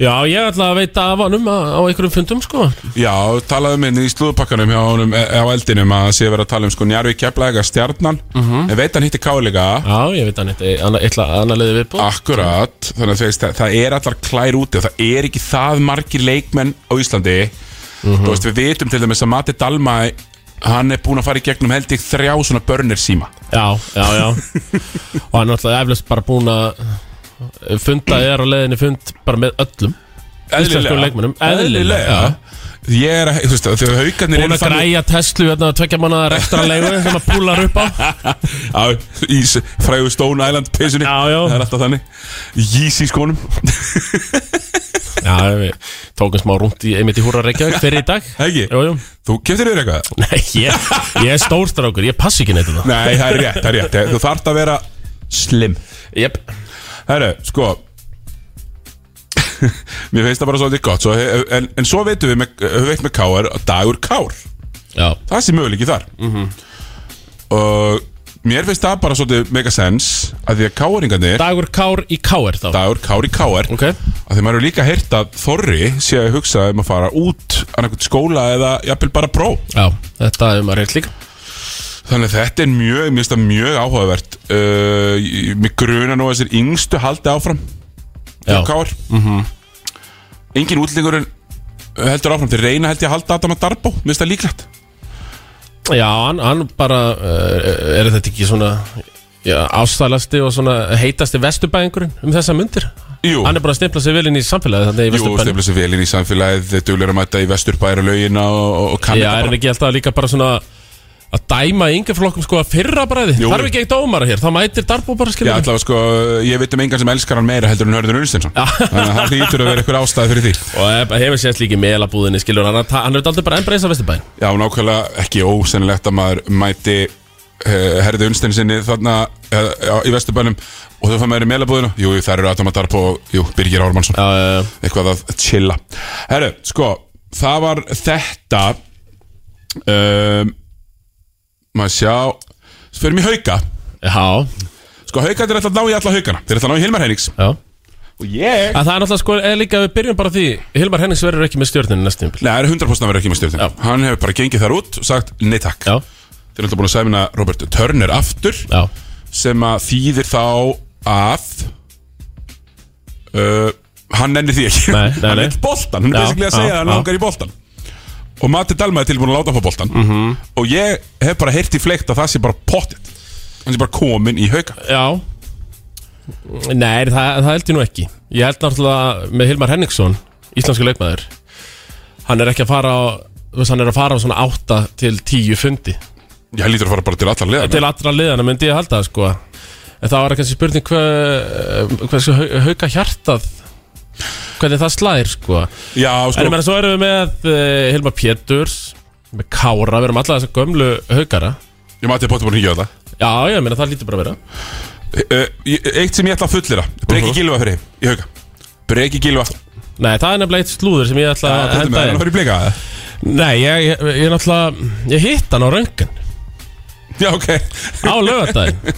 Speaker 2: Já, ég ætla að veita af honum á á einhverjum fundum sko
Speaker 1: Já, talaðu minn í slúðupakkanum hjá honum e- á eldinum að sé verið að tala um sko Njarvi Keflæga stjarnan
Speaker 2: Mhm.
Speaker 1: En veit hann hitti Káleika
Speaker 2: Já, ég veit hann eitthvað eitthvað annað leiði viðbúð
Speaker 1: Akkurat, þannig að þú veist, það, það er allar klær úti og það er ekki það margir leikmenn á Íslandi
Speaker 2: Mhm.
Speaker 1: Þú veist, við vitum til dæmis að Mati Dalmæ Hann er búin að fara í gegnum held ég þrjá svona börnir síma
Speaker 2: Já, já, já Og hann er náttúrulega eflust bara búin að eh, funda er á leiðinni fund bara með öllum Íslenskum leikmönnum. Eðlilega.
Speaker 1: Eðlilega Ég er að, þú veist, þegar haugarnir
Speaker 2: Búin að græja Tesla hérna tvekja manna rektra leiðu sem að púlar upp á
Speaker 1: Já, í s- frægu Stone Island peysunni
Speaker 2: Já, já.
Speaker 1: Það er alltaf þannig Yeezy skónum
Speaker 2: Já, við tókum smá rúnt í einmitt í húra Reykjavík fyrir í dag
Speaker 1: Ekki?
Speaker 2: Jú, jú
Speaker 1: Þú keftir yfir eitthvað?
Speaker 2: Nei, ég, ég er stórstrákur, ég passi ekki neitt um það
Speaker 1: Nei, það er rétt, það er rétt Þú þarft að vera slim
Speaker 2: Jep
Speaker 1: Herru, sko Mér finnst það bara svolítið gott svo, eh, en, en svo veitum við með, eh, við veitum með Kár Dagur Kár,
Speaker 2: Já,
Speaker 1: það sé möguleiki þar Og mér finnst það bara svolítið mega sens að Því að Káringarnir
Speaker 2: dagur kár í kár þá
Speaker 1: Dagur Kár í Kár
Speaker 2: Ok
Speaker 1: að Því maður eru líka heyrt að Þorri sé að hugsa um að fara út Að einhvern skóla eða jafnvel bara pró
Speaker 2: Já, þetta er maður heilt líka
Speaker 1: Þannig að þetta er mjög, mér finnst það mjög áhugavert uh, ég- Mér gruna nú að þessir yngstu haldi áfram
Speaker 2: Já,
Speaker 1: hjá
Speaker 2: Mhm.
Speaker 1: Káar Engin útlendingur en- heldur áfram Þeir reyna held ég að halda Adam að Darbo Mér finnst það líklegt
Speaker 2: já hann, hann bara uh, Er þetta ekki svona já, ástæðlasti og svona heitasti vesturbæðingurinn um þessa myndir
Speaker 1: Jú,
Speaker 2: Hann er bara að stimpla sig vel inn í samfélagið þannig í
Speaker 1: jú
Speaker 2: vesturbæðinu
Speaker 1: stefla sér vel inn í samfélagið Duglir að mæta í vesturbæra laugina og, og, og kann
Speaker 2: Já,
Speaker 1: þetta
Speaker 2: er hann ekki alltaf líka bara svona að dæma yngjaflokkum sko að fyrra bræði
Speaker 1: Jú.
Speaker 2: Þarf ekki eitt ómara hér, þá mætir Darbo bara
Speaker 1: Já,
Speaker 2: skilja
Speaker 1: allavega sko, ég veit um engan sem elskar hann meira heldur en Hörður Unstinsson Þannig að það hlýtur að vera eitthvað ástæði fyrir því
Speaker 2: Og hef- hefur sést líka í melabúðinni skilur Hann, hann er aldrei bara embreysa vesturbæðin
Speaker 1: Já, nákvæmlega ekki ósennilegt að maður mæti uh, herði unnsteinsinni þarna uh, í Vesturbænum og þau fann maður í meilabúðinu Jú, jú, þær eru Adam Adarpo og jú, Birgir Ármannsson
Speaker 2: Já, já, já
Speaker 1: eitthvað að chilla Herru, sko, það var þetta um, maður sjá fyrir mér hauka
Speaker 2: Já,
Speaker 1: Sko, hauka þeir ætla að ná í alla haukana Þeir ætla að ná í Hilmar Hennings
Speaker 2: já
Speaker 1: Og ég?
Speaker 2: Að það er náttúrulega sko, eða líka við byrjum bara á því Hilmar Hennings verður ekki með stjórninu næstum
Speaker 1: Nei, það er 100% að vera ekki með stjórnum
Speaker 2: Já.
Speaker 1: Hann hefur bara gengið þar út og sagt, nei takk
Speaker 2: Já,
Speaker 1: Þeir ætla búin að sæmina Robert Turner aftur
Speaker 2: já,
Speaker 1: sem að þýðir þá að uh, hann nennir því ekki
Speaker 2: Nei, nei,
Speaker 1: hann
Speaker 2: nei.
Speaker 1: vill boltan, hann er
Speaker 2: Já,
Speaker 1: basically að
Speaker 2: já,
Speaker 1: segja að hann
Speaker 2: já.
Speaker 1: langar í boltan og Matti Dalma er tilbúin að láta hann fá boltan
Speaker 2: Mhm.
Speaker 1: -hmm. og ég hef bara heyrt í fleikt að það sé bara pottet hann sé bara komin í hauka
Speaker 2: já Nei, það, það held ég nú ekki Ég held náttúrulega með Hilmar Henningsson Íslenski leikmaður Hann er ekki að fara á þú veist, Hann er að fara á svona 8 til 10 fundi
Speaker 1: ég lítur að fara bara til allar leðan
Speaker 2: Til allra liðana myndi ég halda það sko En það var kannski spurning hvað, hversu hau- hauka hjartað Hvernig það slæðir sko
Speaker 1: já,
Speaker 2: En ég
Speaker 1: sko,
Speaker 2: meina, svo erum við með uh, Hilmar eh, Péturs með Kára, við erum alla þessa gömlu haugara
Speaker 1: Ég mati að bóta búin að hengja á það
Speaker 2: Já, ég meina það lítur bara að vera
Speaker 1: Eh, ég- Eitt sem ég ætla að fullira Breki
Speaker 2: Mhm.
Speaker 1: Gilva fyrir í hauka Breki Gilva
Speaker 2: Nei, það er nefnilega eitt slúður sem ég ætla að
Speaker 1: Þetta
Speaker 2: henda
Speaker 1: með hann
Speaker 2: inn
Speaker 1: fyrir blika eða?
Speaker 2: Nei, ég, ég, ég er náttúrulega Ég hitt hann á röngan
Speaker 1: Já, ok
Speaker 2: á lögadaginn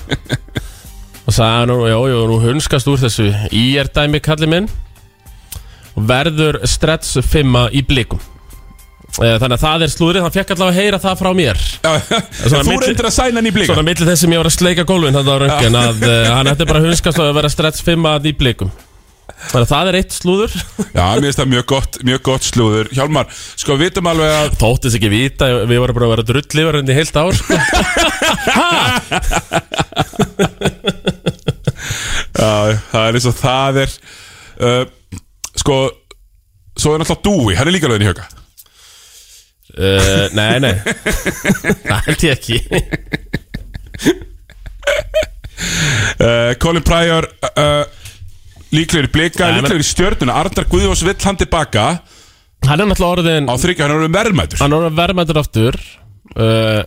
Speaker 2: og sagði nú, já, já, nú hunskast úr þessu í er dæmi kalli minn og verður stretts fimma í blikum Eh, þannig að það er slúrið, hann fekk allavega að heyra það frá mér
Speaker 1: Já,
Speaker 2: Svona
Speaker 1: Þú
Speaker 2: milli-
Speaker 1: reyndir að sæna hann í blika
Speaker 2: svona millir þess sem ég var að sleika gólfin þannig á röngin að uh, hann ætti bara að hunskast og að vera stretts fimma í blikum þannig að það er eitt slúður
Speaker 1: Já, mér finnst það mjög gott, mjög gott slúður Hjálmar, sko, við vitum alveg að
Speaker 2: þóttist ekki vita, við vorum bara að vera drullivar undir heilt ár sko.
Speaker 1: Já, það er eins og það er uh, Sko Svo er náttúrulega Dúi, hann er líka lögðin í hauka
Speaker 2: uh, nei, nei það held ég ekki
Speaker 1: uh, Colin Pryor uh, Líklegur í blika,
Speaker 2: Nei,
Speaker 1: líklegur í stjörnuna Arndar Guðjóns vill hann tilbaka Á
Speaker 2: hann er náttúrulega orðin
Speaker 1: þryggja, hann er orðinn verðmætur
Speaker 2: hann var verðmættur aftur uh,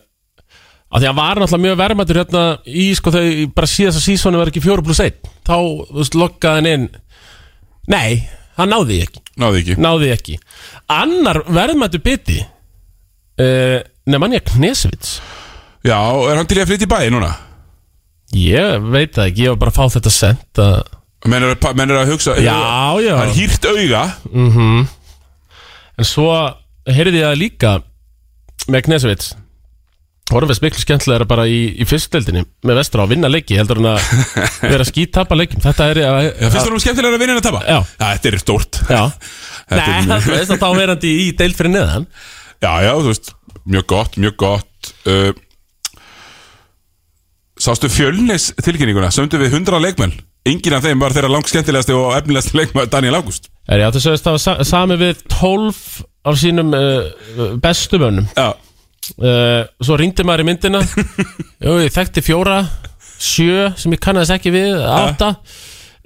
Speaker 2: að því hann var náttúrulega mjög verðmættur hérna í sko þegar bara síðast að sísónu var ekki 4 pluss 1 þá þú veist, lokkaði hann inn nei, hann náði því ekki
Speaker 1: Náði ekki
Speaker 2: náði því ekki annar verðmættur biti uh, nefn hann ég Knesvits
Speaker 1: Já, er hann til í að flytja í bæði núna?
Speaker 2: ég veit það ekki, ég var bara að fá þetta sent að
Speaker 1: Menn er, að- menn er að hugsa
Speaker 2: Já, já.
Speaker 1: Það er hýrt auga
Speaker 2: En svo heyrði ég það líka með Knesevits vorum við speklu skemmtilega bara í, í fyrstdeldinni með vestra að vinna leiki heldur en að vera skítapa leikum þetta er að,
Speaker 1: Já, finnst það nú skemmtilega að vinna en að tapa?
Speaker 2: Já.
Speaker 1: Þetta er stórt
Speaker 2: já
Speaker 1: Þetta er
Speaker 2: Nei,
Speaker 1: mjög-
Speaker 2: þú veist að þá verandi í deild fyrir neðan
Speaker 1: Já, já, þú veist, mjög gott, mjög gott uh, Sástu fjölnis tilkynninguna, sömdu við 100 leikmenn Engin af þeim var þeirra langskemmtilegasti og efnilegasti leikmenn Daniel Ágúst
Speaker 2: Er ég að þess að það var sa sami við 12 af sínum uh, bestu mönnum
Speaker 1: Já,
Speaker 2: uh, Svo rýndi maður í myndina Jú, ég þekkti fjóra sjö sem ég kannast ekki við átta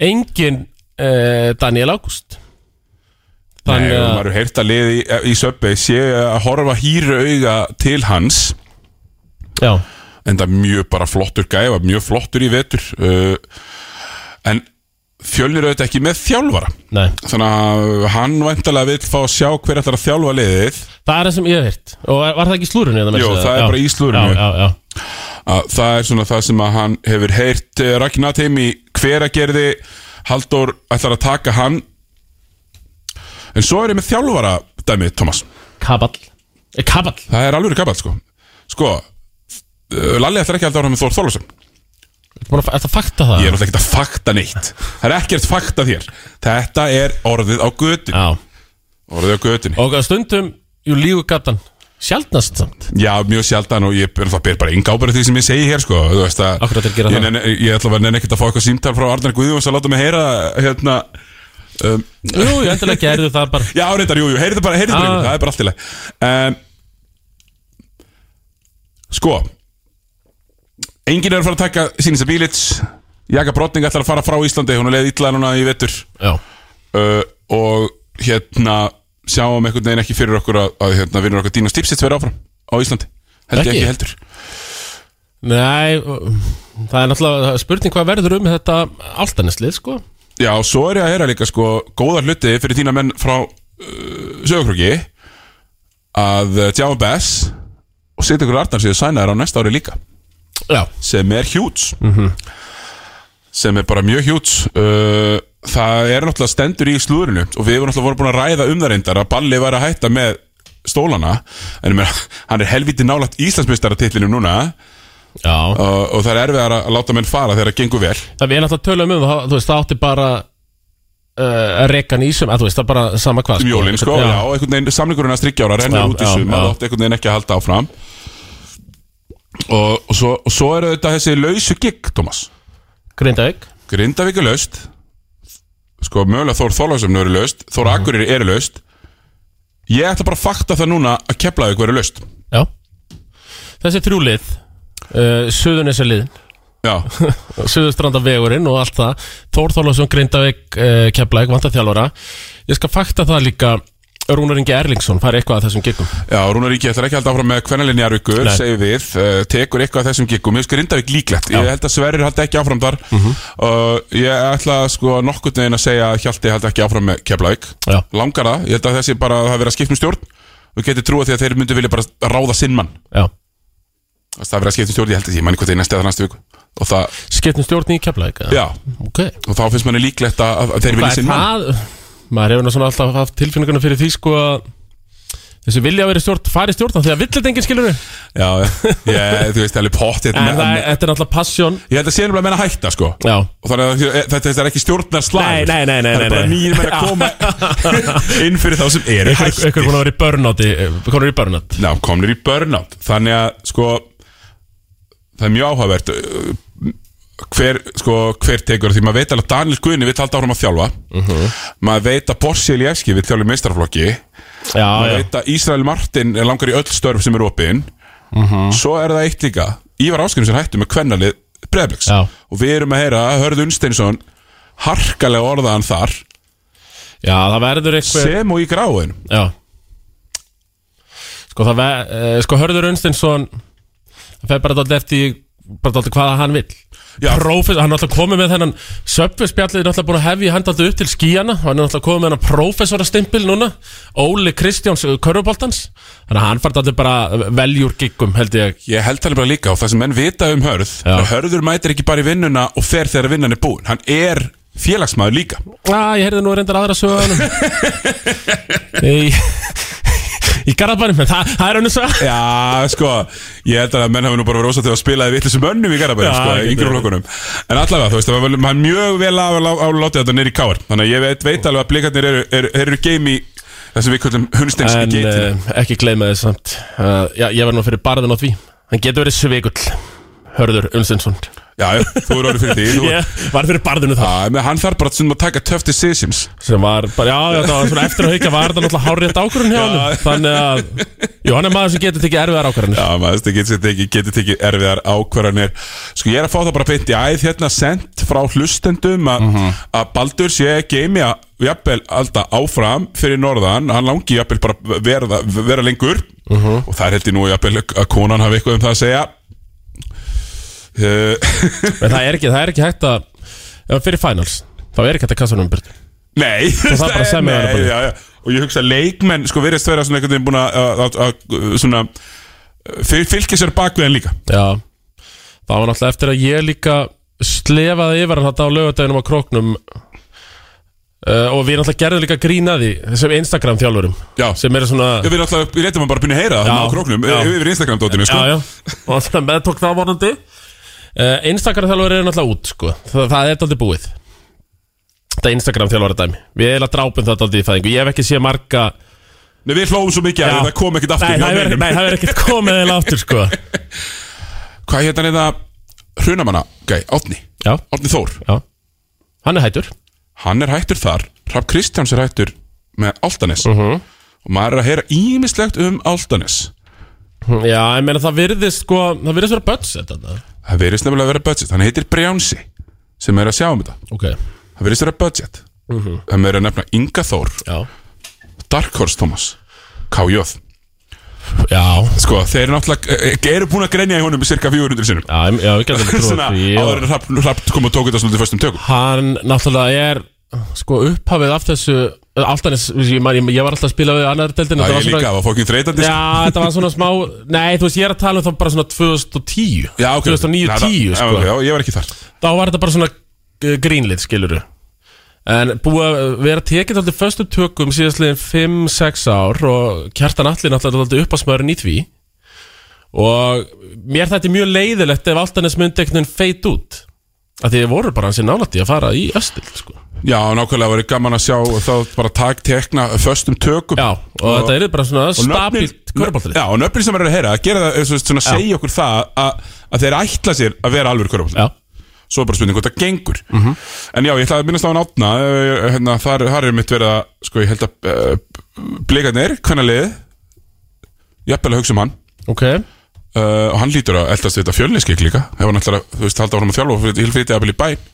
Speaker 2: Engin uh, Daniel Ágúst
Speaker 1: Nei,
Speaker 2: Þannig
Speaker 1: og
Speaker 2: að-
Speaker 1: maður hefur heyrt að liði í, í söpbi sé að horfa hýru auga til hans
Speaker 2: Já,
Speaker 1: en það er mjög bara flottur gæfa mjög flottur í vetur uh, en fjölnir auðvitað ekki með þjálfara
Speaker 2: nei
Speaker 1: þannig að hann væntalega vill fá að sjá hver ætlar að þjálfa liðið
Speaker 2: Það er það sem ég hef hýrt Og var það ekki slúrunni?
Speaker 1: Jú, það er bara í slúðrinu.
Speaker 2: Já, já, já
Speaker 1: að það er svona það sem að hann hefur heyrt eh, Ragnar Teimi hver að gerði Halldór ætlar að taka hann en svo er ég með þjálfara dæmi, Thomas
Speaker 2: Kaball Eh, Kaball
Speaker 1: það er alveg kappað, sko sko, eh, Lalli ætlar ekki að halda ára með Þór Þorlásson
Speaker 2: Er það fakta það?
Speaker 1: ég er alltaf ekki að fakta neitt það er ekkert fakta þér þetta er orðið á götin
Speaker 2: Já
Speaker 1: orðið á götin
Speaker 2: Og að stundum Jú, lígu gatan Sjaldnast samt
Speaker 1: já, mjög sjaldan og ég ber, það ber bara enga ábyrgð á því sem ég segi hér sko þú veist að
Speaker 2: Akkurat er að gera
Speaker 1: ég,
Speaker 2: það.
Speaker 1: nenni- ég ætla að vera nefn ekkert að fá eitthvað símtal frá Arnar Guðjóns að láta mig heyra hérna um,
Speaker 2: Jú, ég endilega gerðu það bara
Speaker 1: Já, reyndar, jú, jú, heyrðu bara, heyrðu bara,
Speaker 2: Ah.
Speaker 1: yfir, það er bara allt í leið um, Sko Engin er að fara að taka Sýnisa Bílits Jaka Brotning ætlar að fara frá Íslandi Hún er leið illa núna í vettur
Speaker 2: Já
Speaker 1: uh, Og hérna Sjáum einhvern veginn ekki fyrir okkur að, að hérna, Vinnur okkar Dínus Tipsits vera áfram á Íslandi Held ég
Speaker 2: Ekki?
Speaker 1: ekki heldur
Speaker 2: Nei uh, Það er náttúrulega spurning hvað verður um þetta Altaneslið, sko
Speaker 1: Já, svo er ég að heyra líka sko góðar hluti fyrir þína menn frá uh, sögurkroki að uh, Tjáum Bess og Sigtur Gunnar Arnar séu sænaðir á næsta ári líka
Speaker 2: Já
Speaker 1: sem er hjúts
Speaker 2: Mhm.
Speaker 1: sem er bara mjög hjúts uh, það er náttúrulega stendur í slúðurinu og við vorum náttúrulega vorum búin að ræða um það reyndar að Balli var að hætta með stólana en ég meina, hann er helviti nálægt Íslandsmeistaratitlinum núna
Speaker 2: Já
Speaker 1: uh, og það er erfiðar að láta menn fara þegar það gengur vel
Speaker 2: Það við náttúrulega tölum um það Þú veist, það átti bara uh, Rekan í sem að, Þú veist, það bara sama hvað
Speaker 1: um jólin sko, já, já einhvern veginn samlingurinn að strikkja ára rennur
Speaker 2: Já,
Speaker 1: út í
Speaker 2: já,
Speaker 1: sum
Speaker 2: já.
Speaker 1: það átti einhvern veginn ekki að halda áfram og, og, svo, og svo eru þetta þessi lausu gig, Thomas
Speaker 2: Grindavík
Speaker 1: Grindavík er löst Sko mögulega Þór Þorláksöfn eru löst Þór Akureyri eru löst Ég ætla bara að fakta það núna að Keflavík eru löst
Speaker 2: Já Þessi þrjúlið uh, Suðunisaliðin
Speaker 1: Já,
Speaker 2: Suðustrandavegurinn og allt eh, það Þór Þorlásson, Grindavík, uh, Keflæk, vantarþjálfara Ég skal fakta það líka Rúnar Ingi Erlingsson fari eitthvað að þessum giggum
Speaker 1: Já, Rúnar Ríki ætlar ekki að halda áfram með kvennalinjar ykkur,
Speaker 2: Nei.
Speaker 1: segir við, uh, tekur eitthvað af þessum giggum, ég skil Rindavík líklegt, ég held að Sverrir haldi ekki áfram þar og ég ætla sko nokkurn veginn að segja að Hjalti haldi ekki áfram með Keflavík,
Speaker 2: Já.
Speaker 1: langar það, ég held að þessi bara það hafi verið að skipta um stjórn og geti trúa því að þeir myndu vilja bara ráða sinn mann,
Speaker 2: Já
Speaker 1: Þess að það hafi verið að skipta um stjórn, ég held að ég manni hvað það er næstu eða næstu viku og það,
Speaker 2: Skiptum stjórn í Keflavík eða?
Speaker 1: já,
Speaker 2: Ok
Speaker 1: og þá finnst manni líklegt að, að- að þeir vilja
Speaker 2: Hvað er
Speaker 1: sinn mann.
Speaker 2: það? Maður hefur nú svona alltaf haft tilfinninguna fyrir því sko að Þessi vilja að vera í stjórn, fari stjórn Þegar vill þetta enginn skilur við
Speaker 1: Já, ég, þú veist, það er pottþétt
Speaker 2: En það,
Speaker 1: með-
Speaker 2: þetta er náttúrulega passion
Speaker 1: Ég held að sé nefnilega að menna hætta sko
Speaker 2: Já.
Speaker 1: Og þannig að þetta, þetta er ekki stjórnar
Speaker 2: Nei,
Speaker 1: slagur
Speaker 2: nei, nei, nei,
Speaker 1: Það er
Speaker 2: nei,
Speaker 1: bara
Speaker 2: nei.
Speaker 1: nýjir menn að koma inn fyrir þá sem eru
Speaker 2: Einhver einhver
Speaker 1: hættir
Speaker 2: konar var í burnouti Konar í burnout
Speaker 1: Ná, komnir í burnout Þannig að sko Það er mjög áhugavert uh, hver, sko, hver tekur því maður veit alveg að Daniel Guðni vill halda áfram að þjálfa
Speaker 2: Mhm.
Speaker 1: maður veit að Borsi Elievski vill þjálfa í meistarflokki
Speaker 2: Já,
Speaker 1: maður
Speaker 2: já
Speaker 1: veit að Ísrael Martin er langar í öll störf sem er opinn
Speaker 2: Mhm.
Speaker 1: svo er það eitt líka Ívar Áskjörnum sem hættu með kvennalið Breiðbliks
Speaker 2: Já.
Speaker 1: og við erum að heyra að Hörð Unsteinsson harkalega orðaðan þar
Speaker 2: Já, það verður eitthvað
Speaker 1: sem og í gráin
Speaker 2: Já Sko það ver, eh, sko Hörður Unstinsson það fer bara dálítið eftir bara dálítið hvaða hann vill
Speaker 1: Já.
Speaker 2: Prófis, hann er alltaf komið með þennan söpfispjallið er alltaf búin að hefja hann alltaf upp til skíjana og hann er alltaf komið með hann prófessorastimpil núna Óli Kristjáns eh, Körfuboltans þannig að hann fær alltaf bara veljúr giggum held ég
Speaker 1: ég held það bara líka og það sem menn vita um Hörð
Speaker 2: Já.
Speaker 1: að Hörður mætir ekki bara í vinnuna og fer þegar vinnan er búin hann er félagsmaður líka
Speaker 2: að ég heyrði nú reyndar aðra sögunum í, í Garðabænum en það, það er önnur sög
Speaker 1: Já, sko, ég held að menn hafi nú bara verið ósátt þegar að spilaði vitlisum önnum í Garabæði,
Speaker 2: Já,
Speaker 1: sko,
Speaker 2: getur
Speaker 1: í yngri
Speaker 2: verið.
Speaker 1: flokkunum En allavega, þú veist, það var vel- hann mjög vel að látið þetta neyri káar Þannig að ég veit, veit alveg að blikarnir eru, eru, eru game í þessum við kvöldum hundstenski
Speaker 2: En
Speaker 1: geitin
Speaker 2: uh, ekki gleyma þið samt uh, já, Ég var nú fyrir barðin á því Hann getur verið sveigull Hörður Unstinsson
Speaker 1: Já, já, þú eru orðið fyrir því þú, yeah.
Speaker 2: var fyrir barðinu það
Speaker 1: menn, Hann þarf bara stundum að taka tough decisions
Speaker 2: Sem var bara, já, já, það var svona eftir að hauka Var það náttúrulega hárétt ákvörðun hjá
Speaker 1: Já.
Speaker 2: hann Þannig að, jú, hann er maður sem getur tekið erfiðar ákvörðunir
Speaker 1: Já, maður þú veist, getur tekið geti teki erfiðar ákvarðanir Sko, ég er að fá það bara beint í æð hérna sent frá hlustendum að mm
Speaker 2: Mhm.
Speaker 1: Baldur sé geimi að jafnvel alltaf áfram fyrir norðan hann langi jafnvel bara vera, vera lengur
Speaker 2: Mhm.
Speaker 1: og það er held ég nú jafnvel að konan hafi eitthvað um það að segja uh,
Speaker 2: En það er ekki, það er ekki hægt að ef Fyrir finals, þá er ekki hægt að kassa hann um byrtu
Speaker 1: Nei
Speaker 2: það er bara að semja þarna
Speaker 1: Nei,
Speaker 2: bara.
Speaker 1: já, já. Og ég hugsa að leikmenn sko verðist vera svona einhvern veginn búin að- að að- að- svona eh, fylgja sér bakveðin líka
Speaker 2: Já, það var náttúrulega eftir að ég líka slefaði yfir hann þetta á lögadeginum á króknum uh, og við náttúrulega gerðum líka grínaði þessum Instagram þjálfurum
Speaker 1: Já.
Speaker 2: sem eru svona
Speaker 1: Já, Við náttúrulega, við letum hann bara að byrja að heyra það hann á króknum,
Speaker 2: já.
Speaker 1: eh, yfir Instagram-dótinu, sko.
Speaker 2: já, já. og það meðtók það vonandi uh, Instagram þjálfur eru náttúrulega út sko. það, það er daldið búið þetta Instagram þjálfur er dæmi við erum að drápum það daldið í fæðingu ég hef ekki séð marga
Speaker 1: Nei, við hlófum svo mikið að
Speaker 2: Já.
Speaker 1: það kom ekkert aftur.
Speaker 2: nei,
Speaker 1: hjá
Speaker 2: það er,
Speaker 1: neinum.
Speaker 2: nei, það er ekkert komið eða aftur sko.
Speaker 1: Hvað hérna er það hrunamanna, gæ, Átni,
Speaker 2: já,
Speaker 1: Átni Þór.
Speaker 2: já hann er hættur
Speaker 1: Hann er hættur þar, Raff Kristjáns er hættur með Altanes.
Speaker 2: Mhm.
Speaker 1: Og maður er að heyra ímislegt um Altanes.
Speaker 2: já, ég meina það virðist sko, það virðist vera budget þetta.
Speaker 1: Það verðist nefnilega að vera budget. Hann heitir Brjánsi, sem er að sjá um þetta.
Speaker 2: ok,
Speaker 1: Það verðist vera budget.
Speaker 2: Mhm.
Speaker 1: Það verður að nefna Inga Þór,
Speaker 2: já
Speaker 1: Dark Horse Thomas, KJ.
Speaker 2: já,
Speaker 1: Sko, þeir eru náttúrulega, eh, eh, eru búin að grenja í honum cirka 400 sinnum.
Speaker 2: já, ég- já, ég getur ekki trúið
Speaker 1: Svona,
Speaker 2: því og-
Speaker 1: áður en Raff- Raff kom og tók þetta svolítið föstum tökum.
Speaker 2: Hann náttúrulega er sko upphafið af þessu alltaf, ég, man- ég, ég var alltaf að spila við annar
Speaker 1: Já,
Speaker 2: deildin þetta
Speaker 1: ég líka,
Speaker 2: svona,
Speaker 1: það var fókin þreytandi
Speaker 2: Já,
Speaker 1: sko.
Speaker 2: þetta var svona smá Nei, þú veist, ég er að tala um það bara svona 2010
Speaker 1: já ok
Speaker 2: 2009,
Speaker 1: Já,
Speaker 2: 10
Speaker 1: já,
Speaker 2: sko.
Speaker 1: ok, Já, ég var ekki þar
Speaker 2: Þá var þetta bara svona uh, grínlið, skiluru En búið að vera tekið alltaf föstu tökum síðastliðin 5-6 ár og kjartan allir náttúrulega alltaf uppasmaðurinn í því og mér þetta er mjög leiðilegt ef alltaf næst myndeknin feit út að því þið voru bara hansi nálætti að fara í östil sko.
Speaker 1: Já, nákvæmlega verið gaman að sjá þá bara takk tekna föstum tökum
Speaker 2: Já, og, þetta er bara svona
Speaker 1: og nöfnin-
Speaker 2: stabilt körbóltrið
Speaker 1: Já, og nöfnin sem er að heyra að gera það, eða svo- svona segja okkur það að, að þeir ætla sér að vera alveg körbóltrið
Speaker 2: Já,
Speaker 1: Svo er bara spurning hvort það gengur En já, ég ætla að minnast á hann átna eh, hérna, þar, þar er mitt verið að, sko, ég held að uh, blikarnir, hvernig liðið Jafnvel að hugsa um hann
Speaker 2: ok
Speaker 1: Uh, og hann lítur að eldast við þetta fjölniskik líka ef hann ætlar að, þú veist, halda áfram að þjálfa og fyrir- hylfrítið að byrja í bæn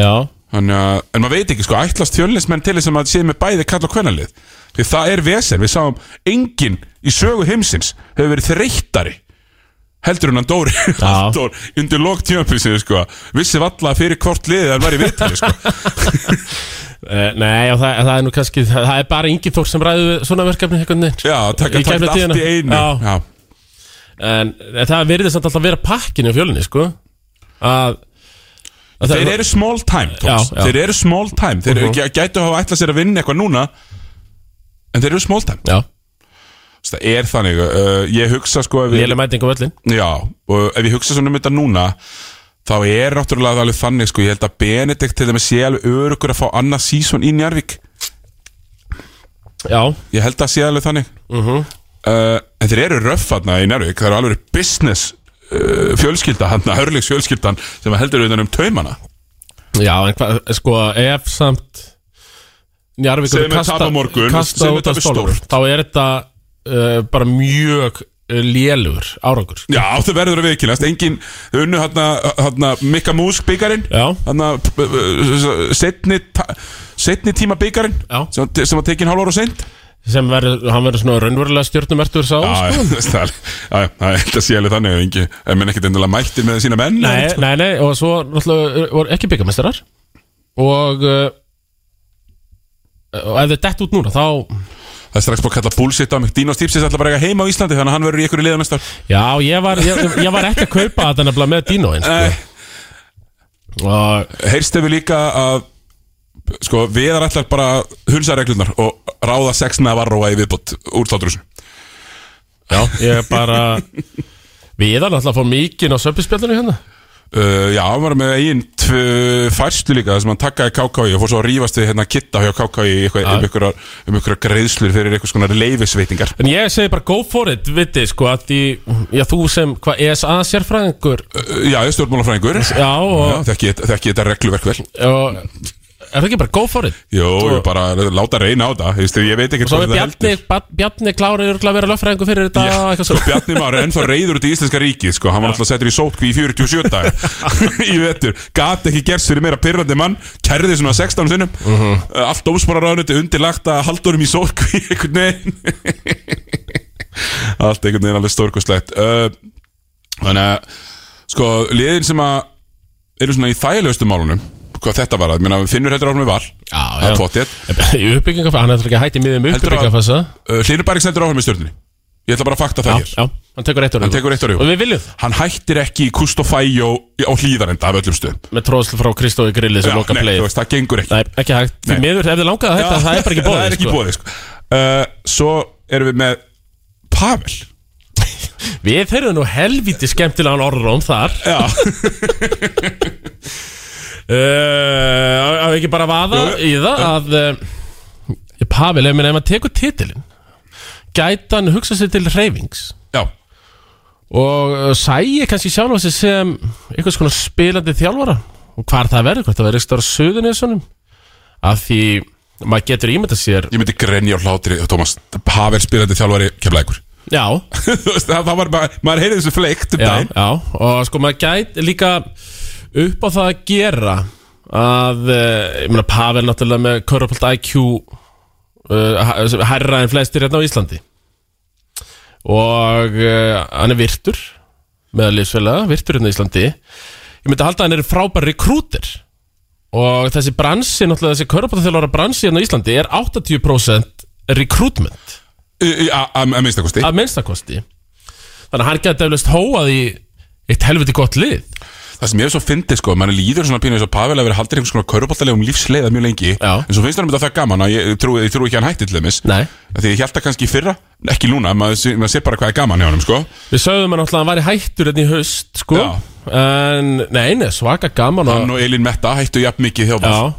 Speaker 2: Já,
Speaker 1: Þannig að, en maður veit ekki sko, ætlast fjölnismenn til þess að maður sé með bæði kall og kvennalið því það er vesen, við sáum enginn í sögu heimsins hefur verið þreyttari heldur en hann Dóri Halldór undir lók tímapinsinu sko vissi valla fyrir hvort liðið hann var í vitari sko
Speaker 2: Eh, Nei, já, það, það er nú kannski Það, það er bara Ingi Þór sem ræður við svona verkefni einhvern veginn
Speaker 1: já, taka
Speaker 2: Í
Speaker 1: takt
Speaker 2: gegnum
Speaker 1: allt í einu
Speaker 2: tíðina. Já.
Speaker 1: já,
Speaker 2: En en það verðist samt alltaf að vera pakkinu á fjölinni, sko Að, að
Speaker 1: Þeir eru small time, Tóms
Speaker 2: Já, Mhm. já.
Speaker 1: Þeir eru small time Þeir uh gætu að hafa ætlað sér að vinna eitthvað núna En þeir eru small time
Speaker 2: Já,
Speaker 1: Þess, Það er þannig uh, Ég hugsa sko ef ég,
Speaker 2: lélega mæting á völlin
Speaker 1: Já, og ef ég hugsa svona um þetta núna Þá er náttúrulega alveg þannig sko Ég held að Benedikt til þeim sé alveg örugur að fá annað sísón í Njarvík
Speaker 2: Já,
Speaker 1: Ég held að sé alveg þannig
Speaker 2: Mhm.
Speaker 1: uh, En þeir eru röffarna í Njarvík Það eru alveg business uh, fjölskylda hann, hörleiks fjölskyldan sem heldur utan um taumana
Speaker 2: já, en hvað, sko Ef samt Njarvíkur
Speaker 1: Segðu mér tapa morgun,
Speaker 2: kasta
Speaker 1: segðu mér
Speaker 2: út af
Speaker 1: tapa
Speaker 2: stólur
Speaker 1: stórt.
Speaker 2: Þá er þetta uh, bara mjög uh, lélugur árangur
Speaker 1: Já, þau verður að viðkynast Engin, þau unnu hérna, hérna Mikka Músk byggarinn
Speaker 2: Já.
Speaker 1: Hérna, p- p- setni uh, ta- setni tíma byggarinn
Speaker 2: Já.
Speaker 1: sem, var te- sem var tekin hálf ára og seint
Speaker 2: Sem verður, hann verður svona raunverulega stjórnumertur sá
Speaker 1: Já, já, það er- já, já, það er eitthvað sérlega þannig að engi, en menn ekkert endilega mættir með sína menn
Speaker 2: Nei, nei, nei, og svo náttúrulega uh, voru ekki byggamestrar og uh, og ef þau dett út núna þá,
Speaker 1: Það er strax búið að kalla bullshit á mig Dino Stipsis ætla bara að eiga heima á Íslandi þannig að hann verður í ykkur í liða næsta ár.
Speaker 2: já, ég var ég, ég var ekki að kaupa þetta nefnilega með Dino eins
Speaker 1: Nei.
Speaker 2: og,
Speaker 1: Heyrstu Eh, við líka að sko, viðar ætlar bara að hunsa reglunar og ráða sexna varróa í viðbót úr þátturhúsinu
Speaker 2: já, ég bara við erum alltaf að fá mikinn á söpispjallinu hérna
Speaker 1: Uh, já, hann var með eigin tvö- færslu líka þar sem hann takkaði KKI og fór svo að rífast við hérna kitta hjá KKI í eitthvað, um einhverjar um einhverjar greiðslur fyrir einhvers konar leifisveitingar
Speaker 2: en ég segi bara go for it, viti, sko að því, já, þú sem, hvað, ESA sérfræðingur,
Speaker 1: uh, Já, ég er stjórnmálafræðingur
Speaker 2: já,
Speaker 1: Já,
Speaker 2: og,
Speaker 1: Þekki ég- þekki ég þetta regluverk vel
Speaker 2: og er það ekki bara go for it
Speaker 1: Jó, ég bara láta reyna á það Vistu, Ég veit ekki
Speaker 2: svo er Bjarni, Ba- Bjarni klárið örugglega að vera löffræðingur fyrir þetta og eitthvað
Speaker 1: Svo
Speaker 2: svona
Speaker 1: Bjarni Már er ennþá reyður út í íslenska ríkið sko. Hann var alltaf settur í sótkví í 47 dag Í vetur, gat ekki gerst fyrir meira pyrrandi mann Kærði svona 16 sinnum
Speaker 2: Mhm.
Speaker 1: uh, Allt ómsporaráðuniti undirlagt að haldurum í sótkví Einhvern veginn Allt einhvern veginn alveg stórkostlegt uh, Þannig að Sko, liðin sem að Eru svona í þægilegustu málunum Hvað þetta var að, minna, finnur heldur áfram við val
Speaker 2: Já,
Speaker 1: Það er
Speaker 2: já.
Speaker 1: pottþétt.
Speaker 2: Í uppbyggingafasa, hann er náttúrulega ekki að hætti miðum
Speaker 1: Heldur að-
Speaker 2: uppbyggingafasa
Speaker 1: Uh, Hlynur Bæriks heldur áfram í stjórninni Ég ætla bara að fakta það
Speaker 2: Já,
Speaker 1: hér
Speaker 2: já, hann tekur eitt orðið
Speaker 1: Hann tekur eitt orðið.
Speaker 2: Og við viljum það
Speaker 1: hann hættir ekki í Kustofæjó á hlýðarenda af öllum stöðum
Speaker 2: Með tróðslu frá Kristói Grillið sem
Speaker 1: Já,
Speaker 2: loka
Speaker 1: nei, þú
Speaker 2: playið
Speaker 1: veist, það gengur ekki
Speaker 2: Það er ekki hægt Því
Speaker 1: Nei.
Speaker 2: miður, ef þið langaði að hætta, það er bara ekki bóðið
Speaker 1: það er ekki bóði sko. uh, svo erum við með Pavel
Speaker 2: Við heyrðum nú helviti skemmtilegan orðróm þar
Speaker 1: já,
Speaker 2: uh, Að ekki bara vaða
Speaker 1: Jú,
Speaker 2: í það að uh, Pavel, ef minn, ef maður tekur titilinn Gæti hann hugsa sér til reyfings
Speaker 1: já,
Speaker 2: Og uh, sæi kannski sjálf sig sem einhvers konar spilandi þjálfara Og hvar það verður, hvort það verður stóra söðunesunum Af því maður getur ímynda sér
Speaker 1: ég myndi grenja á hlátri Thomas, Pavel spilandi þjálfari kemleikur
Speaker 2: Já,
Speaker 1: það það var bara, maður heyrði þessu fleikt um
Speaker 2: já,
Speaker 1: daginn
Speaker 2: já Og sko maður gæt líka upp á það að gera Að, eh, ég meina Pavel náttúrulega með Körupalt IQ uh, Hærra en flestir hérna á Íslandi Og uh, hann er virtur Meðal lífsfélaga, virtur hérna á Íslandi Ég myndi halda að hann er frábær rekrúter Og þessi bransi, náttúrulega þessi Körupaltaþjálfara bransi hérna á Íslandi Er 80% rekrútment
Speaker 1: Í- í- að- að að minnsta kosti
Speaker 2: að minnstakosti þannig að hann gæti eflaust hóað í eitt helviti gott lið
Speaker 1: það sem ég hef svo fyndið sko, mann líður svona pínu eins og Pavel að vera haldir einhvers konar kauruboltalegum lífsleiða mjög lengi
Speaker 2: Já.
Speaker 1: en svo finnst hann um þetta það gaman að ég trúi, ég trúi ekki að hann hætti til þeimis
Speaker 2: Nei.
Speaker 1: því ég held að kannski í fyrra, ekki núna maður, sé- maður sér bara hvað er gaman hjá hann sko.
Speaker 2: við sögðum hann alltaf að hann var í hættur enn í haust sko
Speaker 1: Já.
Speaker 2: en nei, nei, svaka gaman og,
Speaker 1: hann og Elin Metta hættu jafn mikið hjá
Speaker 2: já,
Speaker 1: Val.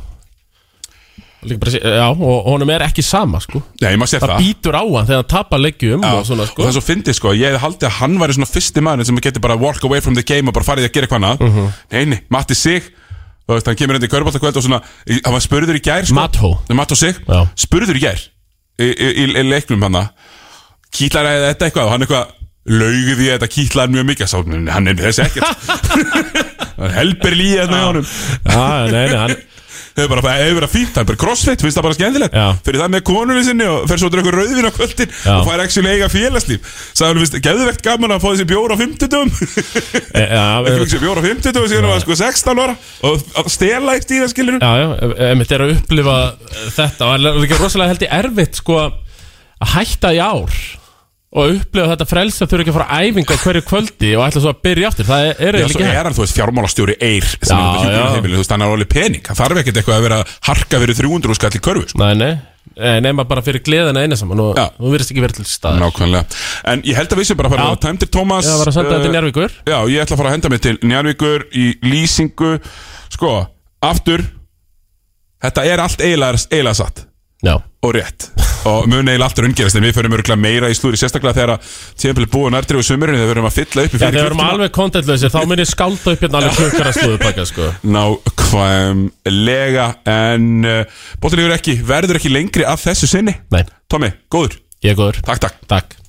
Speaker 2: Líka bara, sé- já og honum er ekki sama sko
Speaker 1: Nei, maður sér
Speaker 2: það
Speaker 1: það
Speaker 2: býtur á hann þegar hann tapar leggjum
Speaker 1: Já,
Speaker 2: og svona
Speaker 1: og
Speaker 2: sko
Speaker 1: það er svo fyndið sko, ég hefði haldið að hann væri svona fyrsti maðurinn sem getur bara walk away from the game og bara farið að gera eitthvað annað
Speaker 2: Mhm.
Speaker 1: Nei, nei, Matti Sig, þú veist, hann kemur hendur í körbáltakvöld og svona, í- hann var spurður í gær sko,
Speaker 2: Mattó.
Speaker 1: Nei, Mattó Sig,
Speaker 2: Já.
Speaker 1: spurður í gær í, í, í, í leiknum hann kýtlar að þetta eitthvað og hann eitthvað laugði því að þetta kýtlar mjög mikið sá, "Nei, hann er þessi ekkert hann helber líði þetta hjá honum
Speaker 2: já, nei, nei, hann
Speaker 1: hefur bara hefur verið fínt, hann er bara crossfit, finnst það bara skemmtilegt
Speaker 2: Já.
Speaker 1: fyrir það með konunni sinni og fer svo að draugur rauðvin á kvöldin
Speaker 2: Já.
Speaker 1: og fær actually eiga félagslíf sagði hann, finnst, geðvegt gaman að fá þessi bjóra á 50 dögum
Speaker 2: E- Já,
Speaker 1: ekki
Speaker 2: e-
Speaker 1: hugsa bjóra 50 og síðan var sko 16 ára og að stela eitt í það skilur
Speaker 2: já, já, einmitt er að upplifa e, þetta og það er líka rosalega held ég erfitt sko að hætta í ár og upplifa þetta frelsa þurfa ekki að fara á æfingu á hverju kvöldi og ætla svo að byrja aftur, það er, er
Speaker 1: Já,
Speaker 2: eiginlega
Speaker 1: svo
Speaker 2: ekki
Speaker 1: er
Speaker 2: hægt
Speaker 1: hann, þú veist, fjármálastjóri eir sem
Speaker 2: Já,
Speaker 1: er þetta
Speaker 2: já.
Speaker 1: hjúkjörnheimili, þú veist, hann er alveg pening hann þarf ekkert eitthvað að vera að harka verið 300 og skall í körfu, sko.
Speaker 2: Nei, nei, Eh, nema bara fyrir gleðina eina saman og
Speaker 1: Já.
Speaker 2: þú virðist ekki verið til staðar
Speaker 1: Nákvæmlega, en ég held að við sem bara fara
Speaker 2: Já.
Speaker 1: að tæmdir Thomas
Speaker 2: Já, var að senda
Speaker 1: eh,
Speaker 2: þetta til Njarvíkur
Speaker 1: Já, ég ætla að fara að henda mig til Njarvíkur í lýsingu, sko aftur þetta er allt eiginlega eiginlega satt
Speaker 2: Já,
Speaker 1: og rétt og mun eiginlega aftur ungerast en við förum örgulega meira í slúri sérstaklega þegar að tíðanbili búin er drífu sumurinn þegar við förum að fylla upp í
Speaker 2: Já
Speaker 1: fyrir
Speaker 2: þegar við erum alveg kontentlösir þá mun ég skálda upp hérna alveg klukkar að slúðu pakka sko
Speaker 1: Nákvæmlega En uh, bóttilegur ekki, verður ekki lengri af þessu sinni
Speaker 2: Nei,
Speaker 1: Tommy, góður,
Speaker 2: ég er góður
Speaker 1: takk takk
Speaker 2: Takk